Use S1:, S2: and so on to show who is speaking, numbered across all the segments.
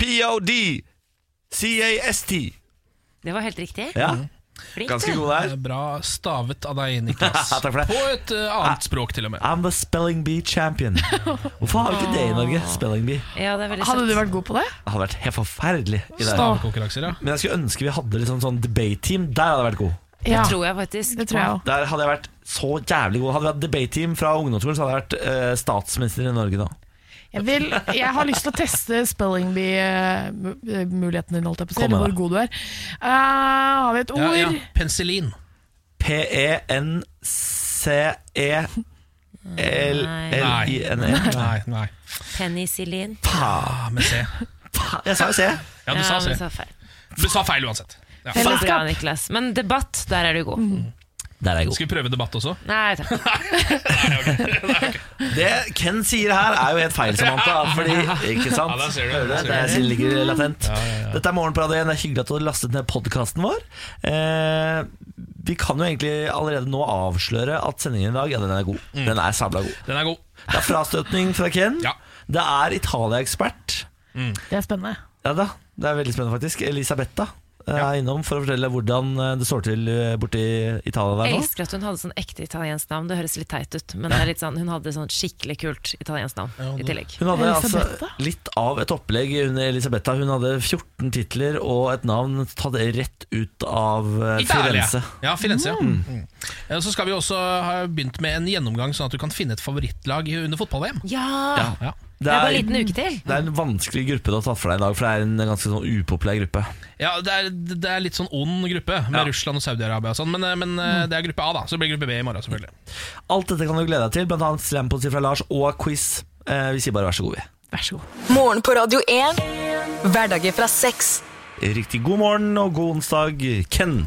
S1: POD-CAST.
S2: Det var helt riktig.
S1: Ja,
S2: Flink,
S1: ganske
S2: du.
S1: god der.
S3: Eh, Bra stavet av deg, Niklas.
S1: Takk for det.
S3: På et eh, annet språk, til og med.
S1: I'm the spelling bee champion. Hvorfor har vi ikke
S3: Ah.
S1: det i Norge? Spelling bee.
S2: Ja, det er veldig
S4: Hadde
S2: søtt.
S4: du vært god på det?
S1: Det hadde vært helt forferdelig. I dag.
S3: Stavkonkurranser, ja.
S1: Men jeg skulle ønske vi hadde liksom sånn debate-team. Der hadde jeg vært god.
S4: Ja,
S2: Tror jeg faktisk.
S4: det tror jeg òg.
S1: Der hadde jeg vært så jævlig god. Hadde vi hatt debate-team fra ungdomsskolen, så hadde jeg vært eh, statsminister i Norge da.
S4: Jeg, vil, jeg har lyst til å teste spelling bee-muligheten din, holdt jeg på å si.
S1: Kom med det.
S4: Eller hvor god du er. Eh, har vi et ord?
S3: ja, ja. Penicillin.
S1: E P-E-N-C-E-L-L-I-N-E. E.
S3: Nei, nei.
S2: Penicillin.
S3: Ah, med C.
S1: Jeg sa jo C.
S3: Ja, du sa
S2: men
S3: C.
S2: så feil.
S3: Du sa feil uansett. Ja.
S2: Så
S4: Fellesskap.
S2: bra, Niklas. Men debatt, der er du god.
S1: Der er jeg god.
S3: Skal vi prøve debatt også?
S2: Nei takk.
S1: Det Ken sier her, er jo helt feil, Samantha. Fordi, ikke sant?
S3: Ja, der ser du,
S1: Hører du
S3: der
S1: det?
S3: ser
S1: Det
S3: du.
S1: sier ligger latent. Dette er Morgen på Radio 1. Det er hyggelig at du har lastet ned podkasten vår. Eh, vi kan jo egentlig allerede nå avsløre at sendingen i dag, ja, den er god. Den er sabla god.
S3: Den er god.
S1: Det er frastøtning fra Ken.
S3: Mm. Ja.
S1: Det er Italia-ekspert.
S4: Det er spennende.
S1: Ja da, det er veldig spennende faktisk. Elisabetta eh, er innom for å fortelle hvordan eh, det står til eh, borti Italia der
S2: Jeg
S1: nå.
S2: elsker at hun hadde sånn ekte italiensk navn. Det høres litt teit ut, men det er litt sånn, hun hadde sånn skikkelig kult italiensk navn i tillegg.
S1: Hun hadde altså
S4: Elisabetta?
S1: litt av et opplegg under Elisabetta. Hun hadde 14 titler og et navn tatt rett ut av eh,
S3: Italia.
S1: Firenze.
S3: Ja, Firenze. ja. Mm. Eh, Så skal vi også ha begynt med en gjennomgang, sånn at du kan finne et favorittlag i- under fotball-VM.
S2: Ja!
S3: Ja.
S1: Det
S2: Det er bare en
S1: er,
S2: liten uke til.
S1: det er en vanskelig gruppe du har tatt for deg i dag, for det er en ganske sånn upopulær gruppe.
S3: Ja, det, er, det er litt sånn ond gruppe, med
S1: Ja.
S3: Russland og Saudi-Arabia og sånn, men, eh, men eh, det er gruppe A, da. Så det blir gruppe B i morgen, selvfølgelig.
S1: Alt dette kan du glede deg til, blant annet slampoesi fra Lars og quiz. Eh, Vi sier bare vær så god, vi.
S4: Vær så god.
S5: Morgen på Radio 1. Hverdager fra seks.
S1: Riktig god morgen og god onsdag, Ken.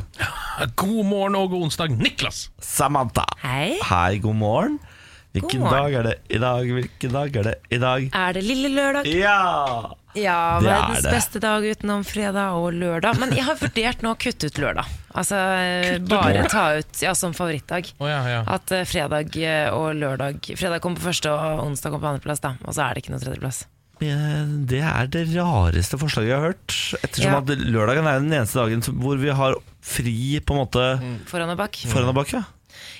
S3: God morgen og god onsdag, Niklas!
S1: Samantha.
S2: Hei.
S1: Hei, god morgen. Hvilken
S2: God morgen.
S1: dag er det i dag? Hvilken dag er det i dag?
S2: Er det lille lørdag?
S1: Ja!
S2: Ja,
S1: Det er
S2: verdens
S1: det.
S2: beste dag utenom fredag og lørdag. Men jeg har vurdert nå å kutte ut lørdag. Altså eh, bare ta ut ja, som favorittdag.
S3: Å, ja, ja.
S2: At eh, fredag eh, og lørdag Fredag kommer på første, og onsdag kommer på andreplass, da. Og så er det ikke noe tredjeplass.
S1: Eh, Det er det rareste forslaget jeg har hørt. Ettersom
S2: Ja.
S1: at lørdagen er den eneste dagen hvor vi har fri på en måte
S2: Foran og bak.
S1: foran og bak. Ja.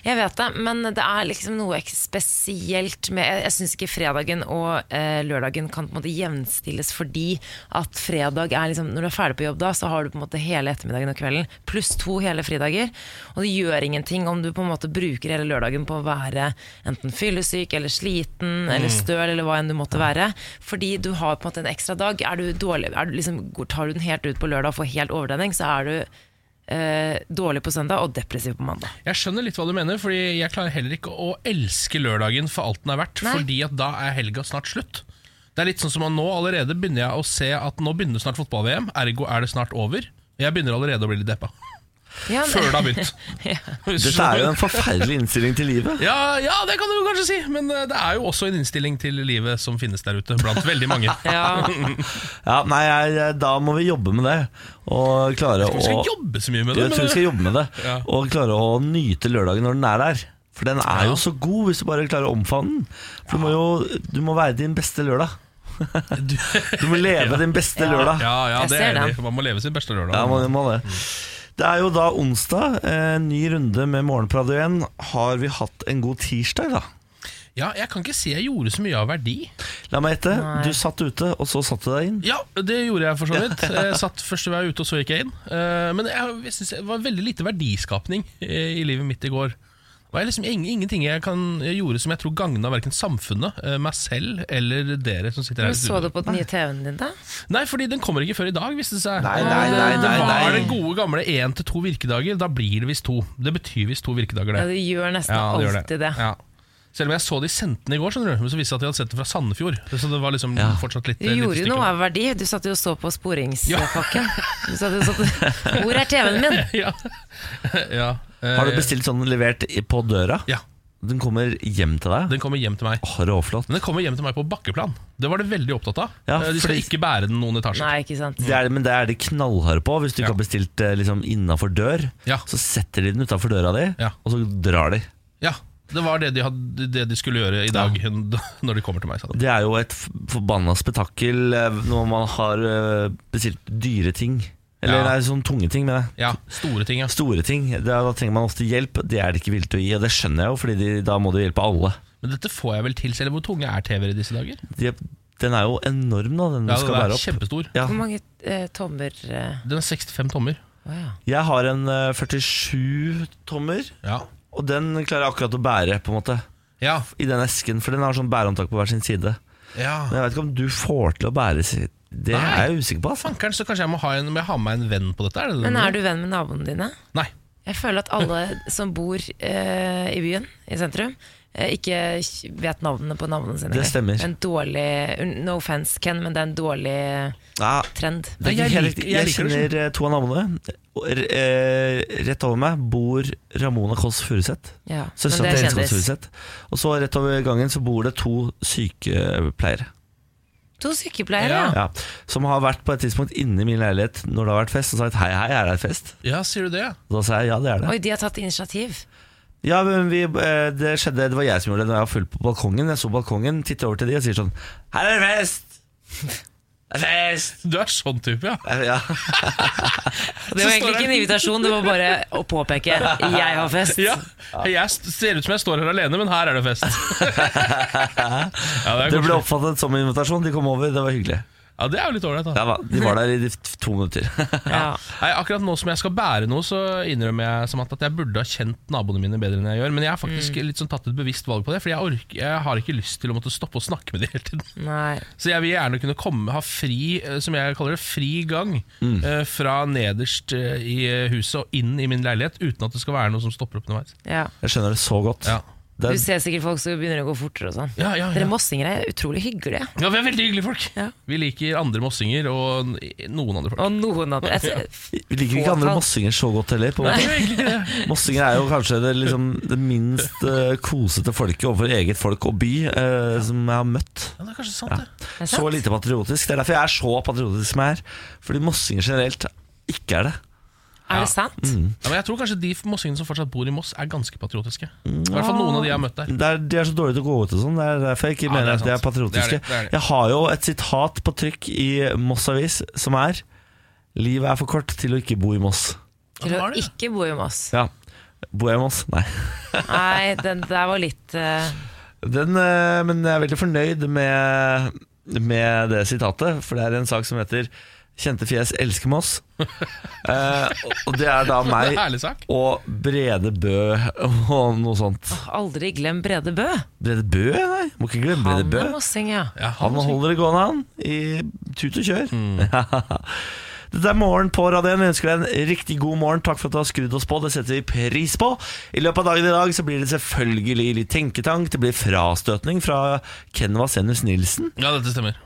S2: Jeg vet det, men det er liksom noe ek- spesielt med Jeg, jeg syns ikke fredagen og eh, lørdagen kan på en måte jevnstilles fordi at fredag er liksom Når du er ferdig på jobb da, så har du på en måte hele ettermiddagen og kvelden pluss to hele fridager. Og det gjør ingenting om du på en måte bruker hele lørdagen på å være enten fyllesyk eller sliten eller støl eller hva enn du måtte være. Fordi du har på en måte en ekstra dag. Er du dårlig, er du liksom, går- tar du den helt ut på lørdag og får helt overtenning, så er du eh, dårlig på søndag og depressiv på mandag.
S3: Jeg skjønner litt hva du mener, Fordi jeg klarer heller ikke å elske lørdagen for alt den er verdt.
S2: Nei.
S3: Fordi at da er helga snart slutt. Det er litt sånn som at nå allerede begynner jeg å se at nå begynner snart fotball-VM, ergo er det snart over. Jeg begynner allerede å bli litt deppa.
S2: Ja,
S3: Før det har begynt.
S1: Dette er jo en forferdelig innstilling til livet.
S3: ja, ja, det kan du jo kanskje si, men eh, det er jo også en innstilling til livet som finnes der ute, blant veldig mange.
S2: Ja,
S1: Ja, nei, jeg, eh, da må vi jobbe med det. Og klare
S3: Vi skal
S1: å
S3: jobbe så mye med det.
S1: Jeg tror vi skal jobbe med det.
S3: Ja.
S1: Og klare å nyte lørdagen når den er der. For den er
S3: Ja.
S1: jo så god hvis du bare klarer å omfavne den. For du må jo du må være din beste lørdag. Du må leve din beste lørdag.
S3: Ja, ja,
S2: Jeg
S3: det
S2: ser
S3: er
S2: det.
S3: enig. Man må leve sin beste lørdag.
S1: Ja, man må det. Det er jo da onsdag. eh, Ny runde med Morgenpradio igjen. Har vi hatt en god tirsdag, da?
S3: Ja, jeg kan ikke si jeg gjorde så mye av verdi.
S1: La meg gjette. Du satt ute, og så satte du deg inn.
S3: Ja, det gjorde jeg for så vidt. Jeg satt første vei ute, og så gikk jeg inn. Eh, Men jeg, jeg synes det var veldig lite verdiskapning eh, i livet mitt i går. Det var liksom ing- ingenting jeg, kan, jeg gjorde som jeg tror gagna verken samfunnet, eh, meg selv eller dere som sitter her.
S2: men
S3: i
S2: Så
S3: studio.
S2: du på den nye TV-en din, da?
S3: Nei, fordi den kommer ikke før i dag, viste det seg.
S1: Nei, nei, nei,
S3: det
S1: nei,
S3: var
S1: nei.
S3: det gode gamle én til to virkedager. Da blir det visst to. Det betyr visst to virkedager,
S2: Ja,
S3: det.
S2: du gjør nesten
S3: det gjør
S2: alltid det.
S3: Ja. Selv om jeg så de sendte den i går, skjønner du. Men så viste det seg at de hadde sett den fra Sandefjord. Så det var liksom
S1: Ja.
S3: fortsatt litt
S2: Du
S3: eh, lite
S2: gjorde jo
S3: stykke.
S2: noe av verdi. Du satt jo og så på sporingspakken. Du satt jo og så på Hvor er TV-en min?
S3: ja. ja. Eh,
S1: Har du bestilt sånn levert i- på døra?
S3: Ja,
S1: Den kommer hjem til deg?
S3: den kommer hjem til meg.
S1: Åh, råflott.
S3: Men den kommer hjem til meg på bakkeplan. Det var det veldig opptatt av.
S1: Ja,
S3: Eh, De skal
S1: fordi-
S3: ikke bære den noen etasjer.
S2: Nei, ikke sant.
S1: Det er, men det er de knallharde på. Hvis du
S3: Ja.
S1: ikke har bestilt eh, liksom, innafor dør,
S3: Ja.
S1: så setter de den utafor døra di,
S3: Ja.
S1: og så drar de.
S3: Ja. Det var det de, hadde, det de skulle gjøre i dag når de kommer til meg. Sa de.
S1: Det er jo et f- forbanna spetakkel eh, når man har eh, bestilt dyre ting. Eller
S3: Ja.
S1: nei, sånn tunge ting, mener jeg.
S3: Ja, store ting, ja.
S1: Store ting. Det, er- da trenger man ofte hjelp. Det er de ikke villige til å gi, og det skjønner jeg jo, Fordi de, da må de hjelpe alle.
S3: Men dette får jeg vel til selv. Hvor tunge er TV-er i disse dager?
S1: De, den er jo enorm, da, den
S3: Ja,
S1: du skal
S3: den er
S1: bære opp.
S3: kjempestor.
S1: Ja.
S2: Hvor mange eh, tommer eh,
S3: Den er 65 tommer.
S2: å ja.
S1: Jeg har en eh, 47 tommer,
S3: Ja.
S1: og den klarer jeg akkurat å bære, på en måte.
S3: Ja.
S1: I den esken, for den har sånn bærehåndtak på hver sin side.
S3: ja.
S1: Men jeg vet ikke om du får til å bære si- Det
S3: Nei.
S1: er jeg usikker på. Altså.
S3: Fankeren, så kanskje jeg må ha, en, må jeg ha med meg en venn på dette? Er det det
S2: Men
S3: du-
S2: er du venn med naboene dine?
S3: Nei.
S2: Jeg føler at alle som bor eh, i byen, i sentrum, eh, ikke vet navnene på navnene sine.
S1: Det stemmer.
S2: En dårlig, no offense, Ken, men det er en dårlig
S1: Ja,
S2: trend.
S1: det er
S3: Nei, jeg
S1: ikke helt
S3: liker-
S1: riktig.
S3: jeg
S1: Jeg
S3: liker det sånn.
S1: kjenner eh, to av naboene. Og r- eh, Rett over meg bor Ramona Kåss Furuseth.
S2: Ja, men
S1: Søstera
S2: det
S1: til
S2: er
S1: Jens Kåss
S2: kjendis.
S1: Furuseth. Og så rett over gangen så bor det to sykepleiere.
S2: To sykepleiere,
S3: Ja.
S2: ja.
S1: Ja, som har vært på et tidspunkt inne i min leilighet når det har vært fest, og sagt 'hei, hei, er det et fest?'
S3: Ja, sier du det? ja?
S1: Og da sa jeg ja, det er det.
S2: Oi, de har tatt initiativ.
S1: Ja, men vi, eh, det skjedde, det var jeg som gjorde det Når jeg var full på balkongen Jeg så balkongen, tittet over til de og sier sånn Her er det fest! Det er fest!
S3: Du er sånn type, ja.
S1: Eh, Ja,
S2: Det var egentlig ikke en invitasjon, det var bare å påpeke 'jeg har fest'.
S3: Ja, Jeg st- ser ut som jeg står her alene, men her er det fest. ja, det, er
S1: det ble
S3: koselig.
S1: oppfattet som en invitasjon De kom over, det var hyggelig
S3: ja, det er jo litt ålreit, da.
S1: ja, hva, De var der i de f- to minutter
S2: Ja.
S3: Nei, akkurat nå som jeg skal bære noe, så innrømmer jeg Samantha, at jeg burde ha kjent naboene mine bedre enn jeg gjør. Men jeg har faktisk
S1: Mm.
S3: litt sånn tatt et bevisst valg på det, Fordi jeg, orker, jeg har ikke lyst til å måtte stoppe og snakke med dem hele tiden.
S2: Nei.
S3: Så jeg vil gjerne kunne komme, ha fri, eh, som jeg kaller det, fri gang
S1: Mm.
S3: eh, fra nederst eh, i huset og inn i min leilighet, uten at det skal være noe som stopper opp underveis.
S2: Ja.
S1: Jeg skjønner det så godt
S3: Ja.
S1: det,
S2: Du ser sikkert folk som begynner å gå fortere og sånn.
S3: Ja, ja, ja.
S2: Dere mossingere er utrolig hyggelige.
S3: Ja, vi er veldig hyggelige folk.
S2: Ja.
S3: Vi liker andre mossinger og n- noen andre folk.
S2: Og noen andre jeg,
S1: Vi liker ikke andre mossinger så godt heller på en måte. Mossinger er jo kanskje det, liksom, det minst eh, kosete folket Overfor eget folk og by eh, Som jeg har møtt
S3: Ja, det er kanskje sant, det.
S2: Er det
S1: Så
S2: sant?
S1: lite patriotisk Det er derfor jeg er så patriotisk som jeg er Fordi mossinger generelt ikke er det
S2: Er det sant?
S3: Ja, Mm. men jeg tror kanskje de mossingene som fortsatt bor i Moss, er ganske patriotiske. I hvert fall noen av de jeg har møtt der.
S1: det er, De er så dårlige til å gå ut og sånn. Det er derfor jeg ikke
S3: Ja, det
S1: mener
S3: er
S1: at de er
S3: sant.
S1: patriotiske.
S3: Det er det, det er det.
S1: Jeg har jo et sitat på trykk i Moss Avis som er Livet er for kort til å ikke bo i Moss.
S2: Til å
S3: har det.
S2: ikke bo i Moss.
S1: Ja. Bor jeg i Moss? Nei.
S2: Nei, den der var litt eh,
S1: Den, eh, men jeg er veldig fornøyd med, med det sitatet, for det er en sak som heter 'Kjente fjes elsker Moss'. Eh, og det er da
S3: Det er
S1: meg
S3: en ærlig sak.
S1: og Brede Bø og noe sånt.
S2: Aldri glem Brede Bø.
S1: Brede Bø? Nei, må ikke glemme Brede
S2: Han
S1: Bø.
S2: er mossing, ja.
S3: Ja,
S1: Han holder det gående, han. I tut og kjør. Dette er Morgen på Radio 1. Vi ønsker deg en riktig god morgen. Takk for at du har skrudd oss på. Det setter vi pris på. I løpet av dagen i dag så blir det selvfølgelig litt tenketank. Det blir frastøtning fra Ken Vasenus Nilsen.
S3: ja, dette stemmer.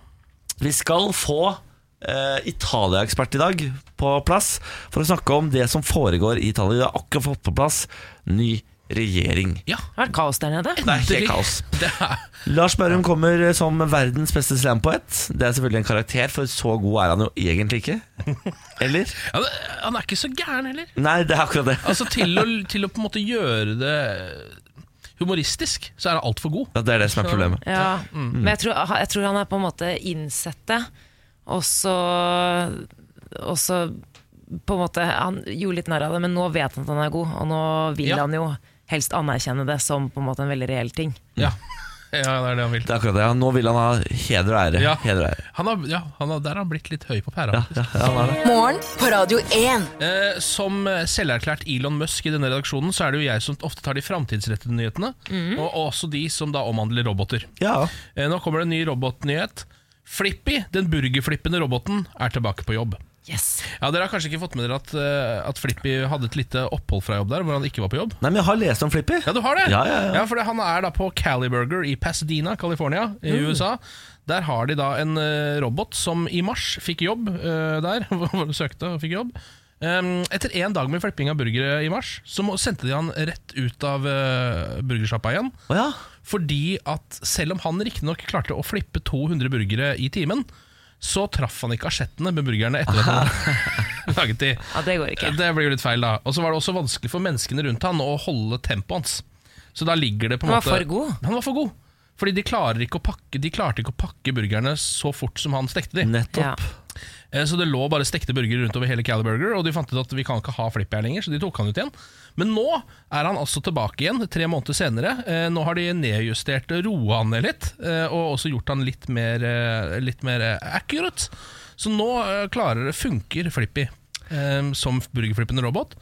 S1: Vi skal få eh, Italia-ekspert i dag på plass for å snakke om det som foregår i Italia. Vi har akkurat fått på plass ny regjering.
S3: Ja,
S2: Det har vært kaos der nede.
S1: Det er helt kaos.
S3: det er
S1: Lars Berrum kommer som verdens beste slampoet. Det er selvfølgelig en karakter, for så god er han jo egentlig ikke. Eller?
S3: ja, det, Han er ikke så gæren heller.
S1: Nei, det er akkurat det.
S3: Altså Til å, til å på en måte gjøre det humoristisk, så er han altfor god.
S1: Ja, Mm. det er det som er problemet.
S2: Ja. Men jeg tror, jeg tror han er på en måte innsette, og så Og så på en måte Han gjorde litt narr av det, men nå vet han at han er god, og nå vil
S3: Ja.
S2: han jo helst anerkjenne det som på en måte en veldig reell ting.
S3: Ja, ja det er det han vil.
S1: Det er akkurat det. Ja, Nå vil han ha heder og ære.
S3: Ja.
S1: Heder og ære.
S3: Han har, ja, han har, der har han blitt litt høy på pæra.
S1: Ja, ja, ja, han er det.
S5: Morgen på Radio 1.
S3: Eh, som eh, selverklært Elon Musk i denne redaksjonen, så er det jo jeg som ofte tar de framtidsrettede nyhetene, og og også de som da omhandler roboter.
S1: ja.
S3: Eh, nå kommer det en ny robotnyhet. Flippy, den burgerflippende roboten, er tilbake på jobb.
S2: Yes.
S3: Ja, Dere har kanskje ikke fått med dere at, eh, at Flippy hadde et lite opphold fra jobb der, hvor han ikke var på jobb?
S1: Nei, men jeg har lest om Flippy.
S3: Ja, du har det?
S1: Ja, ja, ja.
S3: for det, Han er da på Caliburger i Pasadena, California i
S2: Mm.
S3: USA. Der har de da en eh, robot som i mars fikk jobb eh, der, hvor hun søkte og fikk jobb. Um, etter én dag med flipping av burgere i mars, så må, sendte de han rett ut av uh, burgersjappa igjen.
S1: Å ja.
S3: Fordi at selv om han riktignok klarte å flippe 200 burgere i timen, så traff han ikke asjettene med burgerne etter at han laget de.
S2: Ja, det går ikke.
S3: Det blir jo litt feil, da. Og så var det også vanskelig for menneskene rundt han å holde tempoet hans. Så da ligger det på en
S2: Han
S3: måte
S2: var for god.
S3: Han var for god. Fordi de, klarer ikke å pakke, de klarte ikke å pakke burgerne så fort som han
S1: Mm.
S3: stekte de.
S2: Ja.
S1: Nettopp.
S3: Eh, Så det lå bare stekte burgere rundt over hele Caliburger, og de fant ut at vi kan ikke ha Flippy her lenger, så de tok han ut igjen. Men nå er han altså tilbake igjen, tre måneder senere. Eh, Nå har de nedjustert roa han ned litt, eh, og også gjort han litt mer, eh, litt mer eh, accurate. Så nå eh, klarer det, funker Flippy eh, som burgerflippende robot.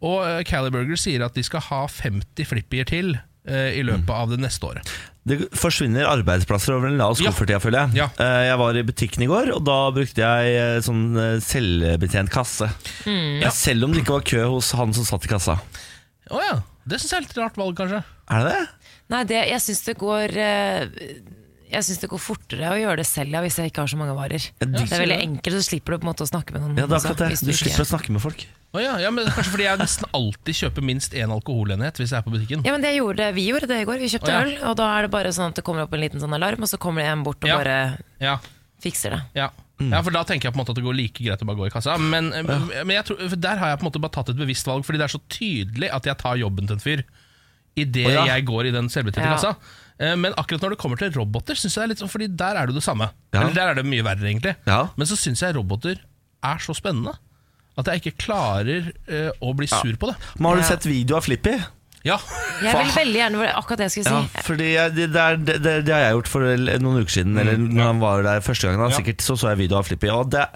S3: Og eh, Caliburger sier at de skal ha 50 Flippier til eh, i løpet av det neste året.
S1: Det forsvinner arbeidsplasser over en lav
S3: Ja.
S1: skuffertida, føler jeg.
S3: Ja.
S1: Eh, Jeg var i butikken i går, og da brukte jeg eh, sånn eh, selvbetjent kasse. Ja, Selv om det ikke var kø hos han som satt i kassa.
S3: Å ja. Det syns jeg er litt rart valg, kanskje.
S1: Er det det?
S2: Nei, det, jeg syns det går eh, jeg synes det går fortere å gjøre det selv ja, hvis jeg ikke har så mange varer.
S1: de-
S2: det er veldig enkelt, så slipper du på en måte å snakke med noen.
S1: Ja, det er
S2: også,
S1: akkurat det.
S2: Altså, hvis
S1: Du
S2: ikke-
S1: slipper å snakke med folk.
S3: Å ja, ja, men det er Kanskje fordi jeg nesten alltid kjøper minst én alkoholenhet hvis jeg er på butikken.
S2: Ja, men det gjorde Vi gjorde det i går. Vi kjøpte
S3: Å, ja.
S2: øl, og da er det bare sånn at det kommer opp en liten sånn alarm, og så kommer det en bort og
S3: Ja.
S2: bare
S3: Ja,
S2: fikser det.
S3: ja. ja, for da tenker jeg på en måte at det går like greit å bare gå i kassa. Men, eh, men jeg tror, for der har jeg på en måte bare tatt et bevisst valg, fordi det er så tydelig at jeg tar jobben til en fyr idet
S1: Å, ja.
S3: jeg går i den selvbetjente
S2: Ja.
S3: kassa. Eh, Men akkurat når det kommer til roboter, synes jeg det er litt sånn, Fordi der er det jo det samme.
S1: Ja.
S3: Eller der er det mye verre, egentlig.
S1: Ja.
S3: Men så syns jeg roboter er så spennende at jeg ikke klarer eh, å bli sur på det.
S1: Men har du
S2: Ja.
S1: sett video av Flippy?
S3: Ja,
S2: Jeg vil veldig gjerne være akkurat det jeg skulle
S1: Ja,
S2: si.
S1: fordi jeg, det, det, er- det, det, det har jeg gjort for noen uker siden. Eller når han var der første gangen. Da,
S3: Ja.
S1: sikkert Så så jeg video av Flippy. Og det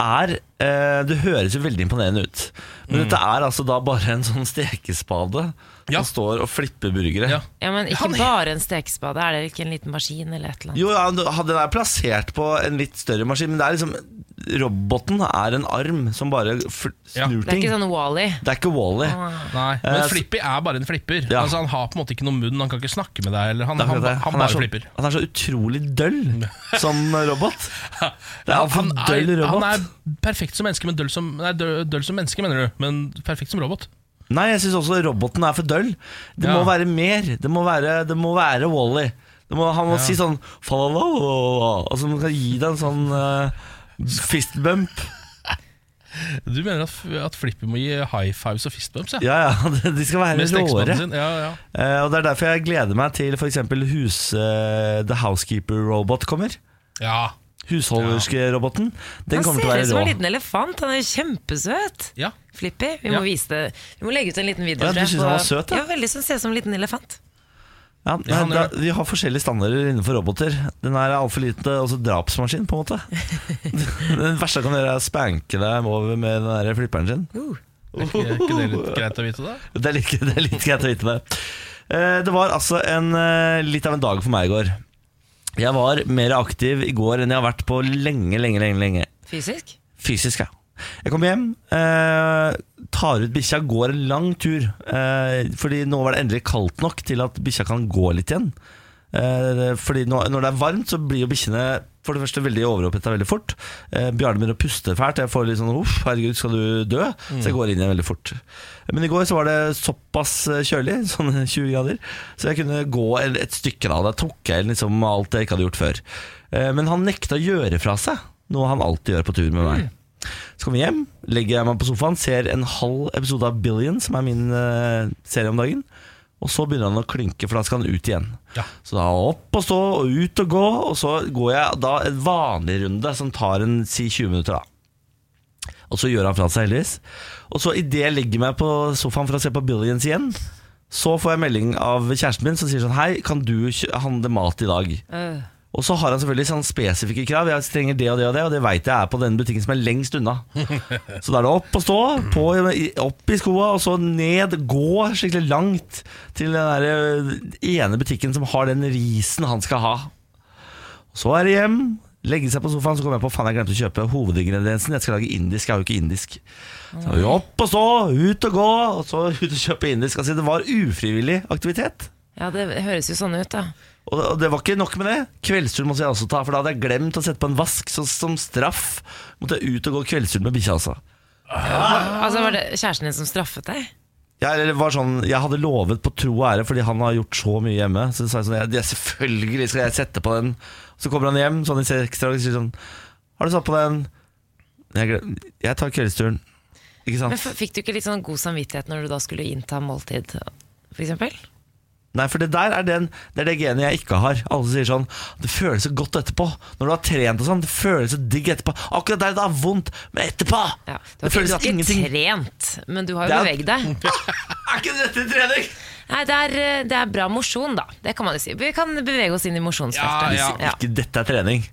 S1: er eh, Det høres jo veldig imponerende ut. Men dette er altså da bare en sånn stekespade
S3: Ja.
S1: som står og flipper burgere.
S3: ja.
S2: Ja, men ikke
S3: Han-
S2: bare en stekespade. Er det ikke en liten maskin eller et eller annet?
S1: Jo, ja, den er plassert på en litt større maskin, men det er liksom Roboten er en arm som bare fl-
S3: Ja.
S1: snur
S2: Det er
S1: ting.
S2: ikke sånn Wally.
S1: Det er ikke Wally.
S3: Ah. Nei,
S1: Eh,
S3: men
S1: så-
S3: Flippy er bare en flipper.
S1: Ja.
S3: Altså Han har på en måte ikke noen munn, han kan ikke snakke med deg. Eller han,
S1: Det er
S3: han,
S1: akkurat det.
S3: han,
S1: Han er
S3: bare
S1: så-
S3: flipper.
S1: Han er så utrolig døll som robot. Det er
S3: han,
S1: for døll
S3: er, han
S1: robot.
S3: er perfekt som menneske, men døll som, nei, døll, døll som menneske, mener du. Men perfekt som robot.
S1: Nei, jeg syns også roboten er for døll. Det
S3: Ja.
S1: må være mer. Det må være, det må være Wally. Det må, han må si sånn «Falalala», Og så må han Altså, gi deg en sånn eh, fist bump.
S3: Du mener at, at Flippy må gi high fives og fist bumps? Ja.
S1: Ja ja, de skal være
S3: Med stekespannen
S1: råere.
S3: sin. Ja, ja.
S1: Eh, og Det er derfor jeg gleder meg til f.eks. Hus, eh, The Housekeeper Robot kommer.
S3: ja.
S1: Husholderskeroboten. Den
S2: Han
S1: kommer til
S2: ser
S1: å
S2: ut som
S1: være
S2: en
S1: rå.
S2: liten elefant. Han er jo kjempesøt.
S3: ja.
S2: Flippy. Vi
S3: Ja.
S2: må vise det Vi må legge ut en liten video.
S1: Ja, du
S2: tror jeg,
S1: synes
S2: på-
S1: han var søt, ja?
S2: ja? veldig sånn, Ser ut som en liten elefant.
S1: Ja,
S3: Ja, han
S1: nei, da,
S3: gjør
S1: vi har forskjellige standarder innenfor roboter. Den er altfor lite også drapsmaskin, på en måte. Den verste han kan gjøre, er å spanke deg over med den der flipperen sin.
S2: Uh.
S3: Er ikke, er ikke det litt greit å vite, da?
S1: Det er litt, det er litt greit å vite det. Eh, Det var altså en, eh, litt av en dag for meg i går. Jeg var mer aktiv i går enn jeg har vært på lenge, lenge, lenge. lenge.
S2: Fysisk?
S1: Fysisk, ja. Jeg kom hjem, eh, tar ut bikkja, går en lang tur. Eh, fordi nå var det endelig kaldt nok til at bikkja kan gå litt igjen. Eh, fordi nå, når det er varmt, så blir jo bikkjene for det første veldig overoppheta veldig fort. Eh, Bjarne begynner å puste fælt. Jeg får litt sånn uff, herregud, skal du dø? Så jeg går inn igjen veldig fort. Men i går så var det såpass eh, kjølig, sånn 20 grader, så jeg kunne gå en- et stykke da. Da tok jeg inn liksom alt jeg ikke hadde gjort før. Eh, Men han nekta å gjøre fra seg, noe han alltid gjør på tur med meg. Så kommer jeg hjem, legger jeg meg på sofaen, ser en halv episode av Billion, som er min eh, serie om dagen. Og så begynner han å klynke, for da skal han ut igjen.
S3: Ja.
S1: Så da opp og stå, og ut og gå, og så går jeg da en vanlig runde som tar en si 20 minutter, da. Og så gjør han fra seg, heldigvis. Og så idet jeg legger meg på sofaen for å se på Billions igjen, så får jeg melding av kjæresten min som sier sånn Hei, kan du kjø- handle mat i dag?
S2: Øh.
S1: Og så har han selvfølgelig sånn spesifikke krav. Jeg trenger det og det og det, og det veit jeg er på den butikken som er lengst unna. Så da er det opp og stå, på, i- opp i skoa, og så ned, gå skikkelig langt til den der eh, ene butikken som har den risen han skal ha. Så er det hjem, legge seg på sofaen, så kommer jeg på faen, jeg glemte å kjøpe hovedingrediensen. Jeg skal lage indisk, jeg er jo ikke indisk. Så er det opp og stå, ut og gå, og så ut og kjøpe indisk. Altså, det var ufrivillig aktivitet.
S2: Ja, det høres jo sånn ut, da.
S1: Og det- og det var ikke nok med det. Kveldstur måtte jeg også ta, for da hadde jeg glemt å sette på en vask. Så som straff måtte jeg ut og gå kveldstur med bikkja, altså. Ah.
S2: Altså, Var det kjæresten din som straffet deg?
S1: Jeg, eller det var sånn, jeg hadde lovet på tro og ære fordi han har gjort så mye hjemme. Så sa jeg sånn, jeg, jeg selvfølgelig skal jeg sette på den. Så kommer han hjem sånn i seksdrag og sier sånn Har du satt på den? Jeg, glem- jeg tar kveldsturen. Ikke
S2: Men
S1: sant?
S2: f- Fikk du ikke litt sånn god samvittighet når du da skulle innta måltid, for eksempel?
S1: Nei, for det der er, den, det er det genet jeg ikke har. Alle sier sånn Det føles så godt etterpå. Når du har trent og sånn, det føles så digg etterpå. Akkurat der det er vondt, men etterpå
S2: Ja, du
S1: Det
S2: har
S1: føles
S2: ikke,
S1: ingenting.
S2: ikke trent, men du har jo
S1: Det er- Mm.
S2: beveget deg.
S1: Er ikke dette trening?
S2: Nei, det er, eh, det er bra mosjon, da. Det kan man jo si. Vi kan bevege oss inn i mosjonsfeltet.
S3: Ja,
S2: Ja.
S1: Ikke dette er trening.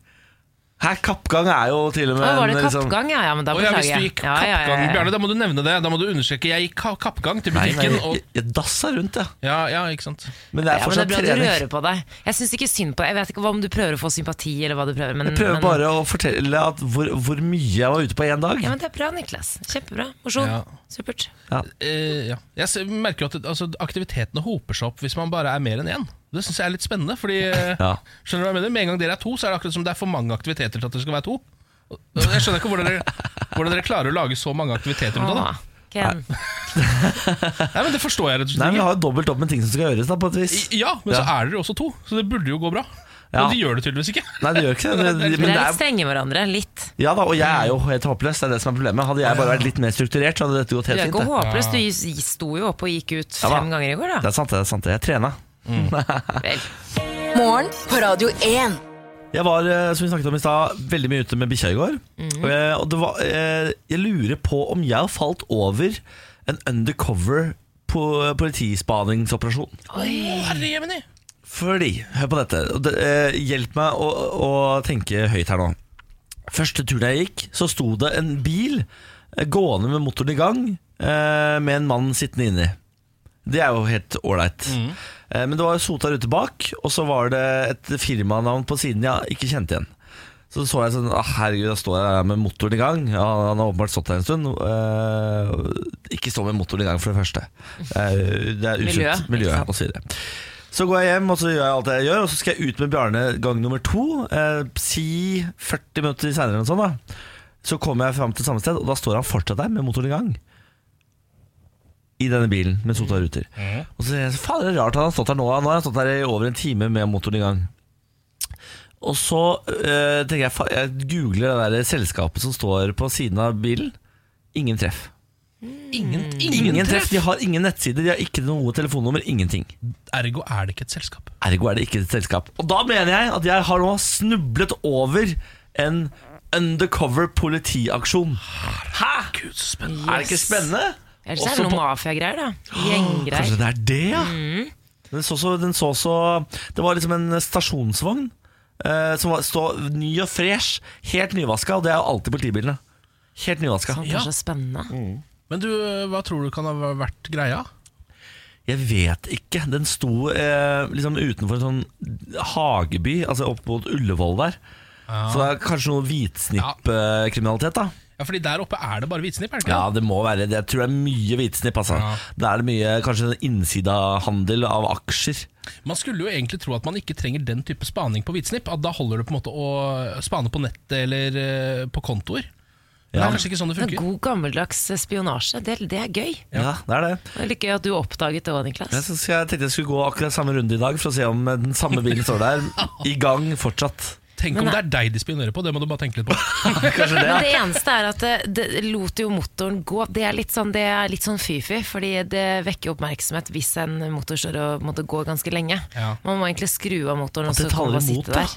S1: Her, kappgang er jo til og med
S2: Å, var det
S1: en, liksom-
S2: kappgang? Ja, ja, men da
S3: Å ja,
S2: beklager
S3: hvis du
S2: jeg.
S3: gikk
S2: Ja, ja, ja,
S3: kappgang,
S2: ja.
S3: Bjarne, da må du nevne det. Da må du understreke. Jeg gikk ka- kappgang til
S1: Nei, nei,
S3: butikken.
S1: jeg,
S3: Og,
S1: jeg dassa rundt, ja.
S3: ja, ja, ikke sant.
S1: Men det er
S2: Ja, men det
S1: fortsatt
S2: er bra du
S1: trening.
S2: rører på deg. Jeg syns ikke synd på deg. Jeg vet ikke hva om du prøver å få sympati, eller hva du prøver. Men,
S1: Jeg prøver
S2: men,
S1: bare å fortelle at hvor, hvor mye jeg var ute på én dag.
S2: Ja, men det er bra, Niklas. Kjempebra. Mosjon.
S3: Ja.
S2: Supert.
S3: Eh, ja. Jeg ser- merker jo at det- altså, aktivitetene hoper seg opp hvis man bare er mer enn én. Det syns jeg er litt spennende. Fordi, eh,
S1: Ja.
S3: Skjønner du hva jeg mener? Med en gang dere er to, så er det akkurat som det er for mange aktiviteter til at det skal være to. Og- og Jeg skjønner ikke hvordan dere, hvordan dere klarer å lage så mange aktiviteter ut av det.
S2: Ah, Ken.
S3: Nei, men Det forstår jeg rett
S1: Nei,
S3: og slett
S1: men Vi
S3: ikke.
S1: har jo dobbelt opp med ting som skal gjøres, da, på et vis.
S3: Ja, men så er dere jo også to, så det burde jo gå bra.
S1: Ja.
S3: Men de gjør det tydeligvis ikke.
S1: Nei, det gjør ikke det. det, men
S2: Dere
S1: det
S2: er
S1: er,
S2: litt strenge med hverandre. Litt.
S1: ja da, og jeg er jo helt håpløs. Det er det som er problemet. Hadde jeg bare vært litt mer strukturert, så hadde dette gått
S2: Du
S1: helt
S2: er
S1: fint.
S2: ikke
S1: Det.
S2: håpløs. Du gi- sto jo opp og gikk ut
S1: Ja da.
S2: fem ganger i går,
S1: det
S2: da.
S1: er sant, det er sant. det. Jeg trena.
S2: Vel.
S5: Morgen på Radio 1.
S1: Jeg var, eh, som vi snakket om i stad, veldig mye ute med bikkja i går. Eh, Og det var eh, Jeg lurer på om jeg har falt over en undercover po- politispaningsoperasjon.
S3: Å, Herre jemini!
S1: Fordi, hør på dette og det, eh, Hjelp meg å, å tenke høyt her nå Første turen jeg gikk Så sto det en bil eh, Gående med motoren i gang eh, Med en mann sittende inni Det er jo helt ålreit.
S2: Mm.
S1: eh, Men det var sota rute bak Og så var det et firmanavn på siden jeg ikke kjente igjen så så jeg sånn, ah, herregud, da står jeg her med motoren i gang ja, Han har åpenbart stått her en stund Eh, Ikke stå med motoren i gang for det første Eh, Det er
S2: Miljø,
S1: usunt
S2: ikke
S1: miljø
S2: sant?
S1: og så videre så går jeg hjem og så gjør jeg alt jeg gjør, og så skal jeg ut med Bjarne gang nummer to. Eh, si 40 minutter seinere eller noe sånt. da Så kommer jeg fram til samme sted, og da står han fortsatt der med motoren i gang. I denne bilen med sota ruter.
S2: Mhm.
S1: Og så sier jeg faen, det er rart han har stått her nå. Nå har han stått her i over en time med motoren i gang. Og så eh, tenker jeg, fa- jeg googler det der selskapet som står på siden av bilen. Ingen treff.
S3: Ingen,
S1: Mm.
S3: ingen,
S1: Ingen treff,
S3: treff!
S1: De har ingen nettsider, de har ikke noe telefonnummer, ingenting.
S3: Ergo er det ikke et selskap.
S1: Ergo er det ikke et selskap. Og da mener jeg at jeg har nå snublet over en undercover politiaksjon. Hæ?
S3: Gud, så spennende.
S1: Er det ikke spennende?
S2: Ellers er
S1: Også
S2: det noe
S1: på- Ah,
S2: mafiagreier, da. Gjenggreier.
S1: Kanskje det er det, ja. Den, så så, den så så Det var liksom en stasjonsvogn eh, som var, stod ny og fresh, helt nyvaska, og det er jo alltid politibilene. Helt nyvaska.
S2: Sånt
S3: Ja.
S2: er så spennende.
S1: Mm.
S3: Men du, eh, hva tror du kan ha vært greia?
S1: Jeg vet ikke. Den sto eh, liksom utenfor en sånn hageby, altså opp mot Ullevål der. Så det er kanskje noe hvitsnippkriminalitet, da.
S3: Ja, fordi der oppe er det bare hvitsnipp, er det ikke?
S1: Ja, det må være det. Jeg tror det er mye hvitsnipp. Altså.
S3: Ja.
S1: Det er mye kanskje innsidahandel av aksjer.
S3: det? Man skulle jo egentlig tro at man ikke trenger den type spaning på hvitsnipp. At da holder det på en måte å spane på nettet eller eh, på kontoer. Men Det
S1: Ja.
S3: er kanskje ikke sånn det
S2: Det er
S3: funker.
S2: god gammeldags spionasje. Det, det er gøy.
S1: Ja, det er det.
S2: Det er litt gøy at du oppdaget det òg,
S1: Jeg,
S2: Niklas.
S1: synes jeg tenkte jeg skulle gå akkurat samme runde i dag for å se om den samme bilen står der i gang fortsatt.
S3: Tenk om det er deg de spionerer på, det må du bare tenke litt på.
S1: Kanskje det.
S2: Men
S1: Ja.
S2: det eneste er at det, det lot jo motoren gå. Det er litt sånn, det er litt sånn fy-fy, fordi det vekker oppmerksomhet hvis en motor står og måtte gå ganske lenge.
S3: Ja.
S2: Man må egentlig skru av motoren
S1: At
S2: og så
S1: det
S2: kan
S1: taler
S2: man bare
S1: imot,
S2: sitte
S1: da.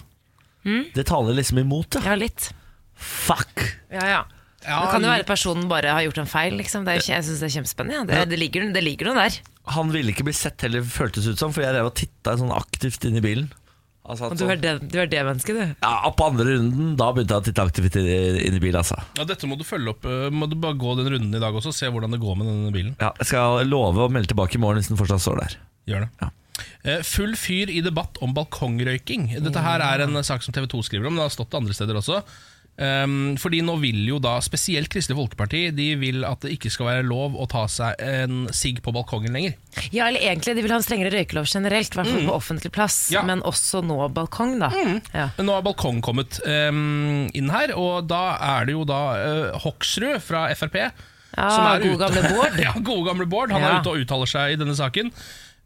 S2: der.
S1: Det taler liksom imot, ja.
S2: Ja, litt.
S1: Fuck!
S2: Ja, ja.
S3: Ja,
S2: det kan jo være personen bare har gjort en feil. Liksom. Det er, jo kje- jeg syns det er kjempespennende. Ja. Det, det, ligger, det ligger noe der.
S1: Han ville ikke bli sett heller, føltes ut som, for jeg rev og titta sånn aktivt inn i bilen. Altså, at
S2: Og du
S1: sånn-
S2: er det, du er det mennesket, du.
S1: ja, på andre runden, da begynte jeg å titte aktivt inn i bilen, altså.
S3: Ja, dette må du følge opp. eh, Må du bare gå den runden i dag også, se hvordan det går med denne bilen.
S1: Ja, jeg skal love å melde tilbake i morgen hvis den fortsatt står der.
S3: Gjør det.
S1: Ja.
S3: Eh, Full fyr i debatt om balkongrøyking. Dette her er en sak som TV 2 skriver om, det har stått andre steder også. Um, fordi nå vil jo da spesielt Kristelig Folkeparti De vil at det ikke skal være lov å ta seg en sigg på balkongen lenger.
S2: Ja, eller egentlig, De vil ha en strengere røykelov generelt, i hvert fall på offentlig plass.
S3: Ja.
S2: Men også nå balkong, da. Ja.
S3: Men nå har balkong kommet um, inn her, og da er det jo da eh, Hoksrud fra Frp
S2: Ja,
S3: som er
S2: god
S3: ute-
S2: gamle Bård.
S3: ja, gode gamle Bård. Han
S2: Ja.
S3: er ute og uttaler seg i denne saken.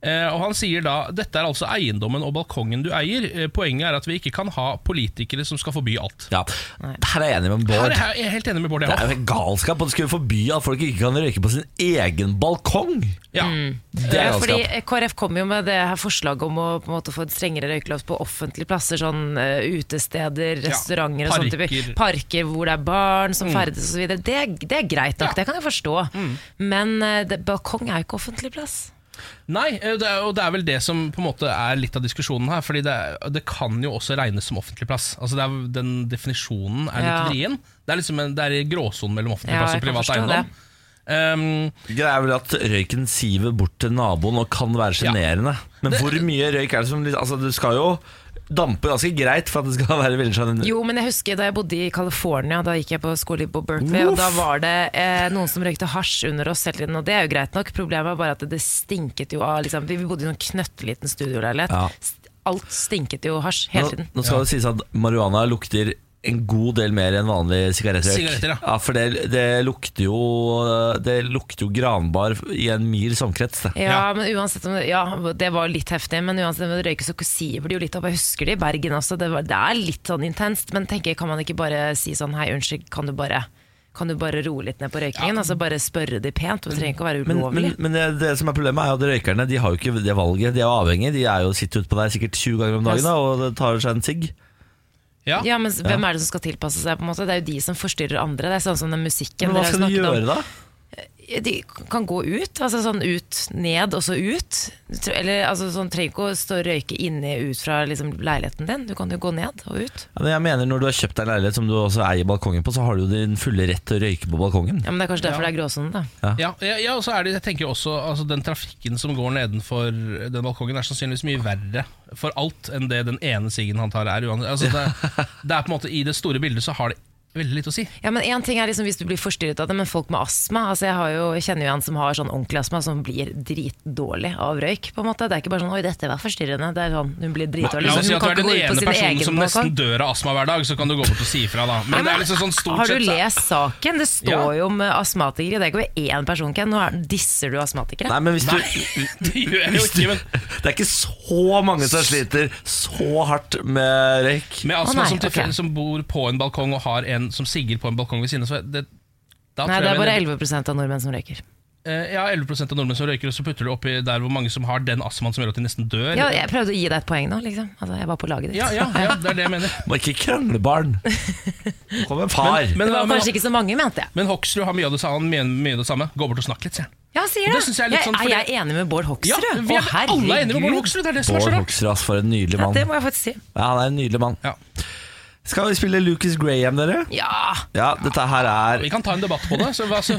S3: Eh, Og han sier da dette er altså eiendommen og balkongen du eier. Eh, Poenget er at vi ikke kan ha politikere som skal forby alt.
S1: Ja. Her er jeg enig med
S3: Her
S1: Bård.
S3: er jeg jeg er helt enig med Bård. jeg
S1: Det
S3: også.
S1: er jo galskap at du skulle forby at folk ikke kan røyke på sin egen balkong.
S3: Ja.
S2: Mm.
S1: Det er
S2: Ja, fordi
S1: galskap.
S2: eh, KrF kom jo med det her forslaget om å på en måte få en strengere røykelov på offentlige plasser. Sånn eh, utesteder, restauranter og sånne
S3: parker.
S2: typer. Parker Mm. hvor det er barn som ferdes osv. Det, er- det er greit nok,
S3: Ja.
S2: det kan jeg forstå. Men eh, det, balkong er jo ikke offentlig plass.
S3: Nei, eh, det er, og det er vel det som på en måte er litt av diskusjonen her. Fordi det, er- det kan jo også regnes som offentlig plass. Altså det er, Den definisjonen er litt
S2: Ja.
S3: vrien. Det er liksom en, det er i gråsonen mellom offentlig
S2: Ja,
S3: plass og
S2: jeg kan
S3: privat
S2: forstå
S3: eiendom. Um,
S1: Greia er vel at røyken siver bort til naboen og kan være
S3: Ja.
S1: sjenerende. Men hvor mye røyk er det som Altså, du skal jo dampe ganske greit for at det skal være veldig sjenerende.
S2: Jo, men jeg husker da jeg bodde i California, da gikk jeg på skole i Bo Berkeley, og
S1: Uff.
S2: da var det eh, noen som røykte hasj under oss hele tiden, og det er jo greit nok. Problemet var bare at det stinket jo av liksom, Vi vi bodde i en knøtteliten studioleilighet.
S1: Ja.
S2: St- Alt stinket jo hasj hele
S1: Nå,
S2: tiden.
S1: nå skal det sies at marihuana lukter en god del mer enn vanlig sigarettrøyk.
S3: Sigaretter, ja.
S1: for det, det lukter jo Det lukter jo granbar i en mil samkrets. Det.
S2: Ja, men uansett om det, ja, det var litt heftig, men uansett om det røyker, så siver det jo litt opp. Jeg husker det i Bergen også, det, var, det er litt sånn intenst. Men tenker jeg, kan man ikke bare si sånn hei, unnskyld, kan du bare kan du bare roe litt ned på røykingen? Altså Bare spørre de pent. Det trenger ikke å være
S1: Men,
S2: ulovlig.
S1: men, men det, det som er problemet er jo at røykerne De har jo ikke det valget. De er avhengige. De er jo sitter ute på deg sikkert 20 ganger om dagen da, og tar seg en sigg.
S3: ja.
S2: Ja, men hvem er det som skal tilpasse seg? på en måte? Det er jo de som forstyrrer andre. Det er sånn som den musikken.
S1: Men hva
S2: dere har
S1: skal de
S2: snakket om.
S1: gjøre da?
S2: De kan gå ut. altså sånn Ut, ned, og så ut. Du tre- Eller altså sånn, trenger ikke å stå og røyke inne ut fra liksom, leiligheten din. Du kan jo gå ned og ut.
S1: Ja, men jeg mener Når du har kjøpt deg en leilighet som du også eier balkongen på, så har du jo din fulle rett til å røyke på balkongen.
S2: Ja, men Det er kanskje derfor det er gråsonen, da.
S3: Ja, ja, ja, og så er det, jeg tenker også altså, Den trafikken som går nedenfor den balkongen, er sannsynligvis mye verre for alt enn det den ene siggen han tar, er. uansett. Altså, det, det er på en måte, I det store bildet så har det veldig lite å si.
S2: Ja, men en ting er liksom hvis du blir forstyrret av det, men folk med astma altså Jeg har jo, jeg kjenner jo en som har sånn ordentlig astma, som blir dritdårlig av røyk. på en måte Det er ikke bare sånn 'oi, dette var forstyrrende'. Det er sånn, Hun blir dritdårlig.
S3: La oss si
S2: Hun
S3: at du
S2: kan
S3: er den
S2: ikke gå ut på
S3: ene
S2: sin
S3: personen
S2: egen
S3: som
S2: balkong.
S3: nesten dør av astma hver dag, så kan du gå bort og si ifra, da. Men det er liksom sånn
S2: Har
S3: stort
S2: du
S3: sett så-
S2: lest saken? Det står
S3: Ja.
S2: jo om eh, astmatikere. Det er ikke bare én person, Ken. Nå er, disser du astmatikere.
S1: Nei, men hvis du,
S3: Det gjør jeg jo
S1: hvis du
S3: ikke, men
S1: Det er ikke så mange som sliter så hardt med røyk.
S3: med astma
S2: Å, nei,
S3: som, tilfell-
S2: ok.
S3: som bor på en balkong og har en som sigger på en balkong ved siden av, så det, da
S2: Nei,
S3: tror
S2: det
S3: jeg
S2: er
S3: vi
S2: bare
S3: er nede-
S2: 11 av nordmenn som røyker.
S3: Eh, Ja, 11 av nordmenn som røyker, og så putter du oppi der hvor mange som har den astmaen som gjør at de nesten dør.
S2: Ja, jeg prøvde å gi deg et poeng nå, liksom. Altså, jeg var på laget ditt.
S3: ja, ja, ja, det er det jeg mener.
S1: Må ikke krangle, barn. Nå kommer far.
S3: Men,
S2: Det
S3: men,
S2: var
S3: men,
S2: kanskje ikke så mange, mente jeg.
S3: men Hoksrud har mye av det samme. Mye, mye av det samme. Gå bort og snakk litt, sier han.
S2: Ja, sier
S3: Det
S2: det.
S3: synes jeg er litt sånn,
S2: er
S3: fordi-
S2: jeg enig med Bård
S3: Ja,
S2: Hoksrud?
S3: vi er
S2: Å,
S3: alle er enige med Bård
S2: herregud.
S3: Hoksrud, det er det som er så
S1: Bård
S3: rart.
S1: Hoksrud, ass, for en nydelig
S2: Ja,
S1: mann.
S2: det må jeg faktisk si.
S1: Ja, han er en nydelig mann.
S3: Ja.
S1: Skal vi spille Lucas Graham, dere?
S2: Ja.
S1: Ja, dette her er
S3: Vi kan ta en debatt på det. Så, hva- så,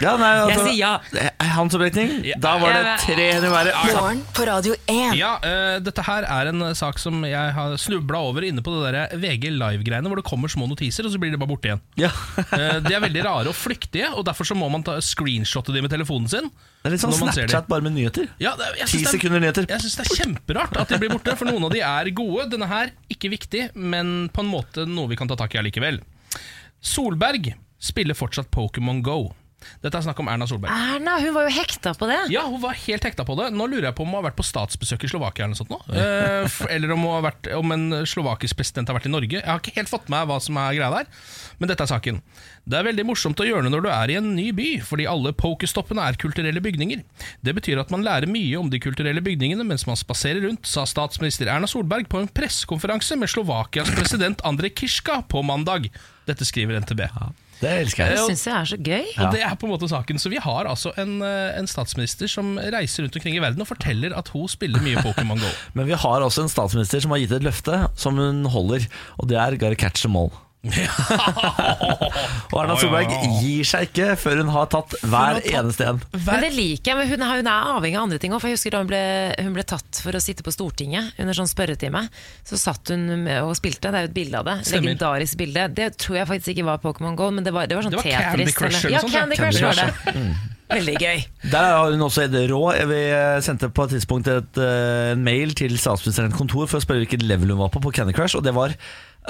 S1: ja, nei, altså,
S2: Jeg sier ja.
S1: Hans opprekning?
S3: Ja.
S1: Da var det
S2: Ja, men-
S1: 300 i været.
S5: Morgen på Radio 1.
S3: ja, eh, dette her er en eh, sak som jeg har snubla over inne på det der VG Live-greiene, hvor det kommer små notiser, og så blir de bare borte igjen.
S1: Ja.
S3: Eh, De er veldig rare og flyktige, og derfor så må man ta screenshotte de med telefonen sin.
S1: Det er litt sånn
S3: når man ser de.
S1: Snapchat bare med nyheter.
S3: Ja, det, jeg
S1: Ti
S3: synes det er-
S1: sekunder nyheter.
S3: Jeg syns det er kjemperart at de blir borte, for noen av de er gode. Denne her, ikke viktig, men på en måte noe vi kan ta tak i allikevel. Solberg spiller fortsatt Pokémon Go. Dette er snakk om Erna Solberg.
S2: Erna, hun var jo hekta på det.
S3: Ja, hun var helt hekta på det. Nå lurer jeg på om hun har vært på statsbesøk i Slovakia eller noe sånt nå. Eh, f- eller om, hun har vært, om en slovakisk president har vært i Norge. Jeg har ikke helt fått med meg hva som er greia der, men dette er saken. Det er veldig morsomt å gjøre det når du er i en ny by, fordi alle pokestoppene er kulturelle bygninger. Det betyr at man lærer mye om de kulturelle bygningene mens man spaserer rundt, sa statsminister Erna Solberg på en pressekonferanse med Slovakias president Andrej Kiska på mandag. Dette skriver NTB.
S1: Det elsker
S2: Det
S1: jeg.
S2: syns jeg er så gøy.
S3: Og det er på en måte saken Så vi har altså en, eh, en statsminister som reiser rundt omkring i verden og forteller at hun spiller mye Pokémon GO.
S1: Men vi har også en statsminister som har gitt et løfte som hun holder, og det er gotta catch them all. Og Erna Solberg gir seg ikke før hun har tatt hver eneste en.
S2: Men det liker jeg, men hun, er- hun er avhengig av andre ting òg. Jeg husker da hun ble, hun ble tatt for å sitte på Stortinget under sånn spørretime. Så satt hun med og spilte. Det er jo et bilde av det.
S3: Stemmer.
S2: Legendarisk bilde. Det tror jeg faktisk ikke var Pokémon Go, men det var, det var sånn
S3: Det var
S2: Tetris.
S3: Candy Crush eller
S2: ja,
S3: sånt, ja. Mm.
S2: Candy Crush var det. Veldig gøy.
S1: Der har hun også et råd. Vi eh, sendte på et tidspunkt et, eh, en mail til statsministerens kontor for å spørre hvilket level hun var på på Candy Crush, og det var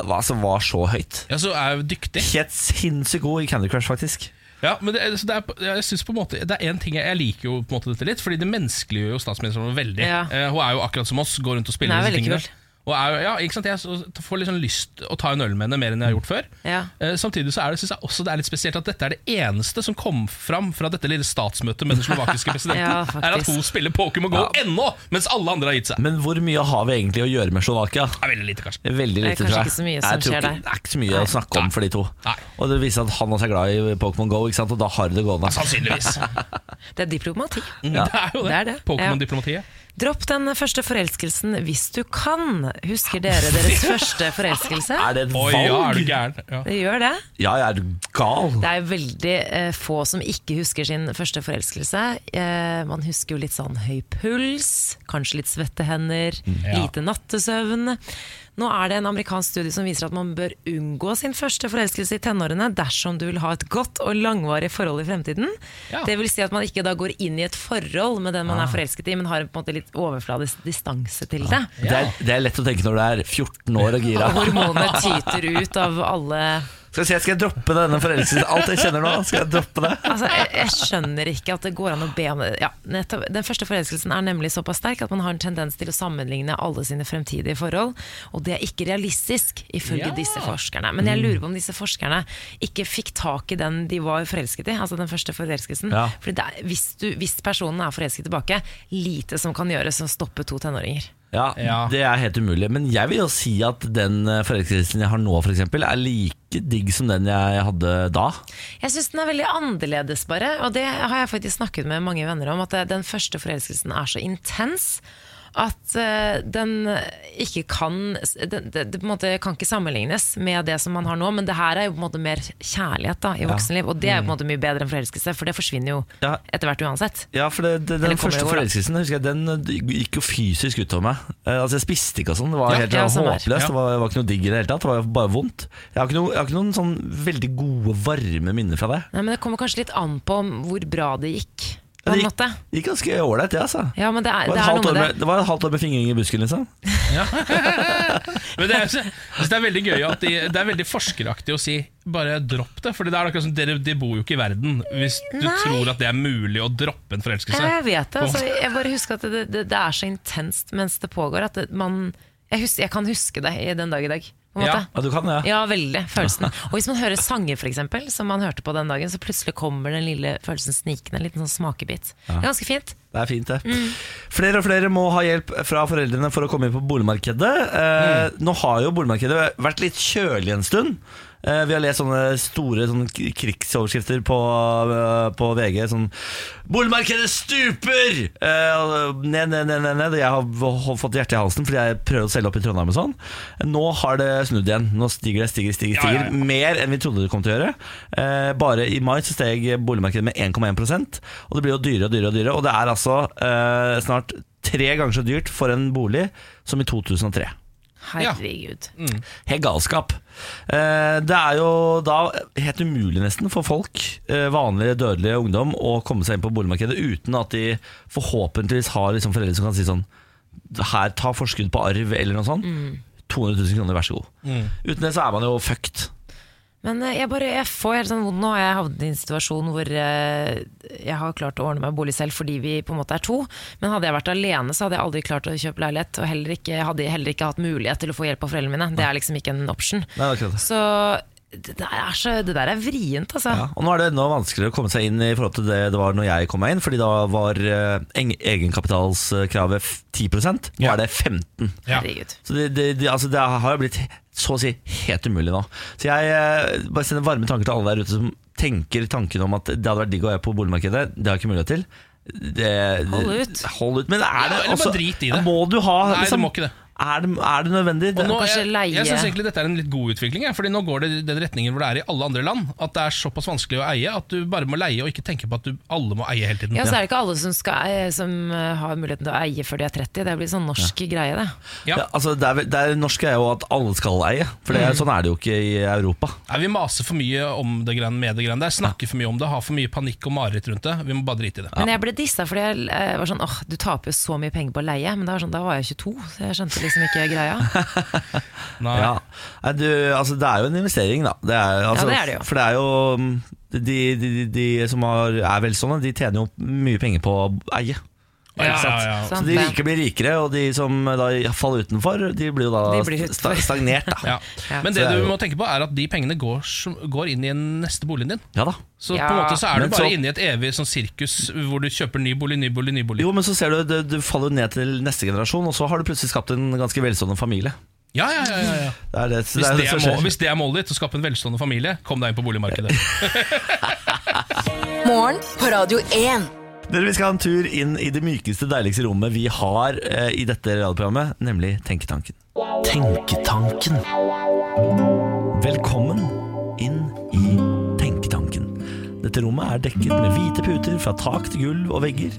S1: hva som var så høyt.
S3: Ja, så er hun dyktig.
S1: Helt sinnssykt god i Candy Crush, faktisk.
S3: Ja, men det, er- så det er, på- jeg synes på en måte Det er en ting jeg, jeg liker jo på en måte dette litt, Fordi det menneskeliggjør jo statsministeren vår veldig.
S2: Ja.
S3: Eh, hun er jo akkurat som oss, går rundt og
S2: Hun
S3: spiller
S2: er
S3: disse
S2: veldig
S3: tingene.
S2: kul.
S3: Og er, jo- ja, ikke sant? Jeg s- får litt sånn lyst å ta en øl med henne mer enn jeg har gjort før.
S2: Ja.
S3: Eh, samtidig så er det, synes jeg også det er litt spesielt at dette er det eneste som kom fram fra dette lille statsmøtet med den slovakiske presidenten,
S2: Ja,
S3: er at
S2: faktisk.
S3: hun spiller Pokémon GO ennå, mens alle andre har gitt seg. Det
S1: Men hvor mye har vi egentlig å gjøre med Slovakia?
S3: er veldig lite, kanskje.
S1: Det er Veldig
S2: Det er
S1: lite,
S2: kanskje
S1: tror jeg.
S2: ikke så mye
S1: Nei,
S2: som
S1: jeg tror
S2: skjer
S1: ikke-
S2: der.
S1: Det er ikke så mye å snakke om for de to.
S3: Nei.
S1: Og det viser at han også er glad i Pokémon GO, ikke sant? og da har de det gående.
S3: Altså, Sannsynligvis.
S2: Det er diplomati.
S3: Det er jo det.
S2: Det er det.
S3: Pokémon-diplomatiet.
S2: Dropp den første forelskelsen hvis du kan. Husker dere deres første forelskelse?
S1: Er det et
S3: Oi,
S1: valg?
S3: ja, er du gæren? Ja.
S2: Det gjør det.
S1: Ja, jeg er du gal.
S2: Det er veldig eh, få som ikke husker sin første forelskelse. Eh, man husker jo litt sånn høy puls, kanskje litt svette hender,
S3: Mm, Ja.
S2: lite nattesøvn. Nå er det en amerikansk studie som viser at man bør unngå sin første forelskelse i tenårene dersom du vil ha et godt og langvarig forhold i fremtiden.
S3: Ja. Ah.
S2: Det vil si at man ikke da går inn i et forhold med den man er forelsket i, men har på en måte litt overfladisk distanse til det.
S1: Det er, det er lett å tenke når du er 14 år og gira.
S2: Og hormonene tyter ut av alle
S1: Skal jeg si, skal jeg droppe denne forelskelsen? Alt jeg kjenner nå, skal jeg droppe det?
S2: Altså, jeg, jeg skjønner ikke at det går an å be om det. Ja, nettopp. Den første forelskelsen er nemlig såpass sterk at man har en tendens til å sammenligne alle sine fremtidige forhold, og det er ikke realistisk ifølge
S3: Ja.
S2: disse forskerne. Men jeg lurer på om disse forskerne ikke fikk tak i den de var forelsket i, altså den første forelskelsen.
S1: Ja.
S2: Fordi det er, hvis, du, hvis personen er forelsket tilbake, lite som kan gjøres som stopper to tenåringer.
S1: Ja,
S3: Ja.
S1: Det er helt umulig. Men jeg vil jo si at den eh, forelskelsen jeg har nå, for eksempel, er like digg som den jeg hadde da.
S2: Jeg syns den er veldig annerledes, bare. Og det har jeg faktisk snakket med mange venner om. At det- den første forelskelsen er så intens at eh, den ikke kan den, det, det på en måte kan ikke sammenlignes med det som man har nå, men det her er jo på en måte mer kjærlighet da, i voksenliv. Og det er jo på en måte mye bedre enn forelskelse, for det forsvinner jo
S1: Mm. Ja.
S2: etter hvert uansett.
S1: Ja, for det, det,
S2: Eller
S1: Den
S2: kommer
S1: første
S2: det over, da?
S1: forelskelsen husker jeg, den eh, gikk jo fysisk utover meg. Eh, altså Jeg spiste ikke og sånn. Det var
S2: Ja,
S1: helt
S2: ja,
S1: sånn
S2: samme her.
S1: håpløst. Det var, var ikke noe digg i det hele tatt. Det var bare vondt. Jeg har ikke, noe, jeg har ikke noen sånn veldig gode, varme minner fra det.
S2: Nei, men det kommer kanskje litt an på hvor bra det gikk, på
S1: Ja,
S2: en
S1: det
S2: måte.
S1: gikk, gikk ganske ålreit, det, altså.
S2: Ja, men det er,
S1: Det var, et
S2: det er
S1: halvt
S2: noe
S1: år
S2: med det.
S1: med, det var et halvt år med fingring i busken, liksom.
S3: Men det er, jeg synes det er veldig gøy at de, Det er veldig forskeraktig å si Bare dropp det, for det er akkurat som dere de bor jo ikke i verden Hvis du
S2: Nei.
S3: tror at det er mulig Å droppe en forelskelse
S2: Ja, jeg vet det. Altså, jeg bare husker at det, det, det er så intenst mens det pågår at det, man jeg, hus- jeg kan huske det i den dag i dag. På en
S3: Ja.
S2: måte.
S1: Ja, du kan det. Ja.
S2: Ja, veldig. Følelsen. Og hvis man hører sanger, for eksempel, som man hørte på den dagen, så plutselig kommer den lille følelsen snikende, en liten sånn smakebit. Det er ganske fint.
S1: Det er fint, det.
S3: Mm.
S1: Flere og flere må ha hjelp fra foreldrene for å komme inn på boligmarkedet. Eh,
S3: Mm.
S1: Nå har jo boligmarkedet vært litt kjølig en stund. Eh, vi har lest sånne store sånne k- krigsoverskrifter på, eh, på VG. Sånn 'Boligmarkedet stuper!' Eh, og, nei, nei, nei, nei, nei. Jeg har v- fått hjertet i halsen fordi jeg prøver å selge opp i Trondheim og sånn. Nå har det snudd igjen. Nå stiger det, stiger, stiger.
S3: Ja, ja,
S1: stiger
S3: ja.
S1: mer enn vi trodde det kom til å gjøre. Eh, bare i mai så steg boligmarkedet med 1,1 og det blir jo dyrere og dyrere. Og dyrere Og det er altså eh, snart tre ganger så dyrt for en bolig som i 2003.
S2: Herregud.
S1: Helt galskap. Eh, det er jo da helt umulig nesten for folk, eh, vanlige dødelige ungdom, å komme seg inn på boligmarkedet uten at de forhåpentligvis har liksom foreldre som kan si sånn Her, ta forskudd på arv, eller noe sånt. 200 000 kroner, vær så god. Uten det så er man jo fucked.
S2: Men eh, jeg, bare, jeg får helt sånn vondt nå. Jeg har havnet i en situasjon hvor eh, jeg har klart å ordne meg bolig selv fordi vi på en måte er to. Men hadde jeg vært alene, så hadde jeg aldri klart å kjøpe leilighet. Og heller ikke, hadde jeg heller ikke hatt mulighet til å få hjelp av foreldrene mine. Det er liksom ikke en option.
S1: Nei, det er akkurat det.
S2: Så det der er, så, det der er vrient, altså.
S1: Ja, og Nå er det enda vanskeligere å komme seg inn i forhold til det det var når jeg kom meg inn, fordi da var eh, eng- egenkapitalskravet f- 10 nå
S3: Ja.
S1: er det 15
S3: Ja.
S2: Herregud.
S1: Så det, det, det, altså det har jo blitt så å si helt umulig nå. Så jeg eh, bare sender varme tanker til alle der ute som tenker tanken om at det hadde vært digg å være på boligmarkedet. Det har jeg ikke mulighet til. Det-
S2: Hold ut.
S1: Hold ut. Men er det
S3: eller bare
S1: også-
S3: drit i det.
S1: Må du ha liksom-
S3: Nei, du må ikke det.
S1: Er det, er det nødvendig?
S3: Og nå,
S2: kanskje
S3: jeg,
S2: leie-
S3: jeg synes egentlig dette er en litt god utvikling jeg, Fordi nå går det i den retningen hvor det er i alle andre land At det er såpass vanskelig å eie At du bare må leie og ikke tenke på at du, alle må eie hele tiden
S2: Ja, altså- så er det ikke alle som, skal, eh, som eh, har muligheten til å eie før de er 30. Det blir sånn norsk greie, det.
S3: Ja.
S1: Ja, altså det, er, vel- det er, norsk er jo at alle skal eie, for det, er-
S3: Mm.
S1: sånn er det jo ikke i Europa.
S3: Nei, Vi maser for mye om det greiene med det greiene der Snakker for mye om det, har for mye panikk og mareritt rundt det Vi må bare drite i det
S2: Men jeg ble dissa fordi jeg eh, var sånn åh, du taper jo så mye penger på å leie. Men da var, sånn, da var jeg 22, så jeg skjønte liksom ikke greia.
S3: Nei.
S1: Ja. Nei, du, altså, det er jo en investering, da. Det er, altså,
S2: Ja, det er det jo.
S1: For det er jo mm, de, de, de, de som har, er velstående, de tjener jo mye penger på å eie.
S3: Ja, ja, ja.
S1: Så
S2: Sant
S1: de
S2: det.
S1: rike blir rikere, og de som da faller utenfor, de blir jo da
S2: De blir
S1: sta- stagnert. Da.
S3: Ja.
S1: Så
S3: Men det
S1: det er
S3: du
S1: jo-
S3: må tenke på er at de pengene går, som- går inn i den neste boligen din.
S1: Ja da.
S3: Så
S2: Ja.
S3: på en måte så er du
S1: Men
S3: bare
S1: så-
S3: inne i et evig sånn sirkus hvor du kjøper ny bolig, ny bolig, ny bolig.
S1: Jo, men så ser du, du, du faller jo ned til neste generasjon, og så har du plutselig skapt en ganske velstående familie.
S3: Ja, ja, ja, ja, ja.
S1: Det er det, det,
S3: Hvis,
S1: er
S3: det
S1: det
S3: er
S1: som
S3: må,
S1: skjer.
S3: hvis det er målet ditt, å skape en velstående familie, kom deg inn på boligmarkedet.
S5: Morgen på Radio 1.
S1: Dere, Vi skal ha en tur inn i det mykeste, deiligste rommet vi har eh, i dette radioprogrammet, nemlig Tenketanken. Tenketanken. Velkommen inn i Tenketanken. Dette rommet er dekket med hvite puter fra tak til gulv og vegger.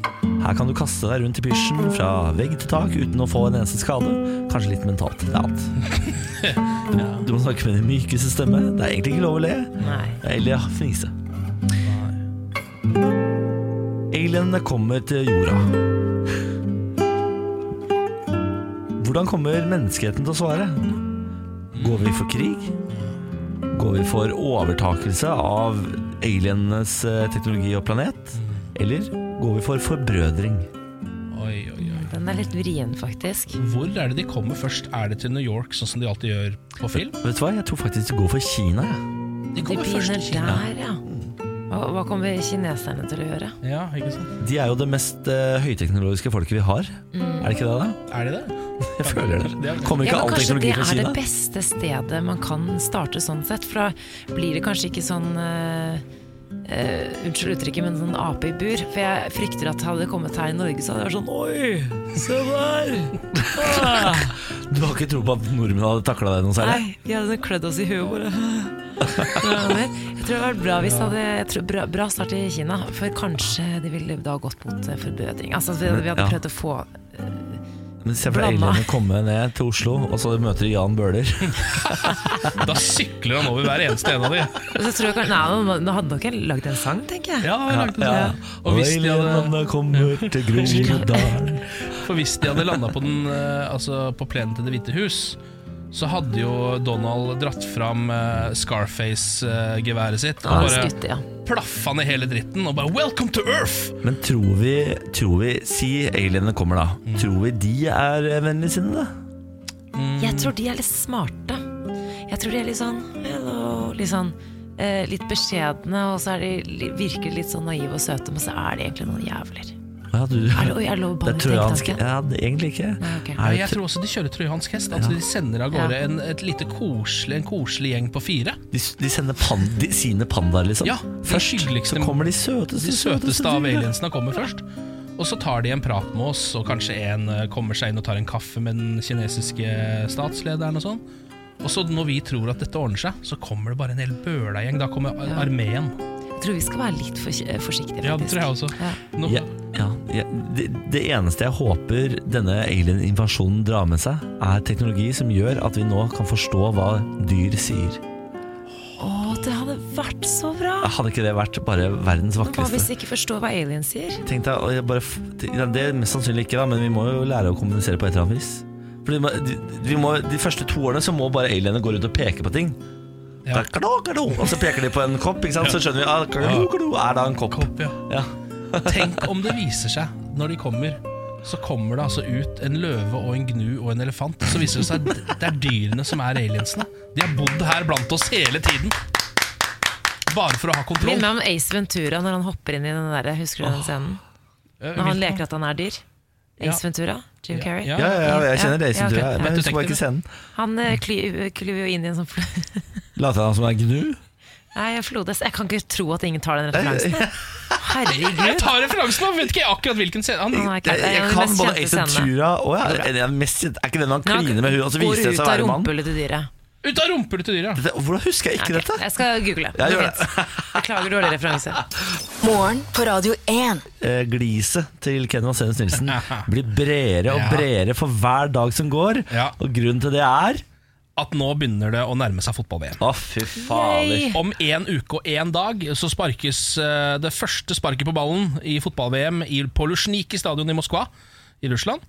S1: Her kan du kaste deg rundt i pysjen fra vegg til tak uten å få en eneste skade. Kanskje litt mentalt. Det er alt. Du, du må snakke med den mykeste stemme. Det er egentlig ikke lov å le.
S2: Nei.
S1: Eller ja, fnise. Alienene kommer til jorda. Hvordan kommer menneskeheten til å svare? Går vi for krig? Går vi for overtakelse av alienenes eh, teknologi og planet? Eller går vi for forbrødring?
S3: Mm. Oi, oi, oi.
S2: Den er litt vrien, faktisk.
S3: Hvor er det de kommer først? Er det til New York, sånn som de alltid gjør på film?
S1: Vet du hva, jeg tror faktisk det går for Kina. jeg.
S3: De
S2: De
S3: kommer først
S2: begynner
S3: til Kina.
S2: der, ja. Og hva kommer kineserne til å gjøre?
S3: Ja, ikke sant?
S1: De er jo det mest eh, høyteknologiske folket vi har. Er det ikke det, da?
S3: Er det det?
S1: Jeg føler det.
S3: Det er-
S1: Kommer ikke
S2: Mm. Ja, men
S1: all
S2: Kanskje det
S1: teknologi fra
S2: er det
S1: Kina?
S2: beste stedet man kan starte sånn sett. For da blir det kanskje ikke sånn eh, eh, Unnskyld uttrykket, men sånn ape i bur. For jeg frykter at hadde det kommet her i Norge, så hadde det vært sånn Oi, se der! Ah.
S1: Du har ikke tro på at nordmenn hadde takla det noe særlig?
S2: Nei, de hadde sånn klødd oss i huet og bare Jeg tror det hadde vært bra hvis det hadde jeg tror, bra, bra start i Kina. For kanskje de ville da gått mot eh, forbedring. Altså, vi, vi hadde
S1: Ja.
S2: prøvd å få
S1: Men Se for deg
S2: Blanda.
S1: alienene komme ned til Oslo, og så møter de Jan Bøhler.
S3: Da sykler han over hver eneste en av de.
S2: så tror jeg, kan- Nei, nå hadde nok jeg lagd en sang, tenker jeg.
S3: Ja, det er langt å si.
S1: Ja.
S3: Og hvis de hadde
S1: Alienene kommer til Groruddalen.
S3: For hvis de hadde landa på, den, eh, altså på plenen til Det hvite hus, så hadde jo Donald dratt fram eh, Scarface-geværet sitt
S2: Han
S3: og
S2: hadde
S3: bare
S2: skutt, ja.
S3: plaffa ned hele dritten og bare 'Welcome to Earth'!
S1: Men tror vi, tror vi Si alienene kommer, da. Tror vi de er vennligsinnede?
S3: Mm.
S2: Jeg tror de er litt smarte. Jeg tror de er litt sånn hello, litt sånn eh, litt beskjedne, og så er de, li- virker de litt sånn naive og søte, men så er de egentlig noen jævler.
S1: Ja, du
S2: Er det, oi, er det lov å
S1: Det
S2: banne
S1: er
S2: i
S1: trojansk
S2: tenketanken?
S1: Ja, det- egentlig ikke.
S2: Nei, ok.
S1: Er det
S3: Jeg tror også de kjører trojansk hest. Altså De sender av gårde en, et lite koselig, en koselig gjeng på fire.
S1: De, de sender pan, de, sine pandaer, liksom?
S3: Ja, de
S1: Først
S3: hyggeligste-
S1: så kommer de søteste
S3: De søteste av
S1: dyrene.
S3: aliensene kommer først. Og så tar de en prat med oss, og kanskje en eh, kommer seg inn og tar en kaffe med den kinesiske statslederen og sånn. Og så når vi tror at dette ordner seg, så kommer det bare en hel bølagjeng. Da kommer ar- armeen.
S2: Jeg tror vi skal være litt for, eh, forsiktige, faktisk.
S3: Ja, det tror jeg også.
S2: Ja.
S3: Nå,
S1: Ja, ja, ja. Det, det eneste jeg håper denne alien-invasjonen drar med seg, er teknologi som gjør at vi nå kan forstå hva dyr sier.
S2: Å, det hadde vært så bra!
S1: Hadde ikke det vært bare verdens
S2: Hva hvis
S1: vakreste?
S2: de ikke forstår hva aliens sier?
S1: Tenk deg, og jeg bare, f- ja, det er mest sannsynlig ikke, da, men vi må jo lære å kommunisere på et eller annet vis. Fordi ma- de, vi må, de første to årene så må bare alienene gå rundt og peke på ting.
S3: Ja.
S1: Kakalo, kakalo. Og så peker de på en kopp, ikke sant? så skjønner vi at kakalo, kakalo er da en kopp.
S3: Kopp, ja.
S1: Ja.
S3: Tenk om det viser seg, når de kommer, så kommer det altså ut en løve og en gnu og en elefant. Så viser det seg at det er dyrene som er aliensene. De har bodd her blant oss hele tiden. Bare for å ha
S2: Minn
S3: kontroll.
S2: meg om Ace Ventura når han hopper inn i den der, husker du den scenen?
S3: Eh,
S2: Når han
S3: hvilken-
S2: leker at han er dyr?
S3: Ja.
S2: Ace Ventura? Jim Carrey?
S1: Ja, ja, ja, jeg kjenner det,
S2: Ja,
S1: Sindre.
S2: ok.
S1: Men jeg husker bare ikke scenen.
S2: Han eh, kly- klyver jo inn i en sånn fl-
S1: Later han som er gnu?
S2: Nei, jeg flodes. Jeg kan ikke tro at ingen tar den referansen. Herregud.
S3: Jeg tar referansen, da vet ikke akkurat hvilken scene. Han,
S2: Han har ikke-
S1: Jeg,
S2: det er en
S1: jeg
S2: av de
S1: kan
S2: mest
S1: både
S2: kjente
S1: Ace
S2: scenene.
S1: Ventura og ja, er, det mest, kjent- er ikke den han kliner med hun og så
S2: Går
S1: viser det seg å være
S2: ut av
S1: mann?
S2: rumpehullet til dyret.
S3: ut av rumpehullet til dyret.
S1: Dette- Hvordan husker jeg ikke
S2: Ok,
S1: dette?
S2: Jeg skal google.
S1: Jeg
S2: Det
S1: gjør
S2: finnes. Beklager dårlig referanse.
S5: Morgen på Radio 1.
S1: Eh, Gliset til Ken Vasenius Nilsen blir bredere og bredere for hver dag som går.
S3: Ja.
S1: Og grunnen til det er
S3: At nå begynner det å nærme seg fotball-VM.
S1: Å, fy fader.
S2: Yay.
S3: Om en uke og en dag så sparkes eh, det første sparket på ballen i fotball-VM i- på Luzjniki stadion i Moskva i Russland.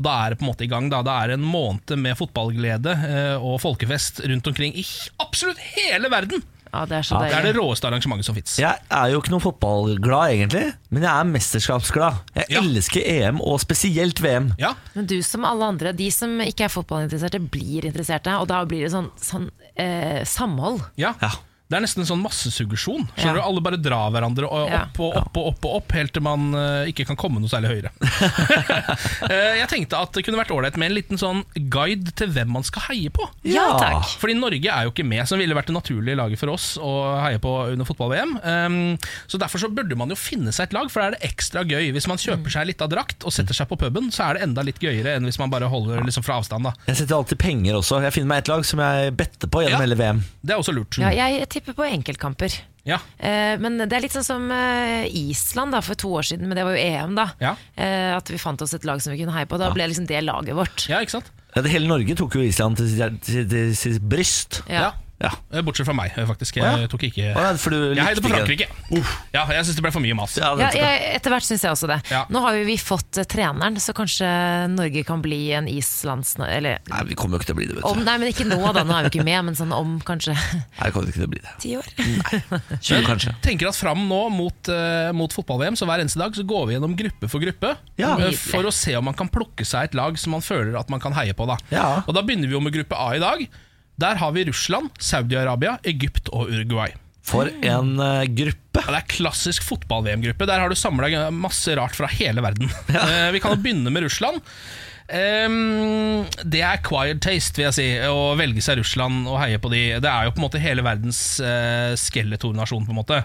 S3: Og da er det på en måte i gang. da Det er en måned med fotballglede eh, og folkefest rundt omkring i h- absolutt hele verden.
S2: Å, Ja, det er så
S3: Det er det
S2: deilig.
S3: råeste arrangementet som fins.
S1: Jeg er jo ikke noe fotballglad, egentlig, men jeg er mesterskapsglad. Jeg
S3: Ja.
S1: elsker EM, og spesielt VM.
S3: Ja.
S2: Men du som alle andre, de som ikke er fotballinteresserte, blir interesserte. Og da blir det sånn, sånn eh, samhold.
S3: Ja.
S1: Ja.
S3: Det er nesten en sånn massesuggesjon. Skjønner
S2: Ja.
S3: du, Alle bare drar hverandre og
S2: Ja.
S3: opp og opp og opp, og opp helt til man eh, ikke kan komme noe særlig høyere. Eh, Jeg tenkte at det kunne vært ålreit med en liten sånn guide til hvem man skal heie på.
S2: Ja,
S1: Ja.
S2: takk.
S3: Fordi Norge er jo ikke med, som ville vært det naturlige laget for oss å heie på under fotball-VM. Um, så Derfor så burde man jo finne seg et lag, for da er det ekstra gøy. Hvis man
S2: Mm.
S3: kjøper seg litt av drakt og setter seg på puben, så er det enda litt gøyere enn hvis man bare holder liksom fra avstand. da
S1: Jeg setter alltid penger også. Jeg finner meg et lag som jeg better på gjennom
S3: Ja.
S1: hele VM.
S3: Det er også lurt.
S2: Ja, jeg tipper på enkeltkamper.
S3: Ja.
S2: Eh, Men det er litt sånn som eh, Island da, for to år siden, men det var jo EM, da.
S3: Ja.
S2: Eh, At vi fant oss et lag som vi kunne heie på. Da ble liksom det laget vårt.
S3: ja, ikke sant?
S1: Ja, det hele Norge tok jo Island til sitt, til, til sitt bryst.
S2: Ja.
S1: Ja.
S3: Eh, Bortsett fra meg, eh, faktisk.
S1: Å, ja.
S3: Jeg tok ikke
S1: Å, ja, for du
S3: Jeg heide på
S1: likte
S3: Frankrike. Ja, jeg syns det ble for mye mas.
S1: Ja,
S2: Ja,
S1: det-
S2: jeg, etter hvert syns jeg også det.
S3: Ja.
S2: Nå har jo vi fått eh, treneren, så kanskje Norge kan bli en islands... Eller
S1: Nei, vi kommer jo ikke til å bli det, vet
S2: om,
S1: du.
S2: nei, men ikke nå, da. Nå er vi ikke med, men sånn om kanskje
S1: Nei, vi kommer ikke til å bli det.
S2: ti år.
S1: 20 kanskje.
S3: tenker at fram nå mot, eh, mot fotball-VM, så hver eneste dag så går vi gjennom gruppe for gruppe.
S1: Ja.
S3: eh, for å se om man kan plukke seg et lag som man føler at man kan heie på. Da.
S1: Ja.
S3: Og da begynner vi jo med gruppe A i dag. Der har vi Russland, Saudi-Arabia, Egypt og Uruguay.
S1: For en eh, gruppe.
S3: Ja, det er klassisk fotball-VM-gruppe. Der har du samla masse rart fra hele verden. Eh, vi kan jo begynne med Russland. Ehm, det er acquired taste, vil jeg si, å velge seg Russland og heie på de. Det er jo på en måte hele verdens uh, skeletornasjon, på en måte.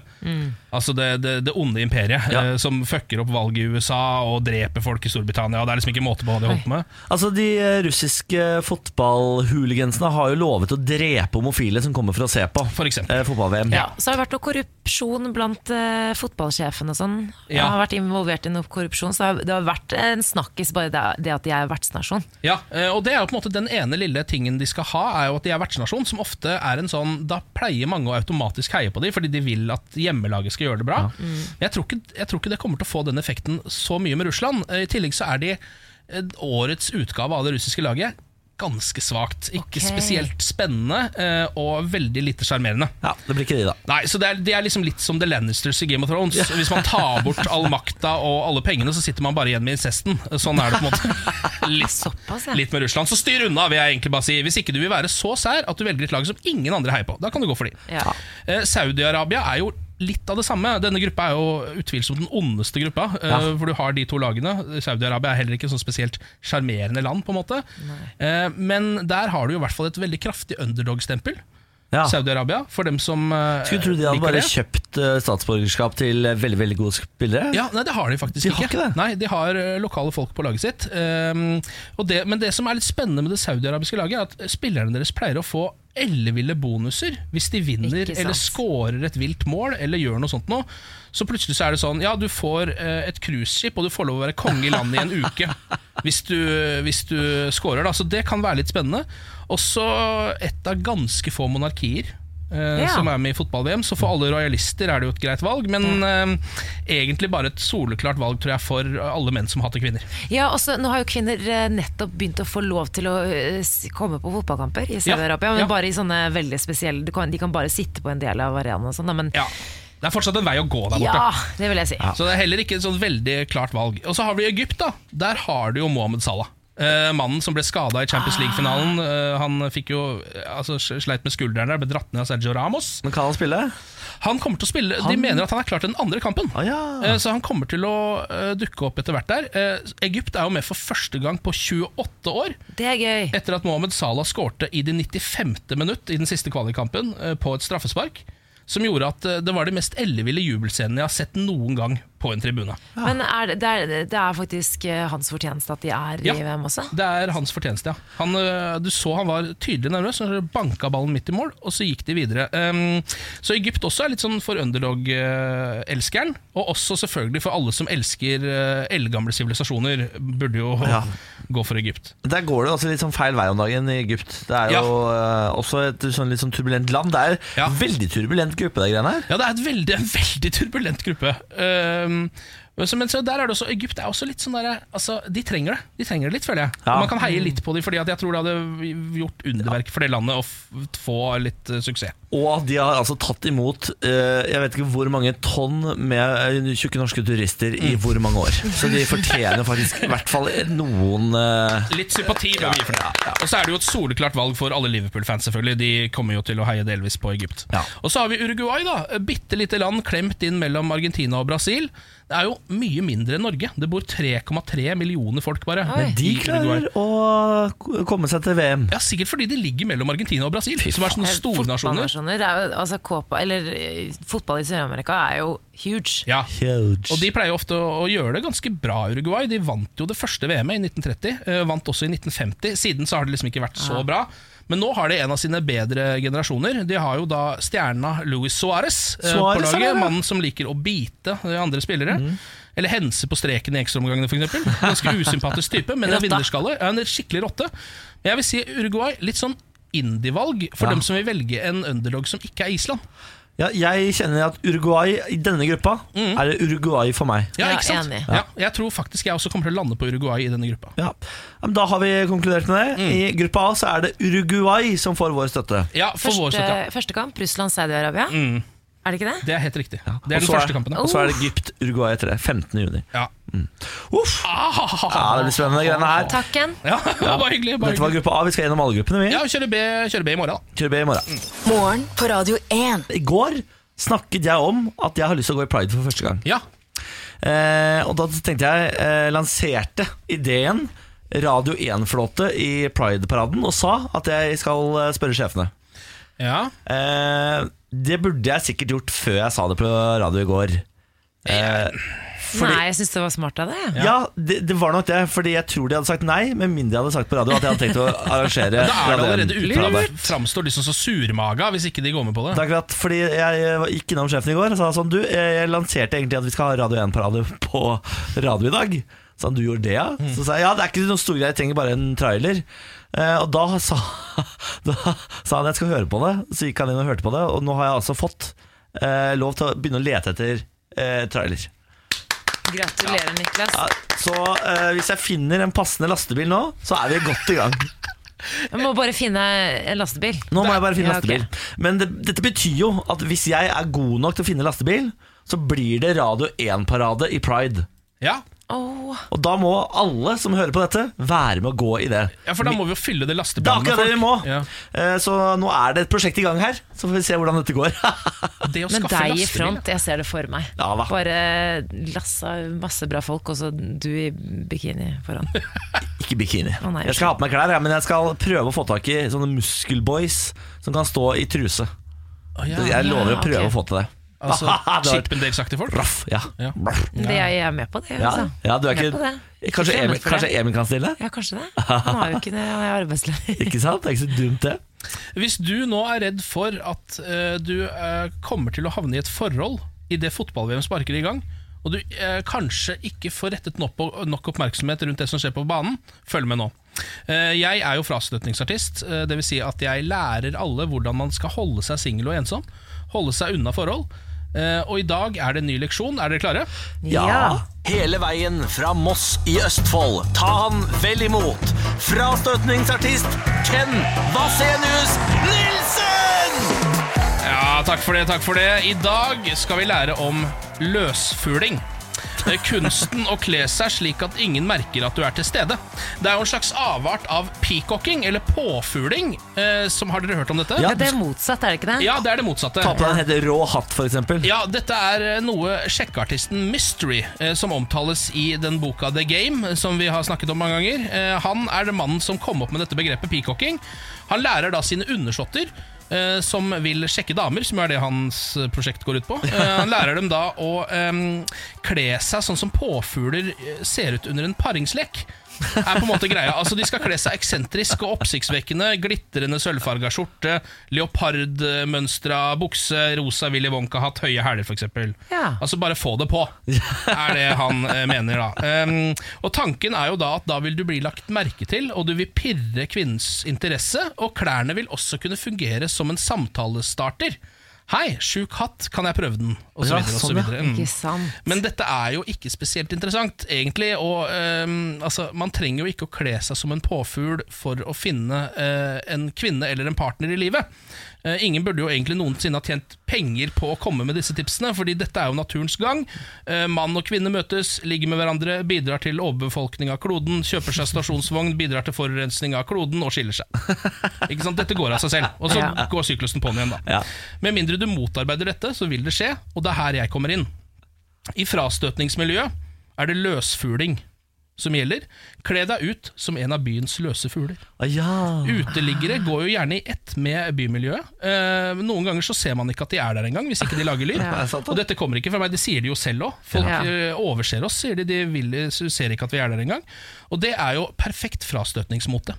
S3: Altså det, det, det onde imperiet
S1: Mm. Ja.
S3: eh, som fucker opp valget i USA og dreper folk i Storbritannia. Det er liksom ikke måte på hva de holder på med.
S1: Altså, De eh, russiske fotballhuligensene har jo lovet å drepe homofile som kommer for å se på
S3: For eksempel.
S1: eh, fotball-VM.
S2: Ja, så har det vært noe korrupsjon blant eh, fotballsjefen og sånn. Jeg
S3: Ja.
S2: har vært involvert i noe korrupsjon, så det har, det har vært en snakkis bare det, det at jeg er vertsnasjon.
S3: Ja, eh, og det er jo på en måte Den ene lille tingen de skal ha, er jo at de er vertsnasjon, som ofte er en sånn Da pleier mange å automatisk heie på dem, fordi de vil at hjemmelaget skal gjøre det bra. Men jeg tror, ikke, jeg tror ikke det kommer til å få den effekten så mye med Russland. Eh, I tillegg så er de eh, årets utgave av det russiske laget ganske svakt. Ikke
S2: Ok.
S3: spesielt spennende, eh, og veldig lite sjarmerende.
S1: Ja, Det blir ikke de, da.
S3: Nei, så det er, det er liksom litt som The Lannisters i Game of Thrones. Hvis man tar bort all makta og alle pengene, så sitter man bare igjen med incesten. Sånn er det på en måte. Litt,
S2: Såpass, ja.
S3: litt med Russland. Så styr unna, vil jeg egentlig bare si. Hvis ikke du vil være så sær at du velger et lag som ingen andre heier på, da kan du gå for de.
S2: Ja.
S3: Eh, Saudi-Arabia er jo litt av det samme. Denne gruppa er jo utvilsomt den ondeste gruppa, eh,
S1: Ja.
S3: for du har de to lagene. Saudi-Arabia er heller ikke sånn spesielt sjarmerende land, på en måte. Eh, Men der har du jo i hvert fall et veldig kraftig underdog-stempel.
S1: Ja.
S3: Saudi-Arabia, for dem som eh,
S1: Skulle tro de hadde
S3: liker
S1: bare
S3: det.
S1: kjøpt eh, statsborgerskap til eh, veldig veldig gode spillere.
S3: Ja, nei, det har de faktisk
S1: De har ikke det.
S3: Nei, De har eh, lokale folk på laget sitt. Ehm, og det, men det som er litt spennende med det saudiarabiske laget, er at spillerne deres pleier å få elleville bonuser hvis de vinner
S2: Ikke sant.
S3: eller scorer et vilt mål eller gjør noe sånt noe. Så plutselig så er det sånn Ja, du får eh, et cruiseskip, og du får lov å være konge i landet i en uke. Hvis du, hvis du scorer, da. Så det kan være litt spennende. Også et av ganske få monarkier eh,
S2: Ja.
S3: som er med i fotball-VM. Så for alle rojalister er det jo et greit valg, men eh, egentlig bare et soleklart valg tror jeg for alle menn som hater kvinner.
S2: Ja, og så- Nå har jo kvinner eh, nettopp begynt å få lov til å eh, s- komme på fotballkamper i Saudi-Arabia, men
S3: ja.
S2: bare i sånne veldig spesielle du kan, De kan bare sitte på en del av arenaen og sånn, da, men
S3: Ja, Det er fortsatt en vei å gå der borte.
S2: ja, det vil jeg si.
S3: Så det er heller ikke et sånn veldig klart valg. Og så har du Egypt, da. Der har du jo Mohammed Salah. Eh, mannen som ble skada i Champions
S1: Ah.
S3: League-finalen. Eh, han fikk jo eh, altså, sleit med skulderen der, ble dratt ned av Sergio Ramos.
S1: Men kan han spille?
S3: Han kommer til å spille De mener at han er klar til den andre kampen.
S1: Ah, ja.
S3: Eh, Så han kommer til å eh, dukke opp etter hvert der. Eh, Egypt er jo med for første gang på 28 år,
S2: Det er gøy.
S3: etter at Mohammed Salah skårte i det 95. minutt i den siste kvalikkampen eh, på et straffespark. Som gjorde at eh, det var de mest elleville jubelscenene jeg har sett noen gang på en tribune.
S2: Men er det, det, er, det er faktisk eh, hans fortjeneste at de er
S3: Ja.
S2: i VM også?
S3: Det er hans fortjeneste, ja. Han, øh, du så han var tydelig nervøs, han banka ballen midt i mål, og så gikk de videre. Ehm, så Egypt også er litt sånn for underdog-elskeren, og også selvfølgelig for alle som elsker øh, eldgamle sivilisasjoner, burde jo
S1: Ja.
S3: gå for Egypt.
S1: Der går det også litt sånn feil vei om dagen i Egypt. Det er jo eh, også et sånn litt sånn turbulent land. Det er
S3: Ja.
S1: veldig turbulent gruppe, de greiene her.
S3: Ja, det er et veldig, en veldig turbulent gruppe. Ehm, men så- men så der er det også, Egypt er også litt sånn der, altså, De trenger det De trenger det litt, føler jeg.
S1: Ja.
S3: Man kan heie litt på dem, Fordi at jeg tror det hadde gjort underverk for det landet å f- få litt øh, suksess.
S1: Og at de har altså tatt imot eh, jeg vet ikke hvor mange tonn med eh, tjukke norske turister
S3: Mm.
S1: i hvor mange år. Så de fortjener faktisk i hvert fall noen eh,
S3: Litt sympati bør vi gi for det. Og så er det jo et soleklart valg for alle Liverpool-fans, selvfølgelig. De kommer jo til å heie delvis på Egypt.
S1: Ja.
S3: Og så har vi Uruguay, da. Bitte lite land klemt inn mellom Argentina og Brasil. Det er jo mye mindre enn Norge. Det bor 3,3 millioner folk bare.
S2: Oi.
S1: De
S3: i
S1: klarer
S3: Uruguay.
S1: å k- komme seg til VM.
S3: Ja, Sikkert fordi de ligger mellom Argentina og Brasil, som er sånne stornasjoner.
S2: Eh, Fotballnasjoner. det er jo- Altså, Copa, eller eh, fotball i Sør-Amerika er jo huge.
S3: Ja.
S1: Huge.
S3: Og de pleier jo ofte å, å gjøre det ganske bra, Uruguay. De vant jo det første VM-et i 1930, eh, vant også i 1950. Siden så har det liksom ikke vært så bra. Men nå har de en av sine bedre generasjoner. De har jo da stjerna Luis Suárez eh, på
S1: Suárez er
S3: laget.
S1: der, ja. Mm.
S3: Mannen som liker å bite eh, andre spillere. Eller hense på streken i ekstraomgangene, f.eks. Ganske usympatisk type, men en
S2: Rotta.
S3: vinnerskalle. Ja, En skikkelig rotte. Jeg vil si Uruguay litt sånn indie-valg for
S1: Ja.
S3: dem som vil velge en underdog som ikke er Island.
S1: Ja, jeg kjenner at Uruguay i denne gruppa
S3: Mm.
S1: er det Uruguay for meg.
S3: Ja,
S2: Ja,
S3: ikke sant?
S2: enig.
S3: Ja, jeg tror faktisk jeg også kommer til å lande på Uruguay i denne gruppa.
S1: Ja. Ja, men Da har vi konkludert med det. I gruppa A så er det Uruguay som får vår støtte.
S3: Ja, for vår Mm.
S2: Første,
S3: støtte. ja.
S2: første kamp, Russland-Saudi-Arabia. Er det ikke det?
S3: Det er helt riktig. Det er
S1: Og
S3: den
S1: så
S3: første kampen. da.
S1: Og så er det Egypt, Uruguay etter det. 15. juni.
S3: Ja. Ah!
S1: Uff! Ja, det blir spennende greiene her.
S2: Takk igjen.
S3: Ja, bare hyggelig. Bare
S1: Dette var
S3: hyggelig.
S1: gruppe A. Vi skal gjennom alle gruppene, vi.
S3: Ja, Mm. kjøre B, kjøre B i morgen, da.
S1: Kjører B i morgen.
S5: Morgen på Radio 1.
S1: I går snakket jeg om at jeg har lyst til å gå i Pride for første gang.
S3: Ja.
S1: Eh, og da tenkte jeg eh, lanserte ideen Radio 1-flåte i Pride-paraden og sa at jeg skal eh, spørre sjefene.
S3: ja.
S1: Eh, det burde jeg sikkert gjort før jeg sa det på radio i går. Fordi-
S2: Nei, jeg syns det var smart av deg.
S1: Ja, det, det var nok det, fordi jeg tror de hadde sagt nei, med mindre jeg hadde sagt på radio at jeg hadde tenkt å arrangere
S3: Da er det allerede
S1: Radio 1
S3: ute.
S1: Pride.
S3: og Framstår liksom så surmaga hvis ikke de går med på
S1: Det
S3: det.
S1: er akkurat fordi jeg eh, gikk innom sjefen i går og sa sånn Du, eh, jeg lanserte egentlig at vi skal ha Radio 1-parade på radio i dag. Så han, du gjorde det, ja?
S3: Mm.
S1: Så sa jeg ja, det er ikke noen stor greie, jeg trenger bare en trailer. Eh, og da sa, da sa han jeg skal høre på det, så gikk han inn og hørte på det. Og nå har jeg altså fått eh, lov til å begynne å lete etter eh, trailer.
S2: Gratulerer, Niklas.
S1: Ja, så eh, hvis jeg finner en passende lastebil nå, så er vi godt i gang.
S2: Jeg må bare finne en lastebil.
S1: Nå må jeg bare finne
S2: Ja, ok.
S1: lastebil. Men det, dette betyr jo at hvis jeg er god nok til å finne lastebil, så blir det Radio 1-parade i Pride.
S3: Ja.
S2: Åh.
S1: Og da må alle som hører på dette, være med å gå i det.
S3: ja, for da må vi jo fylle
S1: Det
S3: det
S1: er
S3: lastebandet
S1: akkurat det vi må!
S3: Ja.
S1: Eh, Så nå er det et prosjekt i gang her, så får vi se hvordan dette går.
S3: Det å
S2: Men
S3: skaffe
S2: deg i
S3: lastebil
S2: front, jeg ser det for meg.
S1: Ja da.
S2: Bare lassa masse bra folk, og så du i bikini foran.
S1: Ikke bikini.
S2: Å, nei.
S1: Jeg skal ha på meg klær, jeg, men jeg skal prøve å få tak i sånne muskelboys som kan stå i truse.
S3: Å, ja.
S1: Jeg lover å
S2: ok.
S1: prøve å få til det.
S3: Altså
S1: Det var-
S3: Chippendales-aktige folk.
S1: Raff, ja.
S3: Ja.
S1: Raff.
S2: Det er jeg er med på, det.
S1: Ja,
S2: Altså.
S1: ja, du er
S2: Med på
S1: ikke,
S2: det.
S1: kanskje, Emil,
S2: Ikke fremmed for
S1: kanskje
S2: det.
S1: Emil kan stille?
S2: Ja, kanskje det. Han har jo ikke det, han er arbeidsledig.
S1: Ikke sant? Det er ikke så dumt, det.
S3: Hvis du nå er redd for at eh, du eh, kommer til å havne i et forhold i det fotball-VM sparker i gang, og du eh, kanskje ikke får rettet nok, nok oppmerksomhet rundt det som skjer på banen, følg med nå. Eh, jeg er jo frastøtningsartist, uh, dvs. Si at jeg lærer alle hvordan man skal holde seg singel og ensom. Holde seg unna forhold. Eh, og i dag er det en ny leksjon. Er dere klare?
S2: Ja.
S1: Hele veien fra Moss i Østfold. Ta han vel imot. Frastøtningsartist Ken Vasenius Nilsen!
S3: Ja, takk for det, takk for det. I dag skal vi lære om løsfugling. Det er Kunsten å kle seg slik at ingen merker at du er til stede. Det er jo en slags avart av peacocking, eller påfugling, eh, som har dere hørt om dette?
S1: Ja.
S2: Ja, det er motsatt, er det ikke det?
S3: Ja, det er det motsatte.
S1: Ta på deg en helt rå hatt, for eksempel.
S3: Ja, dette er eh, noe sjekkeartisten Mystery, eh, som omtales i den boka The Game, eh, som vi har snakket om mange ganger. Eh, han er det mannen som kom opp med dette begrepet peacocking. Han lærer da sine undersåtter, eh, som vil sjekke damer, som er det hans eh, prosjekt går ut på. Eh, han lærer dem da å eh, kle seg sånn som påfugler eh, ser ut under en paringslek. er på en måte greia Altså De skal kle seg eksentrisk og oppsiktsvekkende. Glitrende sølvfarga skjorte, leopardmønstra bukse, rosa Willy Wonka-hatt, høye hæler f.eks.
S2: Ja.
S3: Altså bare få det på, er det han eh, mener da. Ehm, og tanken er jo da at da vil du bli lagt merke til, og du vil pirre kvinnens interesse, og klærne vil også kunne fungere som en samtalestarter. Hei, sjuk hatt, kan jeg prøve den? Og så
S1: Ja,
S3: videre og så
S1: sånn, ja.
S3: videre. Mm.
S2: Ikke sant.
S3: Men dette er jo ikke spesielt interessant, egentlig. Og øhm, altså, man trenger jo ikke eh, å kle seg som en påfugl for å finne øh, en kvinne eller en partner i livet. Eh, Ingen burde jo egentlig noensinne ha tjent penger på å komme med disse tipsene, fordi dette er jo naturens gang. Eh, Mann og kvinne møtes, ligger med hverandre, bidrar til overbefolkning av kloden, kjøper seg stasjonsvogn, bidrar til forurensning av kloden og skiller seg. Ikke sant? Dette går av seg selv, og så
S2: Ja.
S3: går syklusen på'n igjen, da.
S1: Ja.
S3: Med mindre du motarbeider dette, så vil det skje, og det er her jeg kommer inn. I frastøtningsmiljøet er det løsfugling som gjelder. Kle deg ut som en av byens løse fugler.
S1: Å, Ah, ja.
S3: Uteliggere går jo gjerne i ett med bymiljøet. Eh, men noen ganger så ser man ikke at de er der engang, hvis ikke de lager lyd.
S1: Det er sant, da.
S3: Og dette kommer ikke fra meg, det sier de jo selv òg. Folk
S2: Ja.
S3: eh, overser oss, sier de. De vil, eh, ser ikke at vi er der engang. Og det er jo perfekt frastøtningsmote.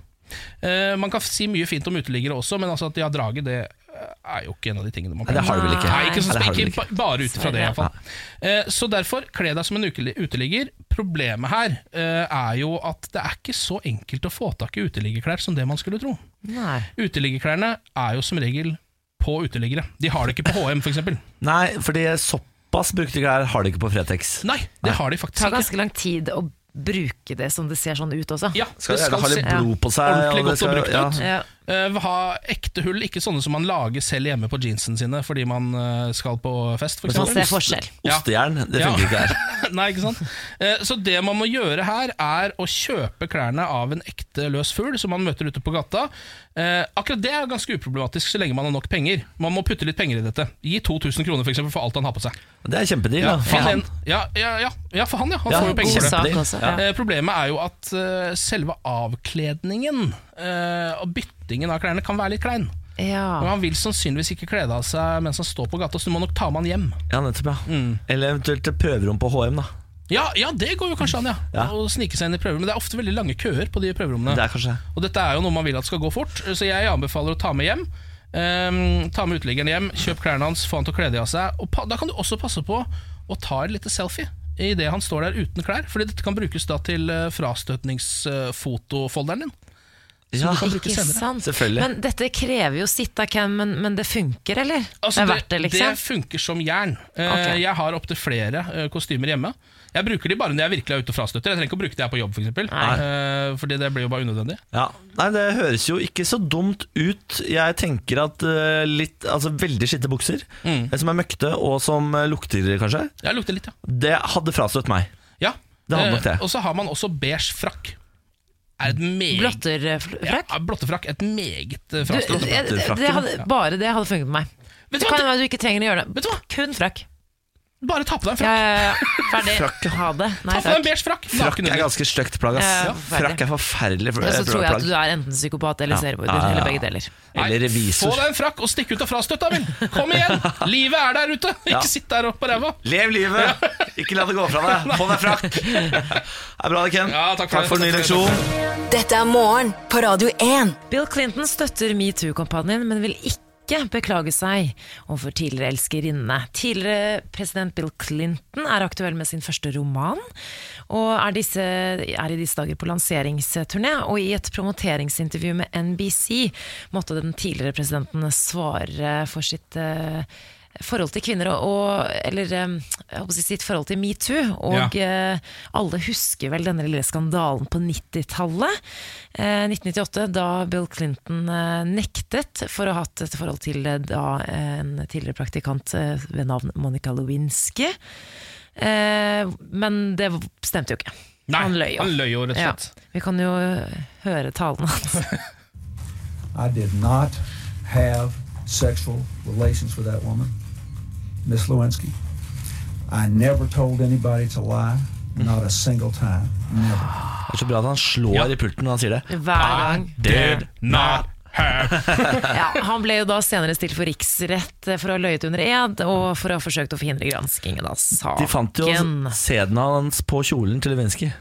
S3: Eh, man kan si mye fint om uteliggere også, men altså at de har draget, det eh, er jo ikke en av de tingene man
S1: Nei,
S3: kan
S1: det har du vel ikke?
S3: Nei, ikke,
S1: Nei,
S3: sånn,
S1: det har du
S3: ikke,
S1: vel ikke.
S3: ba- bare ut fra det, iallfall. Eh, så derfor, kle deg som en ukeli- uteligger. Problemet her eh, er jo at det er ikke så enkelt å få tak i uteliggerklær som det man skulle tro.
S2: Nei.
S3: Uteliggerklærne er jo som regel på uteliggere. De har det ikke på HM, f.eks.
S1: Nei, fordi såpass brukte klær har de ikke på Fretex.
S3: Nei, det har de faktisk
S2: tar
S3: ikke.
S2: ganske lang tid å bruke det som det ser sånn ut også.
S3: Ja,
S1: Skal
S3: det
S1: gjerne ha
S3: se-
S1: litt blod på seg.
S3: ordentlig
S1: det
S3: godt og brukt ut.
S2: Ja.
S3: Eh, ha ekte hull, ikke sånne som man lager selv hjemme på jeansene sine fordi man eh, skal på fest, for
S1: Men sånn
S2: Man
S3: eksempel.
S2: ser forskjell.
S3: Ja.
S1: Ostejern, det
S3: Ja.
S1: funker ikke her.
S3: Nei, ikke sant? Eh, Så det man må gjøre her, er å kjøpe klærne av en ekte løs fugl som man møter ute på gata. Eh, Akkurat det er ganske uproblematisk så lenge man har nok penger. Man må putte litt penger i dette. Gi 2000 kroner for, eksempel, for alt han har på seg.
S1: Det er kjempedeal, da.
S3: Ja,
S1: For han.
S3: Ja, ja, ja, ja, for han, ja. Han
S1: Ja,
S3: får jo
S2: God
S3: penger for det.
S2: sak
S1: det.
S2: også. Ja.
S3: Eh, problemet er jo at eh, selve avkledningen eh, og byttingen av klærne kan være litt klein. Men
S2: Ja.
S3: han vil sannsynligvis ikke kle av seg mens han står på gata, så du må nok ta med han hjem.
S1: Ja, nettopp, ja.
S3: Mm.
S1: Eller eventuelt et prøverom på HM, da.
S3: Ja, ja, det går jo kanskje an, ja.
S1: Ja.
S3: Å snike seg inn i prøver. Men det er ofte veldig lange køer på de prøverommene.
S1: Det er kanskje det.
S3: Og dette er jo noe man vil at skal gå fort, så jeg anbefaler å ta med hjem. Ehm, ta med uteliggeren hjem, kjøp klærne hans, få han til å kle de av seg. Og pa da kan du også passe på å ta et lite selfie idet han står der uten klær. Fordi dette kan brukes da til eh, frastøtningsfotofolderen din. Som
S1: Ja,
S3: du kan bruke
S2: Ikke
S3: senere.
S2: sant.
S1: Selvfølgelig.
S2: Men dette krever jo sitt av Ken, men, men det funker, eller?
S3: Altså,
S2: det er verdt det, liksom?
S3: det funker som jern. Eh,
S2: Ok.
S3: Jeg har opptil flere eh, kostymer hjemme. Jeg bruker de bare når jeg virkelig er ute og frastøtter. Jeg trenger ikke å bruke det her på jobb, for eksempel,
S2: Nei.
S3: Eh, Fordi det blir jo bare unødvendig.
S1: Ja. Nei, det høres jo ikke så dumt ut. Jeg tenker at eh, litt Altså veldig skitte bukser,
S3: Mm.
S1: eh, som er møkte og som eh, lukter, kanskje,
S3: Jeg lukter litt, ja.
S1: det hadde frastøtt meg.
S3: Ja,
S1: Det hadde nok det.
S3: Eh, Og så har man også beige frakk. Er et meget
S2: Blotterfrakk?
S3: Ja, blottefrakk. Et meget eh,
S2: Du,
S3: frastøtende
S2: jeg- det
S1: blotterfrakken,
S2: hadde, bare det hadde funket på meg.
S3: Vet
S2: Det
S3: du
S2: kan
S3: hva,
S2: være du ikke trenger å gjøre det.
S3: Vet du hva?
S2: Kun frakk.
S3: bare ta på deg en
S2: Ja,
S3: frakk.
S2: ja, ja. Ferdig. Ha det. Nei,
S3: Ta på deg en
S2: takk.
S3: beige frakk.
S1: Frakk
S3: Naken
S1: er
S3: under.
S1: ganske stygt plagg, ass.
S2: Ja,
S1: Frakk er forferdelig pl-
S2: Og så tror jeg at
S1: plagg.
S2: du er enten psykopat eller
S1: Ja.
S2: seriemorder,
S1: Ja, ja, ja.
S2: eller begge deler.
S3: Nei,
S1: Eller
S3: Få
S1: revisor.
S3: deg en frakk og stikk ut og frastøtt, da vel! Kom igjen! Livet er der ute! Ikke
S1: Ja.
S3: sitt der og på ræva.
S1: Lev livet! Ikke la det gå fra deg. Få deg frakk. Det er bra, det, Ken.
S3: Ja, takk for det.
S1: takk for en ny
S3: Takk for det.
S1: leksjon.
S5: Dette er morgen på Radio 1.
S2: Bill Clinton støtter metoo-kampanjen, men vil ikke beklage seg overfor tidligere elskerinne. Tidligere president Bill Clinton er aktuell med sin første roman, og er, disse, er i disse dager på lanseringsturné. Og i et promoteringsintervju med NBC måtte den tidligere presidenten svare for sitt eh, forhold til kvinner og, og eller eh, jeg håper å si sitt forhold til metoo. Og eh, alle husker vel denne lille skandalen på 90-tallet. Eh, 1998, da Bill Clinton eh, nektet for å ha hatt et forhold til eh, da en tidligere praktikant eh, ved navn Monica Lewinsky. Eh, men det stemte jo ikke.
S3: Nei,
S2: han løy jo.
S3: Han løy jo, rett og
S2: Ja,
S3: slett.
S2: vi kan jo eh, høre talen hans.
S6: I did not have sexual relations with that woman, Miss Lewinsky. I never told anybody to lie, not a single time, never.
S1: Det er så bra at han slår i pulten når han sier det.
S2: Hver gang.
S1: Did
S3: not
S2: Ja, han ble jo da senere stilt for riksrett eh, for å ha løyet under ed, og for å ha forsøkt å forhindre granskingen av saken.
S1: De fant jo sæden hans på kjolen til Lewinsky.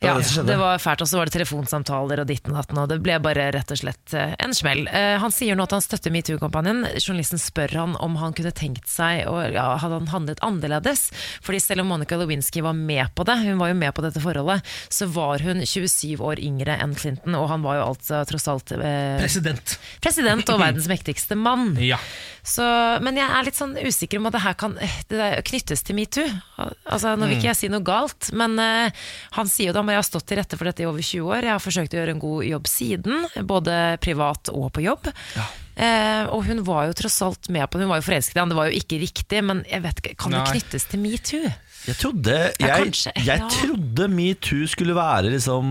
S1: Det
S2: Ja,
S1: var det som skjedde.
S2: det var fælt, og så var det telefonsamtaler og ditten og datten, og det ble bare rett og slett eh, en smell. Eh, Han sier nå at han støtter metoo-kampanjen. Journalisten spør han om han kunne tenkt seg, og ja, hadde han handlet annerledes? Fordi selv om Monica Lewinsky var med på det, hun var jo med på dette forholdet, så var hun 27 år yngre enn Clinton, og han var jo altså tross alt eh,
S3: President.
S2: president og verdens mektigste mann.
S3: Ja.
S2: Så, men jeg er litt sånn usikker om at det her kan det der knyttes til metoo. Al- Altså, nå vil ikke jeg si noe galt, men eh, han sier jo da og jeg har stått til rette for dette i over 20 år. Jeg har forsøkt å gjøre en god jobb siden, både privat og på jobb. Eh, og hun var jo tross alt med på det. Hun var jo forelsket i han, det var jo ikke riktig, men jeg vet ikke, kan det
S3: Nei.
S2: knyttes til metoo?
S1: Jeg trodde
S2: Ja,
S1: Jeg,
S2: kanskje,
S1: jeg
S2: ja.
S1: trodde metoo skulle være liksom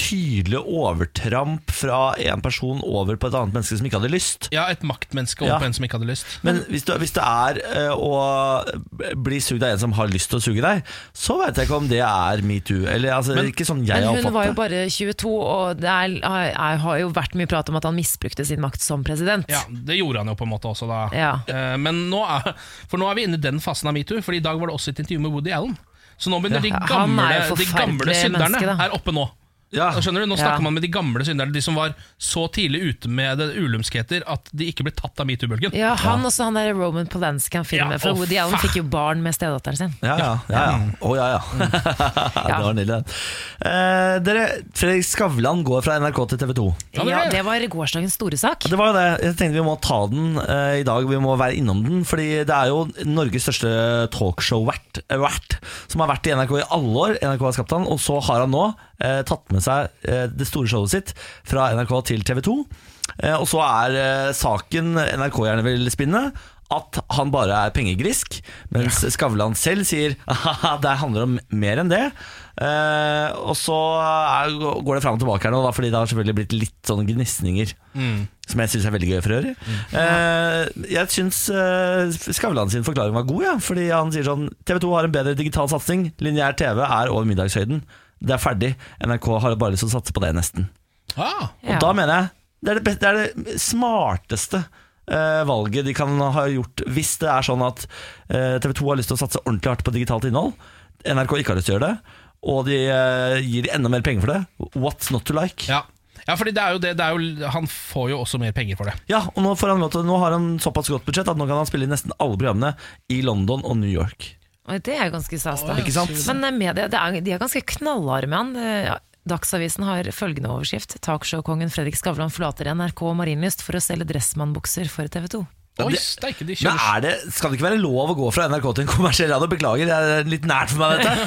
S1: tydelig overtramp fra en person over på et annet menneske som ikke hadde lyst.
S3: Ja, et maktmenneske over
S1: Ja.
S3: på en som ikke hadde lyst.
S1: Men
S2: Mm.
S1: hvis det, hvis det er eh, å bli sugd av en som har lyst til å suge deg, så veit jeg ikke om det er metoo. Eller altså, ikke sånn jeg
S2: Men
S1: har
S2: hun var jo
S1: oppfattet det.
S2: bare 22, og det er, er, har jo vært mye prat om at han misbrukte sin makt som president.
S3: Ja, Det gjorde han jo på en måte også da.
S2: Ja.
S3: Eh, Men nå er, for nå er vi inne i den fasen av metoo, for i dag var det også et intervju med Woody Allen. Så nå begynner
S2: Ja.
S3: de
S2: Han
S3: gamle,
S2: er jo
S3: de gamle
S2: forferdelig
S3: synderne
S2: menneske, da.
S3: er oppe nå.
S1: Ja.
S3: Da Skjønner du? Nå
S2: Ja.
S3: snakker man med de gamle synderne, de som var så tidlig ute med det ulumskheter at de ikke ble tatt av metoo-bølgen.
S2: Ja, han også, han der Roman Polanski han filmet
S3: Ja,
S2: For
S3: å,
S2: Woody Allen
S3: faen.
S2: fikk jo barn med stedatteren sin
S1: Ja, ja. ja, ja.
S2: Mm.
S1: Å, ja, ja. det var nydelig. Eh, dere, Fredrik Skavlan går fra NRK til TV 2.
S3: Ja, det
S2: Ja,
S3: var det.
S2: det var gårsdagens store sak
S1: Det var jo det. Jeg tenkte vi må ta den eh, i dag. Vi må være innom den. Fordi det er jo Norges største talkshow-vert, eh, vert, som har vært i NRK i alle år. NRK har skapt han, og så har han nå eh, tatt med seg eh, det store showet sitt fra NRK til TV 2. Eh, og så er eh, saken NRK gjerne vil spinne. At han bare er pengegrisk, mens Skavlan selv sier at det handler om mer enn det. Eh, og så er, går det fram og tilbake her nå, da, fordi det har selvfølgelig blitt litt sånn gnisninger.
S3: Mm.
S1: Som jeg syns er veldig gøy for øvrig. Eh, jeg syns eh, Skavlan sin forklaring var god, ja, fordi han sier sånn TV 2 har en bedre digital satsing. Lineær TV er over middagshøyden. Det er ferdig. NRK har bare lyst til å satse på det, nesten.
S3: Ah,
S1: Og
S2: Ja.
S1: da mener jeg det er det, beste, det, er det smarteste eh, valget de kan ha gjort hvis det er sånn at TV 2 har lyst til å satse ordentlig hardt på digitalt innhold. NRK ikke har lyst til å gjøre det. Og de eh, gir enda mer penger for det. What's not to like?
S3: ja. ja, fordi det er jo det, det er jo, han får jo også mer penger for det.
S1: Ja, og nå, får han lov til, nå har han såpass godt budsjett at nå kan han spille i nesten alle programmene i London og New York.
S2: Og det er jo ganske stas da.
S1: Ikke sant?
S2: Men eh, media, det er, de er ganske knallharde med han Eh, ja, Dagsavisen har følgende overskrift Talkshow-kongen Fredrik Skavlan forlater NRK og Marienlyst For å selge dressmannbukser for TV 2
S1: Ja,
S3: Oi,
S1: det-
S3: steike, de
S1: Men
S3: kjører
S1: er det, Skal det ikke være lov å gå fra NRK til en kommersiell radio? Beklager, det er litt nært for meg, dette.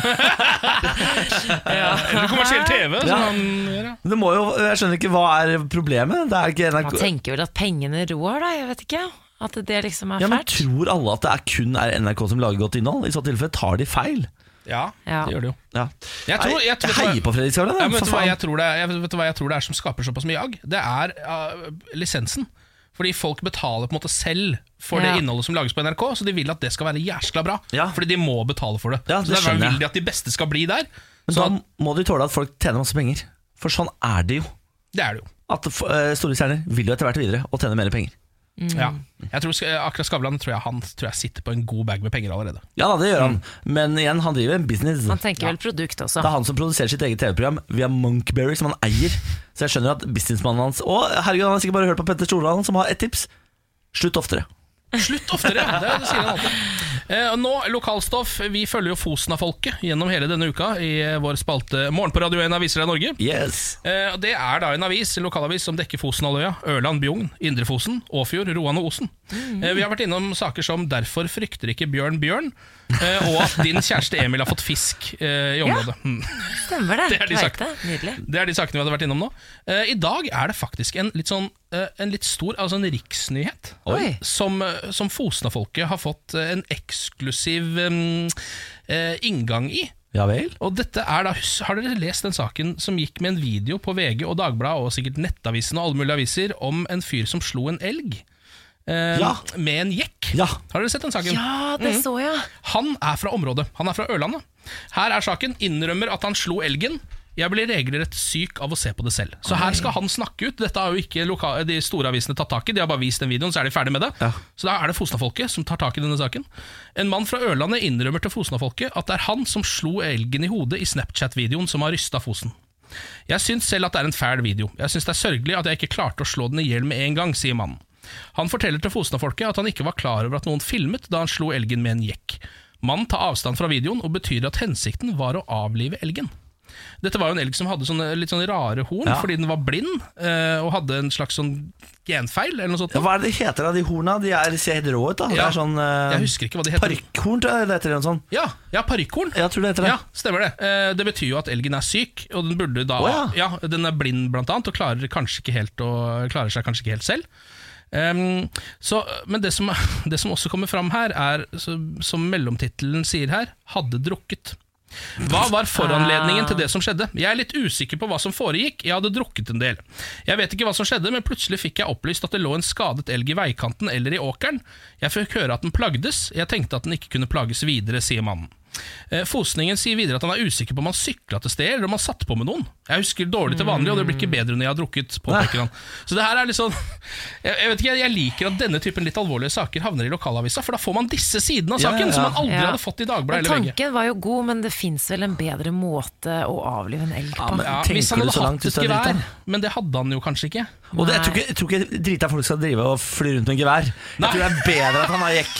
S3: Eller kommersiell TV,
S1: Ja.
S3: som han gjør. ja.
S1: Men Det må jo, jeg skjønner ikke hva er problemet. Det er ikke
S2: Man
S1: NRK
S2: tenker vel at pengene rår da, jeg vet ikke At det liksom er
S1: ja, men
S2: fælt
S1: Tror alle at det er kun er NRK som lager godt innhold? I så tilfelle tar de feil.
S3: Ja,
S2: Ja.
S3: det gjør det jo.
S1: Ja.
S3: Jeg tror- jeg tror-
S1: heier på Fredrik Skavlan.
S3: Ja,
S1: jeg,
S3: men vet,
S1: for
S3: du hva
S1: faen.
S3: jeg tror det, er- jeg, vet du hva jeg tror det er som skaper såpass mye jag? Det er ah, lisensen. Fordi folk betaler på en måte selv for
S2: Ja.
S3: det innholdet som lages på NRK, så de vil at det skal være jæskla bra.
S1: Ja.
S3: Fordi de må betale for det.
S1: Ja, det
S3: så derfor
S1: skjønner jeg.
S3: vil de at de beste skal bli der.
S1: Men
S3: Så
S1: da
S3: at,
S1: må de tåle at folk tjener masse penger. For sånn er det jo.
S3: det er det jo.
S1: At eh, Store stjerner vil jo etter hvert videre og tjene mer penger. Mm.
S3: Ja. Jeg tror, Sk- akkurat Skavlan tror jeg han tror jeg sitter på en god bag med penger allerede.
S1: Ja da, det gjør
S3: Mm.
S1: han. Men igjen, han driver en business.
S2: Man tenker vel produkt også
S1: Det er han som produserer sitt eget TV-program via Monkberry, som han eier. Så jeg skjønner at businessmannen hans Å, herregud, han har sikkert bare hørt på Petter Stordalen, som har ett tips. Slutt oftere.
S3: Slutt oftere! ja. Det, det sier han alltid. Eh, og nå, lokalstoff. Vi følger jo Fosna-folket gjennom hele denne uka i eh, vår spalte Morgen på Radio 1 Aviser deg Norge.
S1: Yes.
S3: Eh, og Det er da en avis, en lokalavis som dekker Fosenhalvøya, Ørland, Bjugn, Indre Fosen, Åfjord, Roan og Osen. Eh, Vi har vært innom saker som 'Derfor frykter ikke Bjørn Bjørn', eh, og at 'Din kjæreste Emil har fått fisk' eh, i området. Mm.
S2: Stemmer det,
S3: Det er de
S2: Jeg
S3: sagt. Mm.
S2: vet det. Nydelig
S3: Det er de sakene vi hadde vært innom nå. Eh, I dag er det faktisk en litt sånn eh, En litt stor, altså en riksnyhet
S2: Oi.
S3: Som, eh, som Fosna-folket har fått eh, en eksklusiv eh, eh, inngang i.
S1: Ja vel?
S3: Og dette er da, Har dere lest den saken som gikk med en video på VG og Dagbladet og sikkert Nettavisen og alle mulige aviser om en fyr som slo en elg eh,
S1: Ja.
S3: med en jekk?
S1: Ja.
S3: Har dere sett den saken?
S2: Ja, det så jeg
S3: Han er fra området. Han er fra Ørlandet. Her er saken. Innrømmer at han slo elgen. Jeg blir regelrett syk av å se på det selv. Så her skal han snakke ut. Dette har jo ikke loka de store avisene tatt tak i. De har bare vist den videoen, så er de ferdig med det.
S1: Ja.
S3: Så da er det Fosna-folket som tar tak i denne saken. En mann fra Ørlandet innrømmer til Fosna-folket at det er han som slo elgen i hodet i Snapchat-videoen som har rysta Fosen. Jeg syns selv at det er en fæl video. Jeg syns det er sørgelig at jeg ikke klarte å slå den i hjel med en gang, sier mannen. Han forteller til Fosna-folket at han ikke var klar over at noen filmet da han slo elgen med en jekk. Mannen tar avstand fra videoen og betyr at hensikten var å avlive elgen. Dette var jo en elg som hadde sånne litt sånne rare horn
S1: Ja.
S3: fordi den var blind, eh, og hadde en slags sånn genfeil eller noe sånt.
S1: Ja, hva er det de heter da, de horna? De er, ser helt rå ut, da. Det
S3: Ja.
S1: er sånn eh,
S3: Jeg husker ikke hva de heter.
S1: Parykkhorn, tror jeg det heter. Eller noe sånt.
S3: Ja, ja parykkorden.
S1: Jeg tror det heter det.
S3: Ja, stemmer det. Eh, Det betyr jo at elgen er syk, og den burde da
S1: Å,
S3: ja.
S1: ja.
S3: Den er blind, blant annet, og klarer, kanskje ikke helt å, klarer seg kanskje ikke helt selv. Ehm, så, men det som, det som også kommer fram her, er, så, som mellomtittelen sier her, 'hadde drukket'. Hva var foranledningen
S2: Ah.
S3: til det som skjedde? Jeg er litt usikker på hva som foregikk, jeg hadde drukket en del. Jeg vet ikke hva som skjedde, men plutselig fikk jeg opplyst at det lå en skadet elg i veikanten eller i åkeren. Jeg fikk høre at den plagdes, jeg tenkte at den ikke kunne plages videre, sier mannen. Eh, Fosningen sier videre at han er usikker på om han sykla til sted eller om han satt på med noen. Jeg husker dårlig til vanlig, og det blir ikke bedre når jeg har drukket, påpeker han. Så det her er litt sånn Jeg, jeg vet ikke, jeg liker at denne typen litt alvorlige saker havner i lokalavisa, for da får man disse sidene av
S1: Ja,
S3: saken
S1: ja,
S3: som
S1: ja.
S3: man aldri
S2: Ja.
S3: hadde fått i
S2: Men
S3: Dagbladet eller VG.
S2: tanken var jo god, men det fins vel en bedre måte å avlive en elg på?
S1: men-
S3: Ja,
S1: Tenker
S3: hvis han
S1: du
S3: hadde
S1: så langt
S3: hatt et
S1: ut av drita?
S3: gevær, men det hadde han jo kanskje ikke.
S1: Og det, jeg, tror ikke, jeg tror ikke drita folk skal drive og fly rundt med gevær.
S3: Nei.
S1: Jeg tror det er bedre at han er jekk.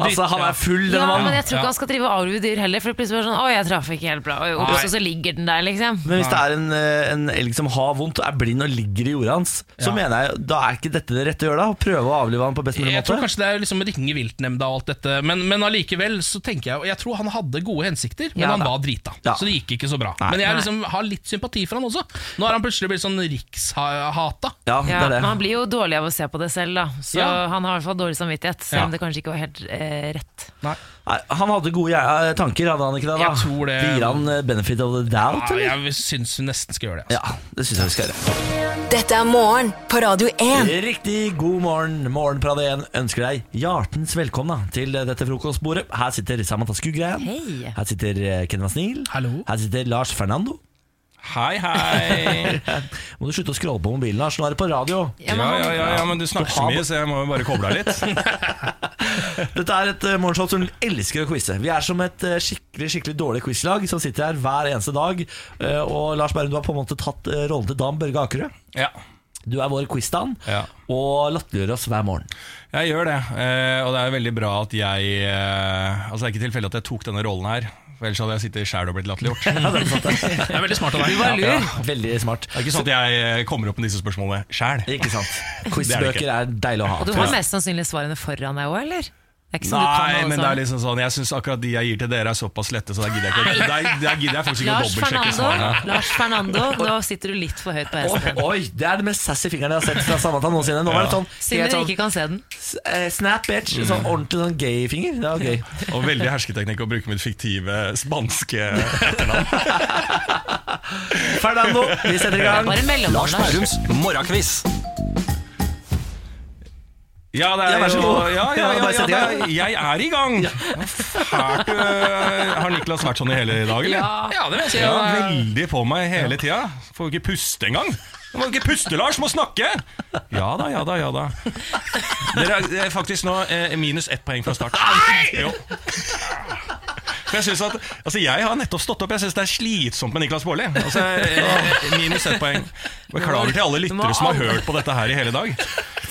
S1: Altså, han
S3: ja.
S1: er full, denne
S2: Ja,
S1: mannen.
S2: men jeg tror
S3: Ja.
S2: ikke han skal drive og avlive dyr heller, for det plutselig var sånn Å, jeg traff ikke helt bra. Og
S3: Nei.
S2: så, så ligger den der, liksom.
S1: Men hvis det er en, eh, en elg som har vondt, er blind og ligger i jorda hans, så
S3: Ja.
S1: mener jeg da er ikke dette det rette å gjøre, da. Å prøve å avlive han på best mulig
S3: Jeg tror
S1: måte.
S3: kanskje det er liksom ringe viltnemnda og alt dette, men, men allikevel så tenker jeg Og jeg tror han hadde gode hensikter, men
S2: Ja
S3: han
S2: da.
S3: var drita,
S1: Ja.
S3: så det gikk ikke så bra.
S1: Nei.
S3: men jeg
S2: Nei.
S3: liksom har litt sympati for han også. Nå er han plutselig blitt sånn rikshata.
S1: Ja,
S2: Ja,
S1: det er
S2: men han
S1: det.
S2: blir jo dårlig av å se på det selv, da. Så
S3: Ja.
S2: han har i hvert fall dårlig samvittighet, selv
S3: Ja.
S2: om det kanskje ikke var helt eh, rett.
S1: Nei, han hadde gode hjer- eh, tanker, hadde han ikke det? da?
S3: Jeg tror det.
S1: Vi gir han eh, benefit of the doubt,
S3: Ja,
S1: eller?
S3: jeg syns hun nesten skal gjøre det. Altså.
S1: Ja, det syns jeg vi skal gjøre.
S5: Dette er morgen på Radio 1.
S1: Riktig god morgen, Morgenprad 1 ønsker deg hjertens velkomna til eh, dette frokostbordet. Her sitter Samantha Skugrein.
S2: Hei.
S1: Her sitter eh, Ken Vasnil.
S3: Hallo.
S1: Her sitter Lars Fernando.
S7: Hei, hei.
S1: Må du slutte å scrolle på mobilen, Lars. Nå er det på radio.
S7: Ja, ja, ja, ja, men du snakker så mye, så jeg må jo bare koble av litt.
S1: Dette er et eh, morgenshow som elsker å quize. Vi er som et eh, skikkelig skikkelig dårlig quizlag som sitter her hver eneste dag. Eh, Og Lars Berrum, du har på en måte tatt eh, rollen til Dan Børge Akerø.
S7: Ja,
S1: Du er vår quiz-Dan,
S7: Ja.
S1: og latterliggjør oss hver morgen.
S7: jeg gjør det. Eh, og det er veldig bra at jeg eh, Altså, det er ikke tilfeldig at jeg tok denne rollen her. For ellers hadde jeg sittet sjæl og blitt latterliggjort.
S1: Ja, det er sant, det.
S3: Det er veldig smart av deg.
S1: Ja, Veldig smart.
S7: Det er ikke sånn at jeg eh, kommer opp med disse spørsmålene sjæl.
S1: Ikke sant.
S7: Det er det
S1: Quizbøker
S7: ikke.
S1: er deilig å ha.
S2: Og du har mest sannsynlig svarene foran deg òg, eller? Det er ikke sånn du kan
S7: Nei,
S2: alle
S7: men det er
S2: sammen.
S7: liksom sånn jeg syns akkurat de jeg gir til dere, er såpass lette, så der gidder jeg, ikke, der, der gidder jeg faktisk ikke sånn å
S2: Lars
S7: dobbeltsjekke svarene.
S2: Fernando, Lars Fernando, nå sitter du litt for høyt på hesten din.
S1: Oi, det er den mest sassy fingeren jeg har sett fra Samantha noensinne. Nå var det sånn, helt
S2: Siden dere
S1: sånn
S2: ikke kan se den.
S1: s- eh, snap
S7: Mm.
S1: bitch. Sånn ordentlig sånn gay-finger. Det var gøy.
S7: Og veldig hersketeknikk å bruke mitt fiktive spanske
S1: Fernando, vi setter i gang.
S2: Bare mellomnavn, Lars.
S7: morgenkviss. Ja, det
S1: Ja,
S7: er
S1: vær så
S7: jo
S1: god.
S7: ja, ja,
S1: Ja,
S7: ja,
S1: bare
S7: ja,
S1: sett i
S7: det
S1: gang.
S7: er, Jeg er i gang! Fælt øh, Har Niklas vært sånn i hele dag, eller?
S3: Ja, eh, det vil jeg si.
S7: Ja,
S3: Ja,
S7: veldig på meg hele tida. Får jo ikke puste engang. Du må ikke puste, Lars! Må snakke! Ja da, ja da, ja da. Dere er- er faktisk nå eh, minus ett poeng fra start. Jo. For jeg synes at Altså, jeg har nettopp stått opp. Jeg syns det er slitsomt med Niklas Baarli. Altså, eh, minus ett poeng. Beklager til alle lyttere som har hørt på dette her i hele dag.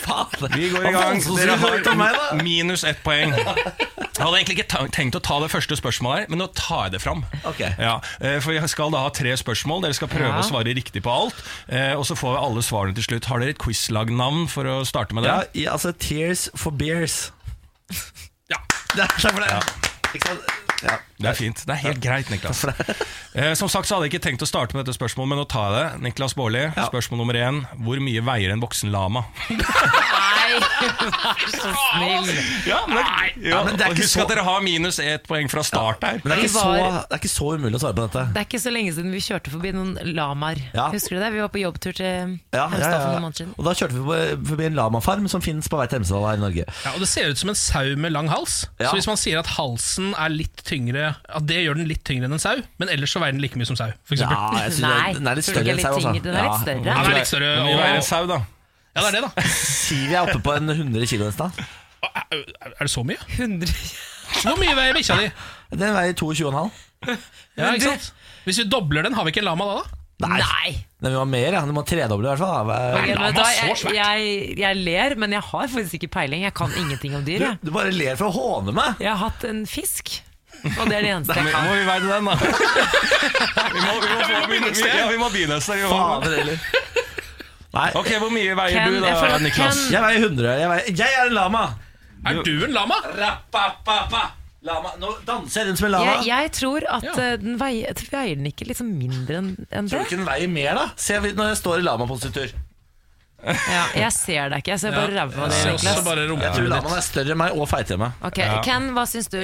S1: Faen.
S7: Vi går i
S1: Hva
S7: gang.
S1: faen som
S7: Dere
S1: skulle hørt om meg,
S7: har
S1: da?
S7: minus ett poeng. Jeg hadde egentlig ikke ta- tenkt å ta det første spørsmålet her, men nå tar jeg det fram.
S1: Ok.
S7: Ja, eh, for jeg skal da ha tre spørsmål. Dere skal prøve
S2: Ja.
S7: å svare riktig på alt. eh, Og så får vi alle svarene til slutt. Har dere et quizlagnavn for å starte med det?
S1: Ja, i, altså Tears for Bears.
S7: Ja.
S1: Det er takk for det. Ikke sant? Ja.
S7: Det er fint. Det er helt greit, Niklas. Eh, Som sagt så hadde jeg ikke tenkt å starte med dette spørsmålet, men nå tar jeg det. Niklas Baarli, spørsmål nummer én. Hvor mye veier en voksen lama?
S2: Nei, vær så snill.
S7: Ja, men, ja,
S1: men det er
S7: og
S1: ikke
S7: Husk
S1: så-
S7: at dere har minus ett poeng fra start her.
S1: Men det er, ikke
S2: Vi
S1: så,
S2: var-
S1: det er ikke så umulig å svare på dette.
S2: Det er ikke så lenge siden vi kjørte forbi noen lamaer.
S1: Ja.
S2: Husker du det? Vi var på jobbtur til
S1: Ja, ja,
S2: Hemsedal for
S1: ja.
S2: noen måneder siden.
S1: Og da kjørte vi på- eh, forbi en lamafarm som finnes på vei til Hemsedal her i Norge.
S3: Ja, og Det ser ut som en sau med lang hals.
S1: Ja.
S3: Så hvis man sier at halsen er litt tyngre At det gjør den litt tyngre enn en sau, men ellers så veier den like mye som sau. For eksempel.
S1: Ja, jeg synes
S2: Nei,
S1: den- den er litt
S2: tror
S1: større
S2: du
S1: enn
S2: ikke
S1: sau,
S2: litt
S1: altså.
S2: tyngre? Den er litt større.
S3: Ja, den er litt større.
S7: Hvor mye veier en
S3: Og,
S7: sau, da?
S3: ja, det er det, da.
S1: Siv jeg er oppe på en 100 kilo en stad.
S3: Er er det så mye?
S2: 100
S3: Hvor mye veier bikkja di?
S1: Den veier 22,5.
S3: Ja, ikke sant? Hvis vi dobler den, har vi ikke en lama da? da?
S1: Nei.
S2: Nei!
S1: Den må ha mer, ja. Den må tredoble i hvert fall. da.
S2: Ok,
S3: lama
S2: men
S3: er
S2: da,
S3: så
S2: jeg,
S3: svært.
S2: jeg, jeg ler, men jeg har faktisk ikke peiling. Jeg kan ingenting om dyr.
S1: Du,
S2: Jeg,
S1: du bare ler for å håne meg.
S2: jeg har hatt en fisk. Og det er det eneste jeg
S7: Må
S2: kan.
S7: må vi veie den, da? Vi må, vi må, få- vi, vi, ja, vi må begynne et sted. vi må-
S1: Fader heller. Nei,
S7: Ok, Hvor mye veier
S2: Ken,
S7: du
S2: jeg
S7: da,
S2: føler-
S7: Niklas?
S2: Ken-
S1: jeg veier 100. Jeg, veier, jeg er en lama.
S3: Er du en lama?
S1: lama. Nå danser jeg rundt som en lama.
S2: Jeg, jeg tror at
S3: Ja.
S2: eh, den veier, jeg tror veier den ikke liksom mindre enn enn
S1: Tror du
S2: det.
S1: ikke den veier mer, da? Se når jeg står i lamapositur.
S2: Ja, jeg ser deg ikke, jeg ser bare ræva di,
S3: Se også
S2: Niklas.
S3: bare
S1: Jeg tror
S3: rumpehullet ditt.
S1: lamaen er større enn meg og feitere enn meg.
S2: Ok, Ken, hva syns du?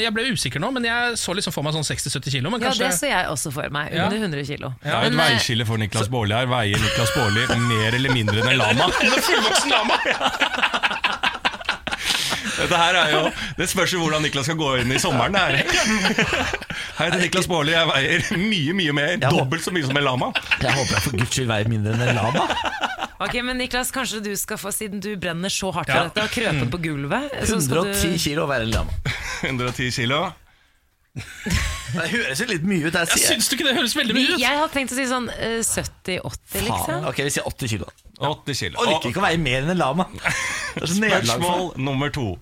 S3: Jeg ble usikker nå, men jeg så liksom for meg sånn 60-70 kilo. Men
S2: Ja,
S3: kanskje
S2: det så jeg også for meg.
S3: Ja.
S2: Under 100 kilo.
S7: Det er jo et
S2: Men, eh,
S7: veiskille for Niklas Baarli her. Veier Niklas Baarli mer eller mindre enn en lama?
S3: En fullvoksen lama!
S7: Dette her er jo, Det spørs jo hvordan Niklas skal gå inn i sommeren. Det her. Hei, det er Niklas Baarli. Jeg veier mye, mye mer. Dobbelt så mye som en lama.
S1: Jeg håper jeg for guds skyld veier mindre enn en lama.
S2: Ok, men Niklas, kanskje du skal få, siden du brenner så hardt for
S3: Ja.
S2: dette og
S1: Mm.
S2: krøper på gulvet så skal
S1: 110
S2: du,
S1: kilo å være en lama.
S7: 110 kilo.
S1: Det høres jo litt mye ut. Jeg
S3: Jeg
S1: sier
S3: Syns du ikke det høres veldig
S2: Vi,
S3: mye ut?
S2: Jeg hadde tenkt å si sånn eh, 70-80,
S1: faen.
S2: liksom.
S1: Ok, vi sier 80 kilo.
S7: 80 kilo.
S1: Orker ikke å veie mer enn en lama. Det er så nederlag for-
S7: Spørsmål nummer to.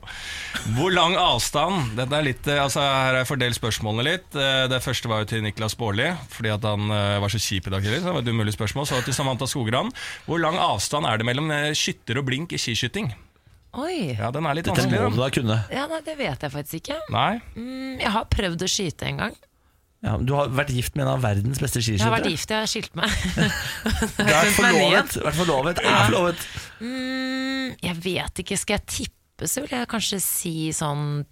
S7: Hvor lang avstand Dette er litt, eh, altså Her er fordelt spørsmålene litt. Eh, Det første var jo til Niklas Baarli, fordi at han eh, var så kjip i dag tidlig. Så det var et umulig spørsmål. Så til Samantha Skogran. Hvor lang avstand er det mellom eh, skytter og blink i skiskyting?
S2: Oi.
S7: Ja, den er litt
S1: Dette må
S7: vanskelig.
S1: du
S7: da.
S1: da kunne.
S2: Ja, nei, det vet jeg faktisk ikke.
S7: Nei?
S2: Mm, Jeg har prøvd å skyte en gang.
S1: Ja, men du har vært gift med en av verdens beste
S2: Jeg har vært
S1: skiskyttere.
S2: gift, jeg har skilt meg.
S1: Vært
S2: Vært forlovet.
S1: forlovet. Vært forlovet. Er forlovet.
S2: Mm, Jeg vet ikke, skal jeg tippe så vil jeg kanskje si sånn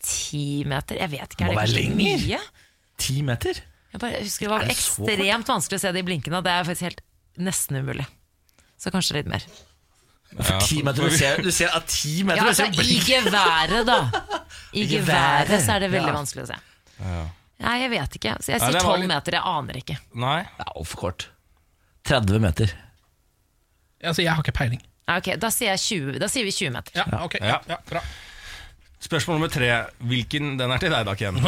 S2: ti meter? Jeg vet ikke,
S1: Må
S2: er det
S1: være
S2: kanskje
S1: lenger.
S2: mye?
S1: Ti meter?
S2: Jeg bare husker det var
S1: Er det så fort?
S2: ekstremt vanskelig å se det i blinken, og det er faktisk helt nesten umulig. Så kanskje litt mer.
S7: Ja,
S1: Ti meter, Du ser, du ser at ti meter
S2: Ja,
S1: du ser
S2: altså
S1: jo
S2: i
S1: blink.
S2: geværet, da. I geværet så er det veldig
S1: Ja.
S2: vanskelig å se. Nei, jeg vet ikke. Så jeg
S7: Nei,
S2: sier
S7: det var
S2: tolv
S7: litt-
S2: meter, jeg aner ikke.
S7: Nei?
S1: Det er altfor kort. 30 meter.
S3: Altså, jeg har ikke peiling.
S2: Nei, Ok, da sier, jeg 20, da sier vi 20 meter.
S3: Ja, ok, ja, ja, bra
S7: Spørsmål nummer tre. Hvilken, den er til deg da, Ken.